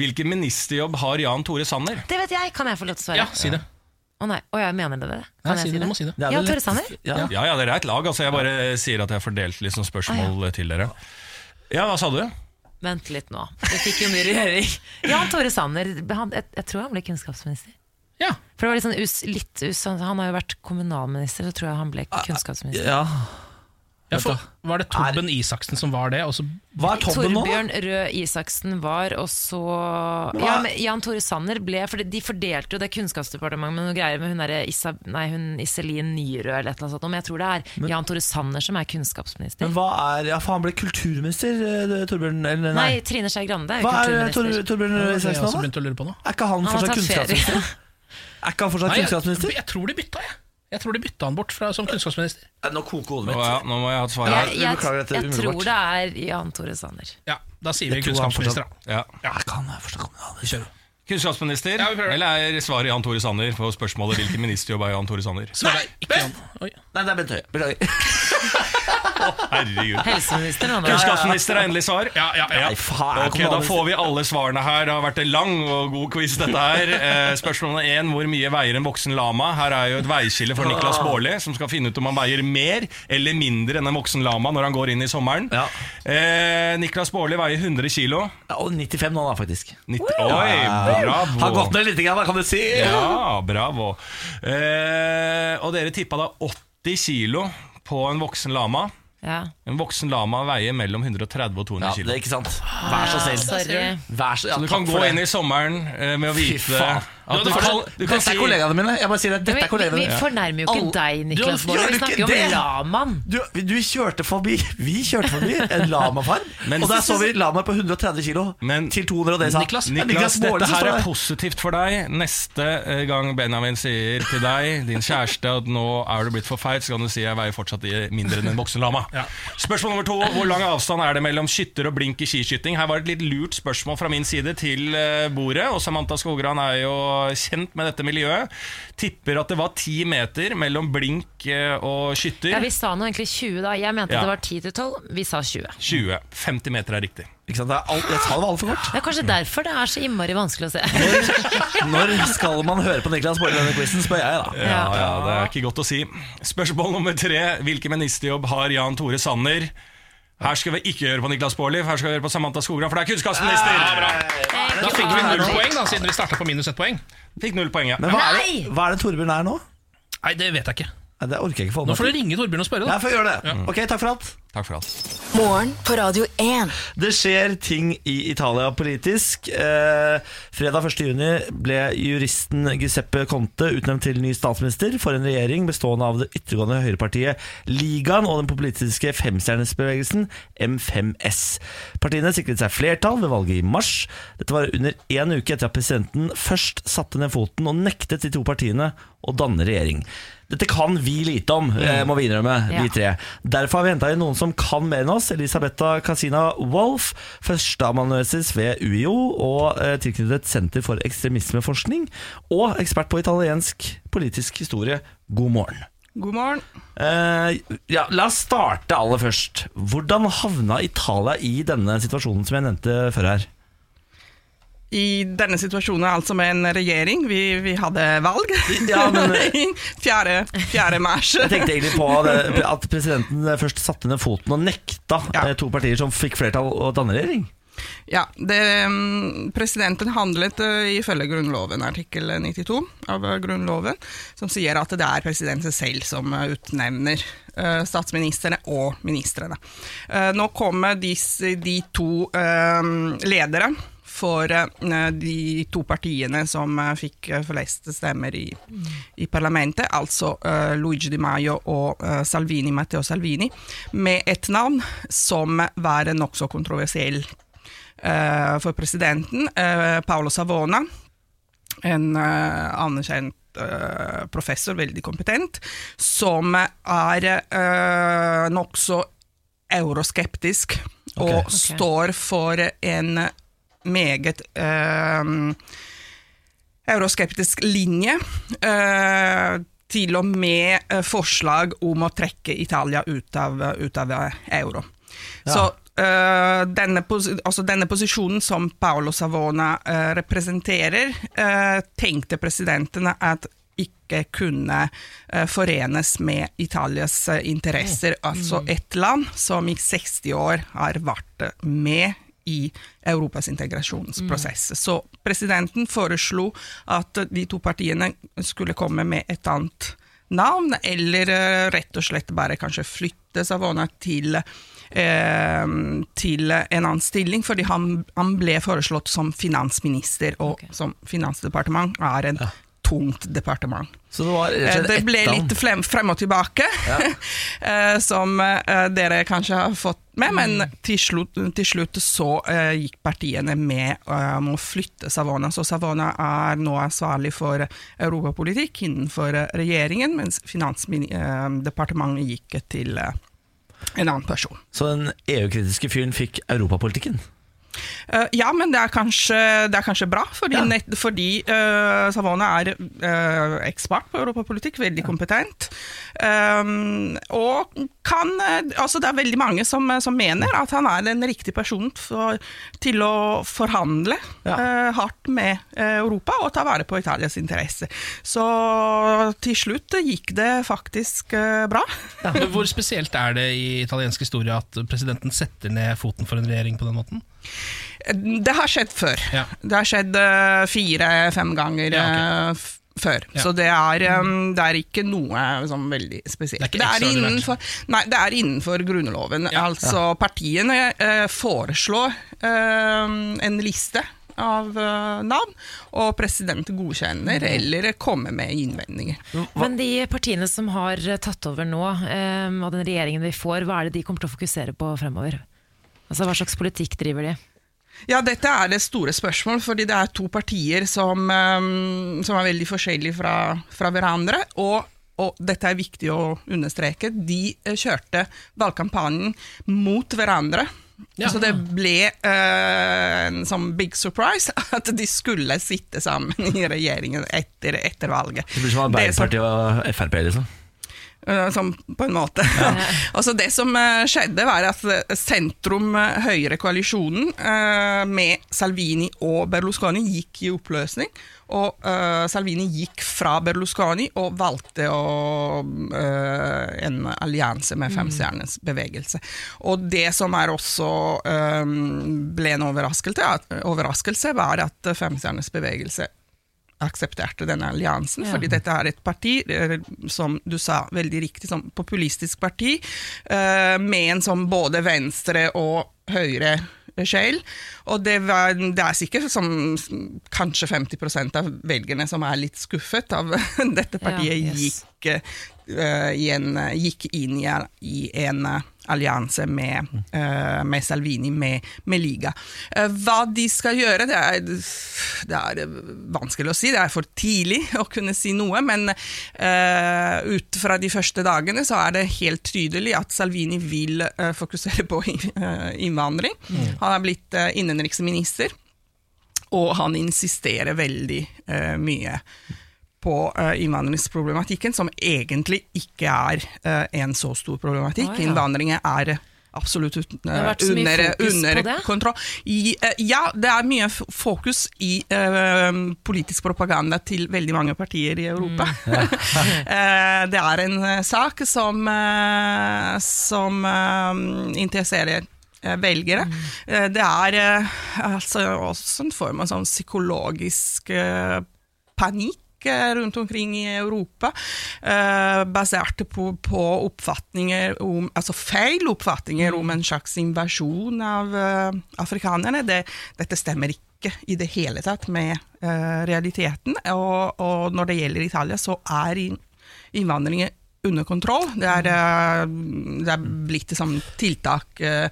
S7: Hvilken ministerjobb har Jan Tore Sanner?
S2: Det vet jeg, kan jeg få lov til å svare?
S3: Ja, si det.
S2: Å nei, å, jeg mener det det?
S3: Nei,
S2: Kan
S3: si
S2: jeg si
S3: det, du
S2: det?
S3: må si det.
S1: Det er
S2: Ja,
S1: vel
S2: Tore
S1: litt-
S2: Sanner.
S1: Ja.
S7: Ja, ja, dere er et lag. altså Jeg bare eh, sier at jeg har fordelt liksom spørsmål eh, til dere. Ja, hva sa du?
S2: Vent litt nå, vi fikk jo ny regjering. Jan Tore Sanner, han, jeg, jeg tror han ble kunnskapsminister.
S3: Ja.
S2: For det var litt sånn us, litt us, han, han har jo vært kommunalminister, så tror jeg han ble
S3: Ah,
S2: kunnskapsminister.
S1: ja.
S3: Ja, for, var det Tobben Isaksen som var det? Og så
S1: Hva er tobben nå? da?
S2: Torbjørn Røe Isaksen var, og så ja, men Jan Tore Sanner ble For de fordelte jo det kunnskapsdepartementet med noen greier med hun derre Isa, nei, hun Iselin Nyrøe eller et eller annet sånt, men jeg tror det er Jan Tore Sanner som er kunnskapsminister.
S1: Men hva er Ja, for han ble kulturminister, eh, Torbjørn Eller
S2: nei.
S1: nei.
S2: Trine Skei Grande er jo
S1: Hva er eh, Tor,
S2: kulturminister.
S1: Torbjørn Røe
S3: jeg også
S1: Isaksen, da?
S3: begynte å lure på nå.
S1: Er ikke han
S2: Han har
S1: fortsatt
S2: tatt
S1: sånn kunnskapsminister?
S2: ferie.
S1: Er ikke han fortsatt
S3: Nei, jeg,
S1: kunnskapsminister?
S3: jeg tror de bytta, jeg. Jeg tror de bytta han bort fra, som kunnskapsminister.
S1: Eh, Nå koker hodet
S7: Å,
S1: mitt.
S7: ja, nå må jeg ha et svar
S2: Jeg,
S7: her.
S1: vi
S2: jeg,
S1: beklager dette
S2: jeg
S1: umiddelbart.
S2: tror det er Jan Tore Sanner.
S3: Ja, Da sier vi
S1: Jeg tror han
S3: kunnskapsminister, da.
S7: Ja.
S1: Er ikke han eh, fortsatt kommunalminister?
S7: Kunnskapsminister,
S3: Ja, vi prøver.
S7: eller er svaret Jan Tore Sanner på spørsmålet hvilken ministerjobb er Jan Tore Sanner?
S3: Så var det ikke han. Oi.
S1: Nei, det er Bent Høie. Beklager.
S7: Herregud.
S2: Helseminister, han er
S7: Kunnskapsminister er endelig svar.
S3: Ja, ja, ja.
S1: Nei, faen.
S7: Ok, Da får vi alle svarene her. Det har vært en lang og god quiz, dette her. Eh, Spørsmål nummer én hvor mye veier en voksen lama? Her er jo et veiskille for Niklas Baarli, som skal finne ut om han veier mer eller mindre enn en voksen lama når han går inn i sommeren.
S1: Ja.
S7: Eh, Niklas Baarli veier 100 kilo.
S1: Ja, og 95 nå, da, faktisk.
S7: 90 Oi, bravo.
S1: Har gått ned litt, grann, da, kan du si.
S7: Ja, bravo. Eh, og dere tippa da 80 kilo på en voksen lama.
S2: Ja.
S7: En voksen lama veier mellom 130 og 200
S1: Ja,
S7: kilo.
S1: det er ikke sant. Vær så snill.
S2: Sorry.
S1: Vær så, ja,
S7: Så du kan gå inn i sommeren eh, med å
S1: Fy
S7: vite
S1: faen.
S7: at du kan, du
S1: dette
S7: kan si
S1: er kollegaene mine. Jeg bare sier det.
S2: Vi,
S1: Dette er
S2: vi,
S1: kollegaene
S2: vi
S1: mine.
S2: fornærmer jo ikke
S1: Alle-
S2: deg, Niklas
S1: Du- gjør
S2: Baarli.
S1: du
S2: Vi
S1: ikke
S2: snakker jo
S1: det?
S2: om lamaen.
S1: Du, du kjørte forbi Vi kjørte forbi en lamafarm,
S7: Men-
S1: og der så vi lamaer på 130 kilo
S7: Men-
S1: til 200, og det sa
S3: Niklas,
S1: Ja,
S7: Niklas,
S1: Baarli
S7: dette
S1: som
S7: her
S1: står
S7: er
S1: der.
S7: positivt for deg. Neste eh, gang Benjamin sier til deg, din kjæreste, at nå er du blitt for feit, så kan du si jeg veier fortsatt i- mindre enn en voksen lama. Spørsmål nummer to. Hvor lang avstand er det mellom skytter og blink i skiskyting? Her var et litt lurt spørsmål fra min side til eh, bordet, og Samantha Skogran er jo kjent med dette miljøet. Tipper at det var ti meter mellom blink eh, og skytter.
S2: Ja, Vi sa nå egentlig 20, da. Jeg mente
S7: Ja.
S2: det var 10 til 12. Vi sa 20.
S7: 20. 50 meter er riktig.
S1: Ikke sant? Det er alt, jeg tar det var altfor kort.
S2: Det er kanskje derfor det er så innmari vanskelig å se.
S1: Når, når skal man høre på Niklas Baarli i denne quizen, spør jeg, da.
S7: Ja, ja, det er ikke godt å si. Spørsmål nummer tre. Hvilken ministerjobb har Jan Tore Sanner? Her skal vi ikke høre på Niklas Baarli, her skal vi høre på Samantha Skogran, for det er kunnskapsminister!
S3: Da fikk vi null poeng, da, siden vi starta på minus ett poeng.
S7: Fikk null poeng, ja.
S1: Men hva er, det, hva er det Torbjørn er nå?
S3: Nei, det vet jeg ikke.
S1: Nei, Det orker jeg ikke få
S3: Nå
S1: med
S3: får du ringe Torbjørn og spørre, da.
S1: Jeg får gjøre det. Ok, takk for alt.
S7: Takk for alt.
S5: Morgen på Radio 1.
S1: Det skjer ting i Italia politisk. Eh, fredag 1. juni ble juristen Giuseppe Conte utnevnt til ny statsminister for en regjering bestående av det yttergående høyrepartiet Ligaen og den politiske femstjernesbevegelsen M5S. Partiene sikret seg flertall ved valget i mars. Dette var under én uke etter at presidenten først satte ned foten og nektet de to partiene å danne regjering. Dette kan vi lite om, eh, må vi innrømme, vi
S2: Ja.
S1: tre. Derfor har vi henta inn noen som kan mer enn oss. Elisabetha Casina Wolff, førsteamanuensis ved UiO og eh, tilknyttet Senter for ekstremismeforskning. Og ekspert på italiensk politisk historie. God morgen.
S8: God morgen.
S1: Eh, ja, la oss starte aller først. Hvordan havna Italia i denne situasjonen som jeg nevnte før her?
S8: I denne situasjonen altså med en regjering. Vi, vi hadde valg.
S1: Ja, men-
S8: 4. 4. mars.
S1: Jeg tenkte egentlig på det, at presidenten først satte ned foten og nekta
S8: Ja.
S1: eh, to partier som fikk flertall å danne regjering.
S8: Ja, det, mm, presidenten handlet eh, ifølge grunnloven, artikkel 92 av eh, grunnloven, som sier at det er presidenten selv som eh, utnevner eh, statsministrene og ministrene. Eh, Nå kommer disse, de to eh, ledere for eh, de to partiene som eh, fikk eh, flest stemmer i, i parlamentet, altså eh, Luigi Di Maio og eh, Salvini, Matteo Salvini, med et navn som var nokså kontroversielt eh, for presidenten, eh, Paolo Savona, en eh, anerkjent eh, professor, veldig kompetent, som er eh, nokså euroskeptisk og
S1: Ok.
S8: står for en meget eh, euroskeptisk linje. eh, til og med eh, forslag om å trekke Italia ut av, ut av eh, euro. Så eh, denne, pos altså denne posisjonen som Paolo Savona eh, representerer, eh, tenkte presidentene at ikke kunne eh, forenes med Italias eh, interesser. Altså et land som i 60 år har vært eh, med i Europas integrasjonsprosess. Så presidenten foreslo at de to partiene skulle komme med et annet navn, eller eh, rett og slett bare kanskje flytte Savona til eh, til en annen stilling, fordi han, han ble foreslått som finansminister, og
S2: Ok.
S8: som finansdepartement er en tungt departement.
S1: Så det var rett og slett
S8: Eh, Det ble
S1: ett navn.
S8: litt flem, frem og tilbake, eh, som eh, dere kanskje har fått med,
S1: Mm.
S8: men til slutt, til slutt så eh, gikk partiene med eh, om å flytte Savona. Så Savona er nå ansvarlig for europapolitikk innenfor eh, regjeringen, mens Finansdepartementet gikk til eh, en annen person.
S1: Så den EU-kritiske fyren fikk europapolitikken.
S8: Eh, ja, men det er kanskje, det er kanskje bra, fordi,
S1: Ja.
S8: nett, fordi eh, Savona er eh, ekspert på europapolitikk, veldig kompetent. Ehm, og kan eh, Altså, det er veldig mange som, som mener at han er den riktige personen for, til å forhandle
S1: Ja.
S8: eh, hardt med eh, Europa og ta vare på Italias interesser. Så til slutt gikk det faktisk eh, bra.
S3: Men Hvor spesielt er det i italiensk historie at presidenten setter ned foten for en regjering på den måten?
S8: Det har skjedd før.
S3: Ja.
S8: Det har skjedd eh, fire-fem ganger
S3: Ja, ok.
S8: eh, f- før.
S3: Ja.
S8: Så det er, eh, det er ikke noe sånn veldig spesielt.
S3: Det er ikke ekstraordinært.
S8: innenfor, nei, det er innenfor Grunnloven. Altså, partiene eh, foreslår eh, en liste av eh, navn, og presidenten godkjenner
S3: Mm.
S8: eller kommer med innvendinger.
S2: Men de partiene som har eh, tatt over nå, eh, og den regjeringen vi får, hva er det de kommer til å fokusere på fremover? Altså Hva slags politikk driver de?
S8: Ja, dette er det store spørsmål, fordi det er to partier som, eh, som er veldig forskjellige fra, fra hverandre. Og, og dette er viktig å understreke, de eh, kjørte valgkampanjen mot hverandre.
S3: Ja.
S8: Så det ble eh, en sånn big surprise at de skulle sitte sammen i regjeringen etter, etter valget.
S1: Det blir som
S8: Det som-
S1: Arbeiderpartiet og Frp, liksom.
S8: Eh, Sånn på en måte. altså det som eh, skjedde, var at eh, sentrum-høyre-koalisjonen eh, med Salvini og Berlusconi gikk i oppløsning. Og eh, Salvini gikk fra Berlusconi og valgte å, eh, en allianse med Femstjernens bevegelse. Og det som er også eh, ble en overraskelse, overraskelse var at Femstjernens bevegelse aksepterte denne alliansen, fordi dette er et parti, eh, som du sa veldig riktig, som populistisk parti, eh, med en sånn både venstre og høyre sjel, og det, var, det er sikkert som kanskje 50 av velgerne som er litt skuffet av dette partiet
S2: Ja, yes.
S8: gikk, eh, i en, gikk inn i, i en eh, allianse med, eh, med Salvini, med, med Liga. Eh, hva de skal gjøre, det er, det er eh, vanskelig å si. Det er for tidlig å kunne si noe, men eh, ut fra de første dagene så er det helt tydelig at Salvini vil eh, fokusere på eh, innvandring.
S2: Mm.
S8: Han er blitt eh, innenriksminister, og han insisterer veldig eh, mye på eh, innvandringsproblematikken, som egentlig ikke er eh, en så stor problematikk.
S2: Å, ja.
S8: Innvandringen er absolutt ut,
S2: Det har vært så mye
S8: Eh, under,
S2: fokus på
S8: under
S2: det.
S8: kontroll. I, eh, ja, det er mye f- fokus i eh, politisk propaganda til veldig mange partier i Europa.
S2: Mm.
S8: Eh, det er en eh, sak som, eh, som eh, interesserer eh, velgere.
S2: Mm.
S8: Eh, Det er eh, altså også en form av sånn psykologisk eh, panikk eh, rundt omkring i Europa, eh, basert på, på oppfatninger om, altså feil oppfatninger om en slags invasjon av eh, afrikanerne. Det, dette stemmer ikke i det hele tatt med eh, realiteten. Og, og når det gjelder Italia, så er in- innvandringen under kontroll. Det er, eh, det er blitt liksom tiltak eh,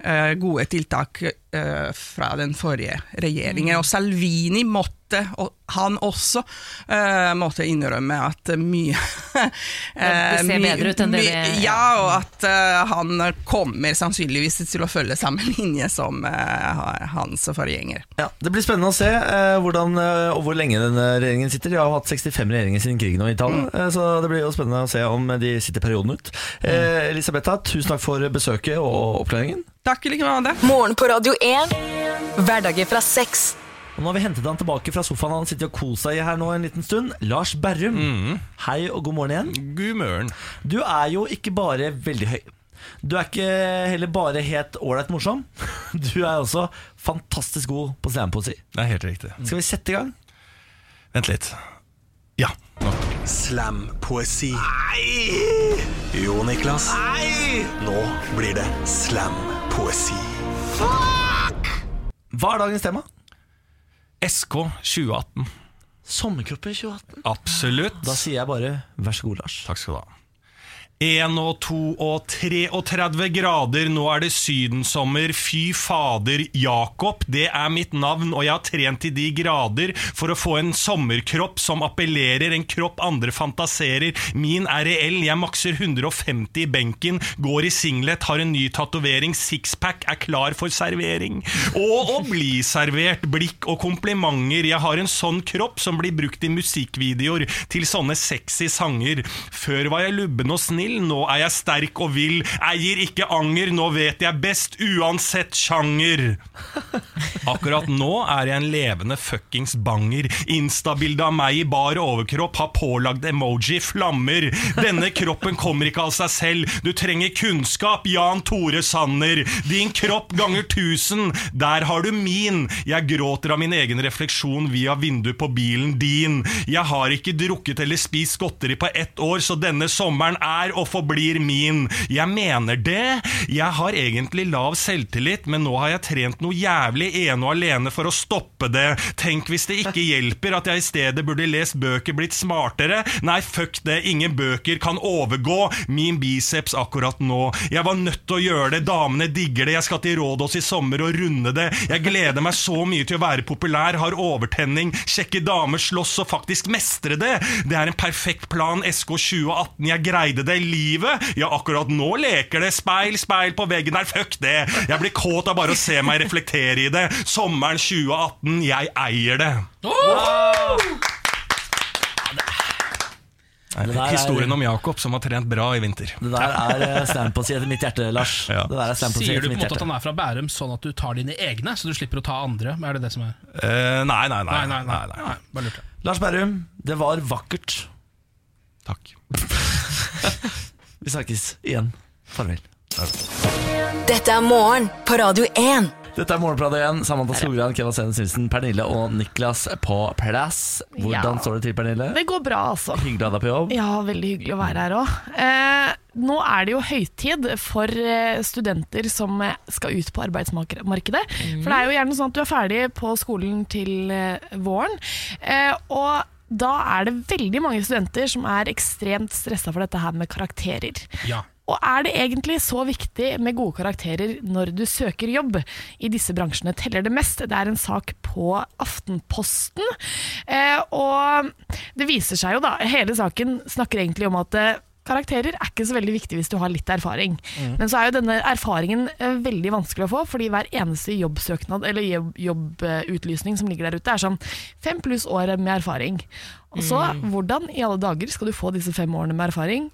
S8: eh, Gode tiltak eh, fra den forrige
S2: Mm.
S8: regjeringen. Og Salvini måtte, og han også, eh, måtte innrømme at mye
S2: det ser
S8: mye-
S2: bedre ut enn det
S8: mye-
S2: det-
S8: Ja, og at eh, han kommer sannsynligvis til å følge samme linje som eh, hans forgjenger.
S1: Ja, Det blir spennende å se eh, hvordan eh, og hvor lenge denne regjeringen sitter. De har jo hatt 65 regjeringer siden krigen og Italia, eh, så det blir jo spennende å se om de sitter perioden ut. Eh, Elisabetha, tusen takk for besøket og oppklaringen.
S8: Takk i like måte.
S5: Morgen på Radio 1. Hverdager fra seks.
S1: Og Nå har vi hentet han tilbake fra sofaen han sitter og koser seg i her nå en liten stund. Lars Berrum, hei og god morgen igjen.
S7: Mm. God morgen.
S1: Du er jo ikke bare veldig høy. Du er ikke heller bare helt ålreit morsom. Du er også fantastisk god på slampoesi.
S7: Det er helt riktig.
S1: Skal vi sette i gang?
S7: Vent litt. Ja.
S9: Slampoesi. Jo, Niklas. Nå blir det slampoesi.
S1: Hva er dagens tema?
S7: SK 2018.
S1: Sommerkropper 2018.
S7: Absolutt.
S1: Da sier jeg bare vær så god, Lars.
S7: Takk skal du ha. 1 og 2 og 33 grader, nå er det sydensommer. Fy fader, Jakob, det er mitt navn, og jeg har trent til de grader for å få en sommerkropp som appellerer, en kropp andre fantaserer. Min er reell, jeg makser 150 i benken, går i singlet, har en ny tatovering, sixpack, er klar for servering. Og å bli servert, blikk og komplimenter, jeg har en sånn kropp som blir brukt i musikkvideoer til sånne sexy sanger. Før var jeg lubben og snill, nå er jeg sterk og vill. Eier ikke anger, nå vet jeg best, uansett sjanger. Akkurat nå er jeg en levende fuckings banger. Instabilde av meg i bar overkropp har pålagd emoji flammer. Denne kroppen kommer ikke av seg selv. Du trenger kunnskap, Jan Tore Sanner. Din kropp ganger tusen. Der har du min. Jeg gråter av min egen refleksjon via vinduet på bilen din. Jeg har ikke drukket eller spist godteri på ett år, så denne sommeren er og forblir min. Jeg mener det. Jeg har egentlig lav selvtillit, men nå har jeg trent noe jævlig ene og alene for å stoppe det. Tenk hvis det ikke hjelper at jeg i stedet burde lest bøker, blitt smartere. Nei, fuck det, ingen bøker kan overgå min biceps akkurat nå. Jeg var nødt til å gjøre det, damene digger det, jeg skal til Rådås i sommer og runde det. Jeg gleder meg så mye til å være populær, har overtenning, sjekke damer, slåss og faktisk mestre det. Det er en perfekt plan, SK 2018, jeg greide det, livet. Ja, akkurat nå leker det, speil, speil på veggen der, fuck det. Jeg blir kåt av bare å se meg reflektere i det. Sommeren 2018, jeg eier det.
S1: Det der er-
S7: Historien om Jakob som har trent bra i vinter.
S1: Det der er eh, standposi etter mitt hjerte, Lars.
S7: Ja.
S1: Det der er standposi
S3: Sier du
S1: etter
S3: på en
S1: mitt
S3: måte at
S1: hjerte.
S3: han er fra Bærum, sånn at du tar dine egne, så du slipper å ta andre? Er det det som er
S7: Eh, nei, nei, nei.
S3: Nei, nei, nei. nei bare lurte.
S1: Lars Berrum, det var vakkert.
S7: Takk.
S1: Vi snakkes igjen. Farvel.
S5: Dette er morgen på Radio 1.
S1: Dette er Morgenbladet igjen. Samantha Skogran, Kevin Sene Svendsen, Pernille og Niklas på plass. Hvordan
S4: Ja.
S1: står det til, Pernille?
S4: Det går bra, altså.
S1: Hyggelig å ha deg på jobb.
S4: Ja, veldig hyggelig å være her òg. Eh, nå er det jo høytid for eh, studenter som eh, skal ut på arbeidsmarkedet. For det er jo gjerne sånn at du er ferdig på skolen til eh, våren. Eh, og da er det veldig mange studenter som er ekstremt stressa for dette her med karakterer.
S3: Ja.
S4: Og er det egentlig så viktig med gode karakterer når du søker jobb? I disse bransjene teller det mest. Det er en sak på Aftenposten. Eh, og det viser seg jo da, hele saken snakker egentlig om at eh, Karakterer er ikke så veldig viktig hvis du har litt erfaring. Men så er jo denne erfaringen eh, veldig vanskelig å få, fordi hver eneste jobbsøknad eller jobb- jobbutlysning som ligger der ute, er sånn fem pluss år med erfaring. Og så, hvordan i alle dager skal du få disse fem årene med erfaring?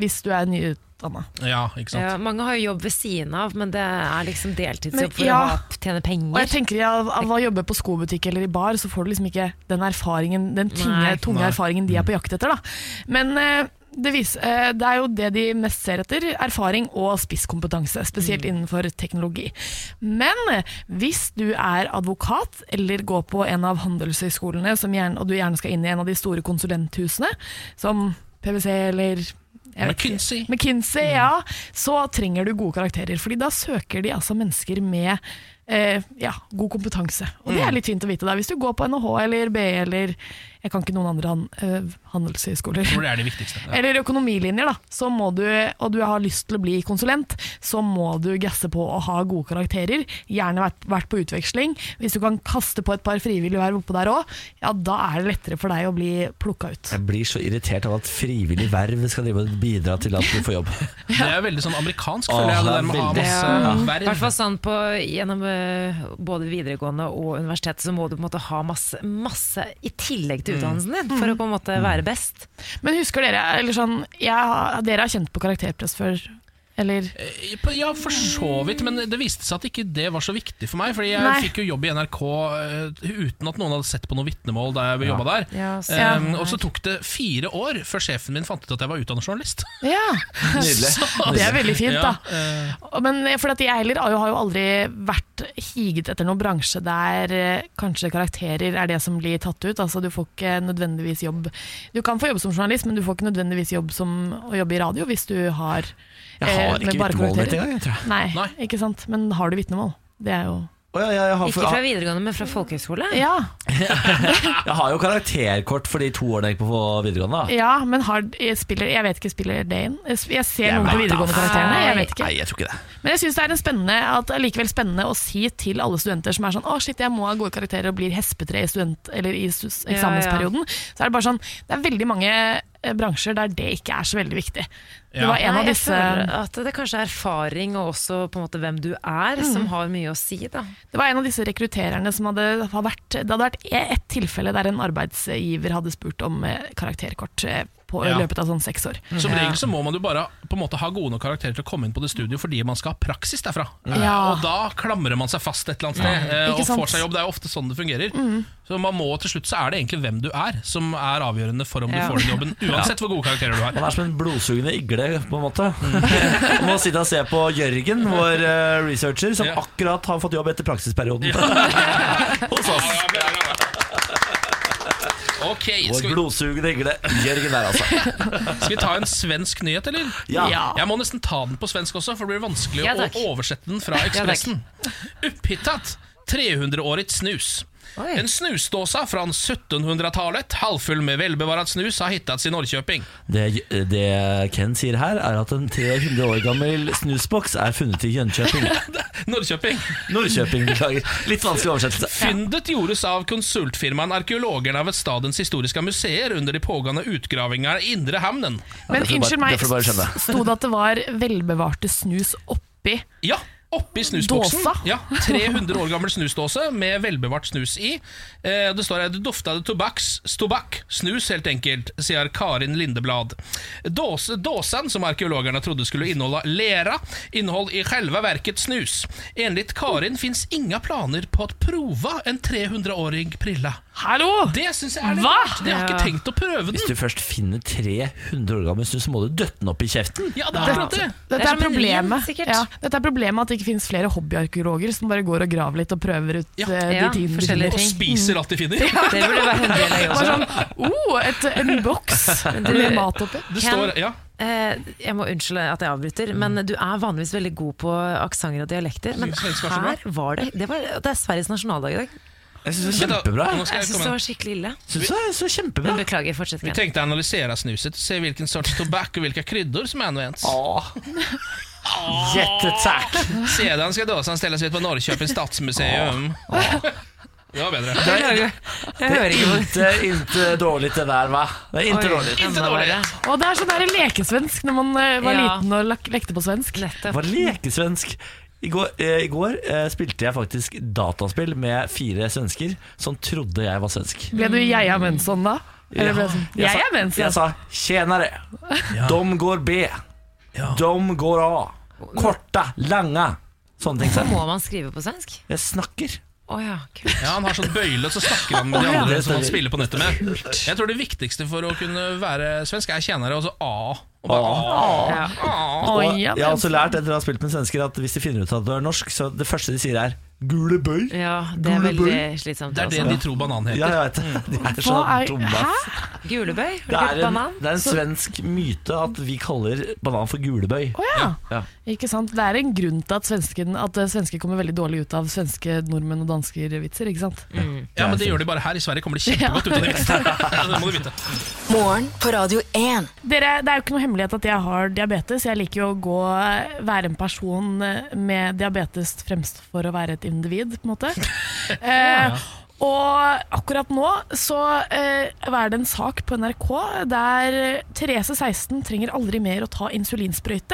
S4: hvis du er nyutdanna.
S3: Ja, ikke sant.
S2: Ja, mange har jo jobb ved siden av, men det er liksom
S4: Men
S2: deltidsjobb for
S4: ja.
S2: å ha opp- tjene
S4: Og jeg
S2: penger.
S4: tenker av, av å jobbe på skobutikk eller i bar, så får du liksom ikke den erfaringen, den tynge,
S2: Nei.
S4: tunge
S3: Nei.
S4: erfaringen de er på jakt etter. Da. Men eh, det, vis- eh, det er jo det de mest ser etter, erfaring og spisskompetanse, spesielt
S2: Mm.
S4: innenfor teknologi. Men hvis du er advokat, eller går på en av handelshøyskolene, som gjerne, og du gjerne skal inn i en av de store konsulenthusene, som PwC eller jeg vet ikke.
S3: McKinsey.
S4: McKinsey, ja. Så trenger du gode karakterer, Fordi da søker de altså mennesker med eh, ja, god kompetanse. Og det
S3: Mm.
S4: er litt fint å vite da, hvis du går på NHH eller BE eller jeg kan ikke noen andre han, eh, handelshøyskoler.
S3: Jeg tror det er det viktigste. Ja.
S4: Eller økonomilinjer, da. Så må du, og du har lyst til å bli konsulent, så må du gasse på å ha gode karakterer. Gjerne vært, vært på utveksling. Hvis du kan kaste på et par frivillige verv oppå der òg, ja, da er det lettere for deg å bli plukka ut.
S1: Jeg blir så irritert av at frivillig verv skal drive og bidra til at du får jobb.
S3: Det er veldig sånn amerikansk,
S1: Åh,
S3: føler jeg. Det
S1: det er
S3: der med å ha
S1: veldig-
S3: masse
S2: I hvert
S3: verv.
S2: fall sånn på, gjennom eh, både videregående og universitet så må du på en måte ha masse, masse i tillegg til
S3: Mm.
S2: utdannelsen din for å på en måte være best.
S4: Men husker dere, eller sånn, jeg, har- dere har kjent på karakterpress før? Eller?
S3: Eh, Ja, for så vidt, men det viste seg at ikke det var så viktig for meg. Fordi jeg
S4: Nei.
S3: fikk jo jobb i NRK eh, uten at noen hadde sett på noe vitnemål da jeg jobba der.
S2: Ja,
S3: Eh,
S2: sånn.
S3: og så tok det fire år før sjefen min fant ut at jeg var utdannet journalist.
S4: Ja,
S1: Nydelig.
S4: det er veldig fint, da.
S3: Ja, eh,
S4: Men eh, fordi at jeg heller har jo- har jo aldri vært higet etter noen bransje der eh, kanskje karakterer er det som blir tatt ut. Altså Du får ikke nødvendigvis jobb Du kan få jobb som journalist, men du får ikke nødvendigvis jobb som å jobbe i radio hvis du har
S1: Jeg
S4: eh,
S1: har ikke
S4: med bare
S1: vitnemålet mitt
S4: karakterer.
S1: engang, jeg tror jeg.
S4: Nei,
S3: Nei.
S4: ikke sant. Men har du vitnemål? Det er jo
S1: Å ja, jeg, jeg, har,
S2: Ikke fra videregående, men fra folkehøyskole.
S4: Ja,
S1: jeg har jo karakterkort for de to årene jeg gikk på videregående. Da.
S4: ja men har, jeg, spiller, jeg vet ikke, spiller det inn? Jeg s- Jeg ser
S1: Jeg
S4: noen på
S1: vet da
S4: videregående karakterene, jeg vet ikke.
S1: Nei, jeg tror ikke det.
S4: Men jeg syns det er en spennende, at, likevel spennende å si til alle studenter som er sånn 'Å, shit, jeg må ha gode karakterer og blir hespetre i, student, eller i stu- eksamensperioden'. Så er det bare sånn Det er veldig mange eh, bransjer der det ikke er så veldig viktig. Det
S3: Ja.
S4: var en
S2: Nei,
S4: av
S2: jeg
S4: disse
S2: føler at det kanskje er erfaring og også på en måte hvem du er, som har mye å si. da.
S4: Det var en av disse rekruttererne som hadde har vært Det hadde vært e- ett tilfelle der en arbeidsgiver hadde spurt om eh, karakterkort eh, på, i
S3: Ja.
S4: løpet av sånn seks år.
S3: som regel så må man jo bare på en måte ha gode nok karakterer til å komme inn på det studiet fordi man skal ha praksis derfra. Eh,
S4: Ja.
S3: Og da klamrer man seg fast et eller annet sted eh,
S4: ikke
S3: og
S4: sant? Mm.
S3: får seg jobb. Det er jo ofte sånn det fungerer. Så man må til slutt så er det egentlig hvem du er som er avgjørende for om
S2: Ja.
S3: du får den jobben, uansett hvor gode karakterer du har.
S1: Han er som en blodsugende igle, på en måte. Man må sitte og se på Jørgen, vår eh, researcher, som
S3: Ja.
S1: akkurat har fått jobb etter praksisperioden hos oss.
S3: Ok, skal
S1: Vår
S3: vi,
S1: blodsugende igle. Jørgen der, altså.
S3: skal vi ta en svensk nyhet, eller?
S1: Ja.
S3: Jeg må nesten ta den på svensk også, for det blir vanskelig
S2: Ja,
S3: å
S2: takk.
S3: oversette den fra Ekspressen. Upphittat 300-årigt snus.
S2: Oj.
S3: En snusdåsa från 1700-talet, halvfull med välbevarat snus, har hittats i Norrköping.
S1: Det, det Ken sier her, er at en 300 år gammel snusboks er funnet i Jönköping.
S3: Norrköping.
S1: Norrköping, beklager. Litt vanskelig oversettelse.
S3: Fyndet gjordes av konsultfirman Arkeologerna ved stadens historiska museer under de pågående utgravningarna i Indre hamnen.
S1: det får du
S4: Men
S1: bare-
S4: unnskyld meg,
S1: det får du bare skjønne.
S4: sto det at det var velbevarte snus oppi?
S3: Ja, Oppi snusboksen.
S4: Dåsa?
S3: Ja, 300 år gammel snusdåse med velbevart snus i. Eh, det står her 'Det dofta det tobakks, tobakk, snus helt enkelt', sier Karin Lindeblad. Dåse, dåsen, som arkeologerne trodde skulle inneholde lera, innhold i själva verket snus. Enligt Karin finns inga planer på att prova en 300-årig prilla.
S4: Hallo!
S3: Det syns jeg er litt
S4: Hva?
S3: rart. De har ikke
S4: Ja.
S3: tenkt å prøve
S1: Hvis
S3: den.
S1: du først finner 300 år gammel snus, så må du døtte den opp i kjeften.
S3: Ja, det er akkurat det.
S4: Dette
S2: Det er
S4: er,
S2: som en lem,
S4: problemet.
S2: sikkert.
S4: ja, dette er problemet at det ikke finnes flere hobbyarkeologer som bare går og graver litt og prøver ut
S3: Ja.
S4: eh,
S2: Ja,
S4: de tingene de
S2: forskjellige
S4: finner.
S3: Og spiser alt de finner.
S2: Det burde være en del av
S4: Bare
S2: jobben.
S4: sånn, oh, et, en boks med mat oppi.
S3: Det
S2: Ken-
S3: står, ja.
S2: Eh, jeg må unnskylde at jeg avbryter, men du er vanligvis veldig god på aksenter og dialekter. Men
S3: Svensk var så bra.
S2: her var det Det, var, det er Sveriges nasjonaldag i dag.
S1: Jeg syns det er
S3: Vent da,
S1: kjempebra.
S3: nå
S2: Jeg
S3: skal jeg
S2: syns
S3: komme
S2: det
S3: inn.
S2: var skikkelig ille.
S1: Synes det er så kjempebra.
S2: Men beklager, fortsett.
S3: Vi
S2: Ken.
S3: tenkte å analysere snuset, se hvilken sorts tobakk og hvilke kryddor som används.
S1: Åh. Jättetakk!
S3: Sedan ska dåsan ställas ut på Norrköpings stadsmuseum. Det var bättre.
S2: Jeg hører, jeg hører ikke hvor
S1: Inte, inte dårligt det der, va? Det er inte
S2: Oi,
S1: dårligt.
S2: enda
S3: Inte dårlig.
S2: verre.
S4: Og det er sånn der lekesvensk når man eh, var
S2: Ja.
S4: liten og lak- lekte på svensk.
S1: Det var
S2: Nettopp.
S1: lekesvensk. I går, eh, i går eh, spilte jeg faktisk dataspill med fire svensker som trodde jeg var svensk.
S4: Ble du Geia Mensson da? Eller ble det sånn,
S1: Jeg
S4: jeg
S1: sa-
S4: er Mensson.
S1: Jeg sa 'tjenere'. Dom går B. Dom går A. Korta, langa. Sånne ting. sa jeg.
S2: Må man skrive på svensk?
S1: Jeg snakker.
S2: Å ja, kult.
S3: Ja, han har sånn bøyle, så snakker han med de andre som han spiller på nettet med. Jeg tror det viktigste for å kunne være svensk, er tjenere, og så A. Og bare, A.
S4: Ja.
S3: A.
S4: Å,
S1: Og
S4: ja,
S1: jeg har også
S4: Mensson.
S1: lært etter å ha spilt med svensker at hvis de finner ut at du er norsk, så det første de sier er 'gule bøy'.
S2: Ja, det er veldig slitsomt.
S3: Det er det
S2: altså.
S3: de tror banan
S1: Ja,
S3: heter.
S1: jeg vet det. De er så
S4: Mm. Hva er-
S1: dumme. ass.
S4: Hæ?
S2: Gulebøy?
S1: Det er,
S2: Har du blitt
S1: en,
S2: banan?
S1: det er en svensk myte at vi kaller banan for gulebøy.
S4: Å ja.
S1: Ja.
S4: Ikke sant? Det er en grunn til at, svensken, at eh, svensker kommer veldig dårlig ut av svenske nordmenn og dansker vitser, ikke sant?
S3: Ja, men det gjør de bare her. I Sverige kommer de kjempegodt ut av det. Ja, det må du vite.
S5: Morgen på Radio 1.
S4: Dere, det er jo ikke noe hemmelighet at jeg har diabetes. Jeg liker jo å gå, være en person med diabetes fremst for å være et individ, på en måte. Eh, og akkurat nå så eh, er det en sak på NRK der Therese 16 trenger aldri mer å ta insulinsprøyte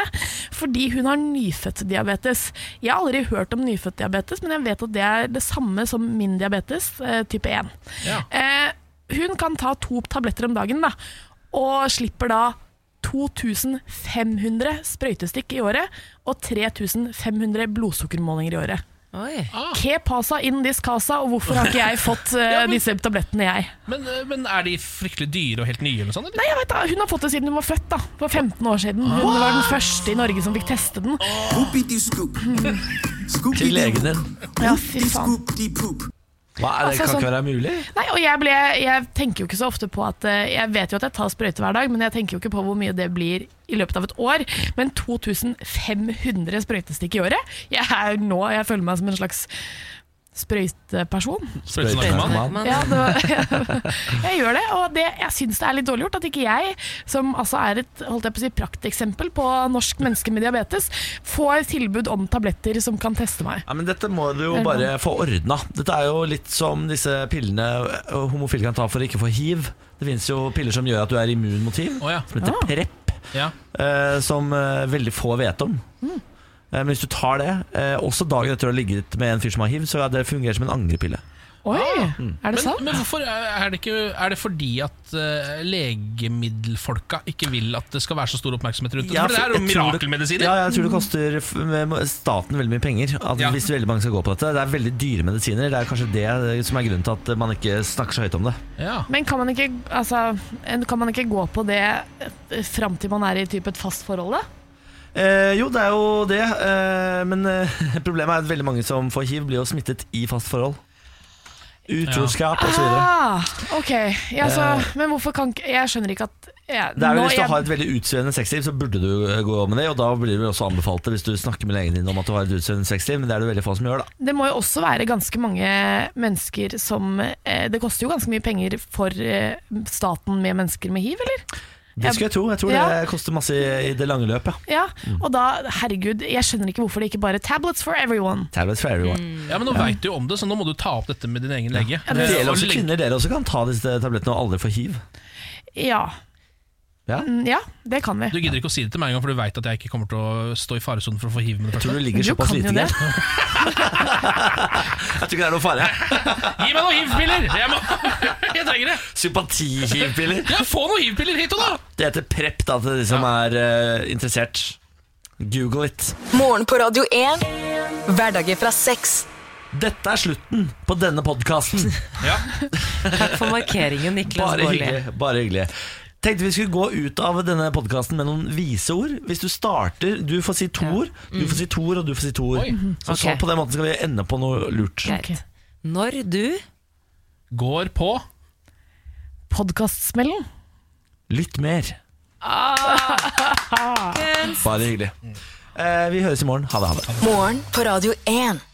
S4: fordi hun har nyfødtdiabetes. Jeg har aldri hørt om nyfødtdiabetes, men jeg vet at det er det samme som min diabetes, eh, type 1.
S3: Ja.
S4: Eh, hun kan ta to tabletter om dagen da, og slipper da 2500 sprøytestikk i året og 3500 blodsukkermålinger i året.
S2: Oi.
S4: Ke pasa in this casa, og hvorfor har ikke jeg fått eh, disse tablettene jeg?
S3: Men, eh, men er de fryktelig dyre og helt nye? eller noe sånt?
S4: Nei,
S3: Eller?
S4: jeg vet da, Hun har fått det siden hun var født, da. For 15 år siden. Hun var den første i Norge som fikk teste den.
S1: Til legen din.
S4: Ja, fy faen.
S1: Hva er det
S4: Altså,
S1: kan ikke
S4: sånn-
S1: være mulig?
S4: Nei, og jeg, ble, jeg tenker jo ikke så ofte på at eh, Jeg vet jo at jeg tar sprøyte hver dag, men jeg tenker jo ikke på hvor mye det blir i løpet av et år. Men 2500 sprøytestikk i året? Jeg er jo nå, jeg føler meg som en slags sprøyteperson.
S3: Sprøytenarkoman.
S2: Men,
S4: Ja, det var, jeg gjør det, og det, jeg syns det er litt dårlig gjort at ikke jeg, som altså er et holdt jeg på å si, prakteksempel på norsk menneske med diabetes, får tilbud om tabletter som kan teste meg.
S1: Ja, men dette må du jo bare få ordna. Dette er jo litt som disse pillene eh, homofile kan ta for å ikke få hiv. Det finnes jo piller som gjør at du er immun mot hiv,
S3: Å ja.
S1: som
S4: Ah.
S1: heter PREP,
S3: ja.
S1: eh, som eh, veldig få vet om.
S4: Hmm.
S1: Eh, Men hvis du tar det, eh, også dagen etter å ha ligget med en fyr som har hiv, så ja, det fungerer som en angrepille.
S4: Oi,
S1: Ah, hmm.
S4: er
S3: Men,
S4: det sant?
S3: men hvorfor er er det, ikke, er det fordi at eh, legemiddelfolka ikke vil at det skal være så stor oppmerksomhet rundt det?
S1: Ja,
S3: for det er jo
S1: jeg tror det-
S3: mirakelmedisiner.
S1: Ja, jeg tror det koster f- med- staten veldig mye penger at
S3: Ja.
S1: hvis veldig mange skal gå på dette. Det er veldig dyre medisiner. Det er kanskje det eh, som er grunnen til at man ikke snakker så høyt om det.
S3: Ja.
S4: Men kan man, ikke, altså, en- kan man ikke gå på det eh, fram til man er i typ et fast forhold, da?
S1: Eh, jo, det er jo det, eh, men eh, problemet er at veldig mange som får hiv, blir jo smittet i fast forhold. Utroskap og så videre
S4: Ah, ok, ja, så, men hvorfor kan ikke Jeg skjønner ikke at jeg,
S1: Eh. Det er vel
S4: nå-
S1: Hvis du
S4: jeg-
S1: har et veldig utsvevende sexliv, så burde du eh, gå med det. Og da blir det vel også anbefalt det hvis du snakker med legen din om at du har et utsvevende sexliv, men det er det veldig få som gjør, da.
S4: Det må jo også være ganske mange mennesker som eh, Det koster jo ganske mye penger for eh, staten med mennesker med hiv, eller?
S1: Det skulle jeg tro. Jeg tror
S4: Ja.
S1: det koster masse i, i det lange løp, ja.
S4: Ja, og da, herregud, jeg skjønner ikke hvorfor det ikke bare er tablets for everyone.
S1: Tablets for everyone.
S3: Ja, men nå veit du jo om det, så nå må du ta opp dette med din egen lege.
S1: Dere
S3: Eh, og
S1: også,
S3: legge-
S1: kvinner dere også kan ta disse tablettene og aldri få hiv.
S4: Ja,
S1: Ja.
S4: Mm, ja, det kan vi.
S3: Du gidder ikke å si det til meg engang, for du veit at jeg ikke kommer til å stå i faresonen for å få hiv med det
S1: Tror
S3: første.
S1: du ligger
S4: Du
S1: såpass
S4: kan jo
S1: lite
S4: det.
S1: der? Jeg tror ikke det er noe fare.
S3: Gi meg noen hivpiller! Jeg, må, jeg trenger det!
S1: Sympatihivpiller.
S3: Ja, få noen hivpiller hit og da!
S1: Det heter PREP da, til de som er eh, interessert. Google it.
S5: Morgen på Radio 1. Hverdager fra seks.
S1: Dette er slutten på denne podkasten.
S2: Takk for markeringen, Niklas
S1: Bare
S2: Baarli.
S1: hyggelig. Bare hyggelig. Tenkte vi skulle gå ut av denne podkasten med noen viseord. Hvis du starter Du får si to ord, du
S4: Mm.
S1: får si to ord, og du får si to ord. Så, så
S2: Ok.
S1: på den måten skal vi ende på noe lurt.
S2: Greit. Når du
S3: Går på
S4: Podkastsmellen.
S1: Lytt mer. Bare hyggelig. Eh, vi høres i morgen. Ha det. Ha det.
S5: Morgen på Radio 1.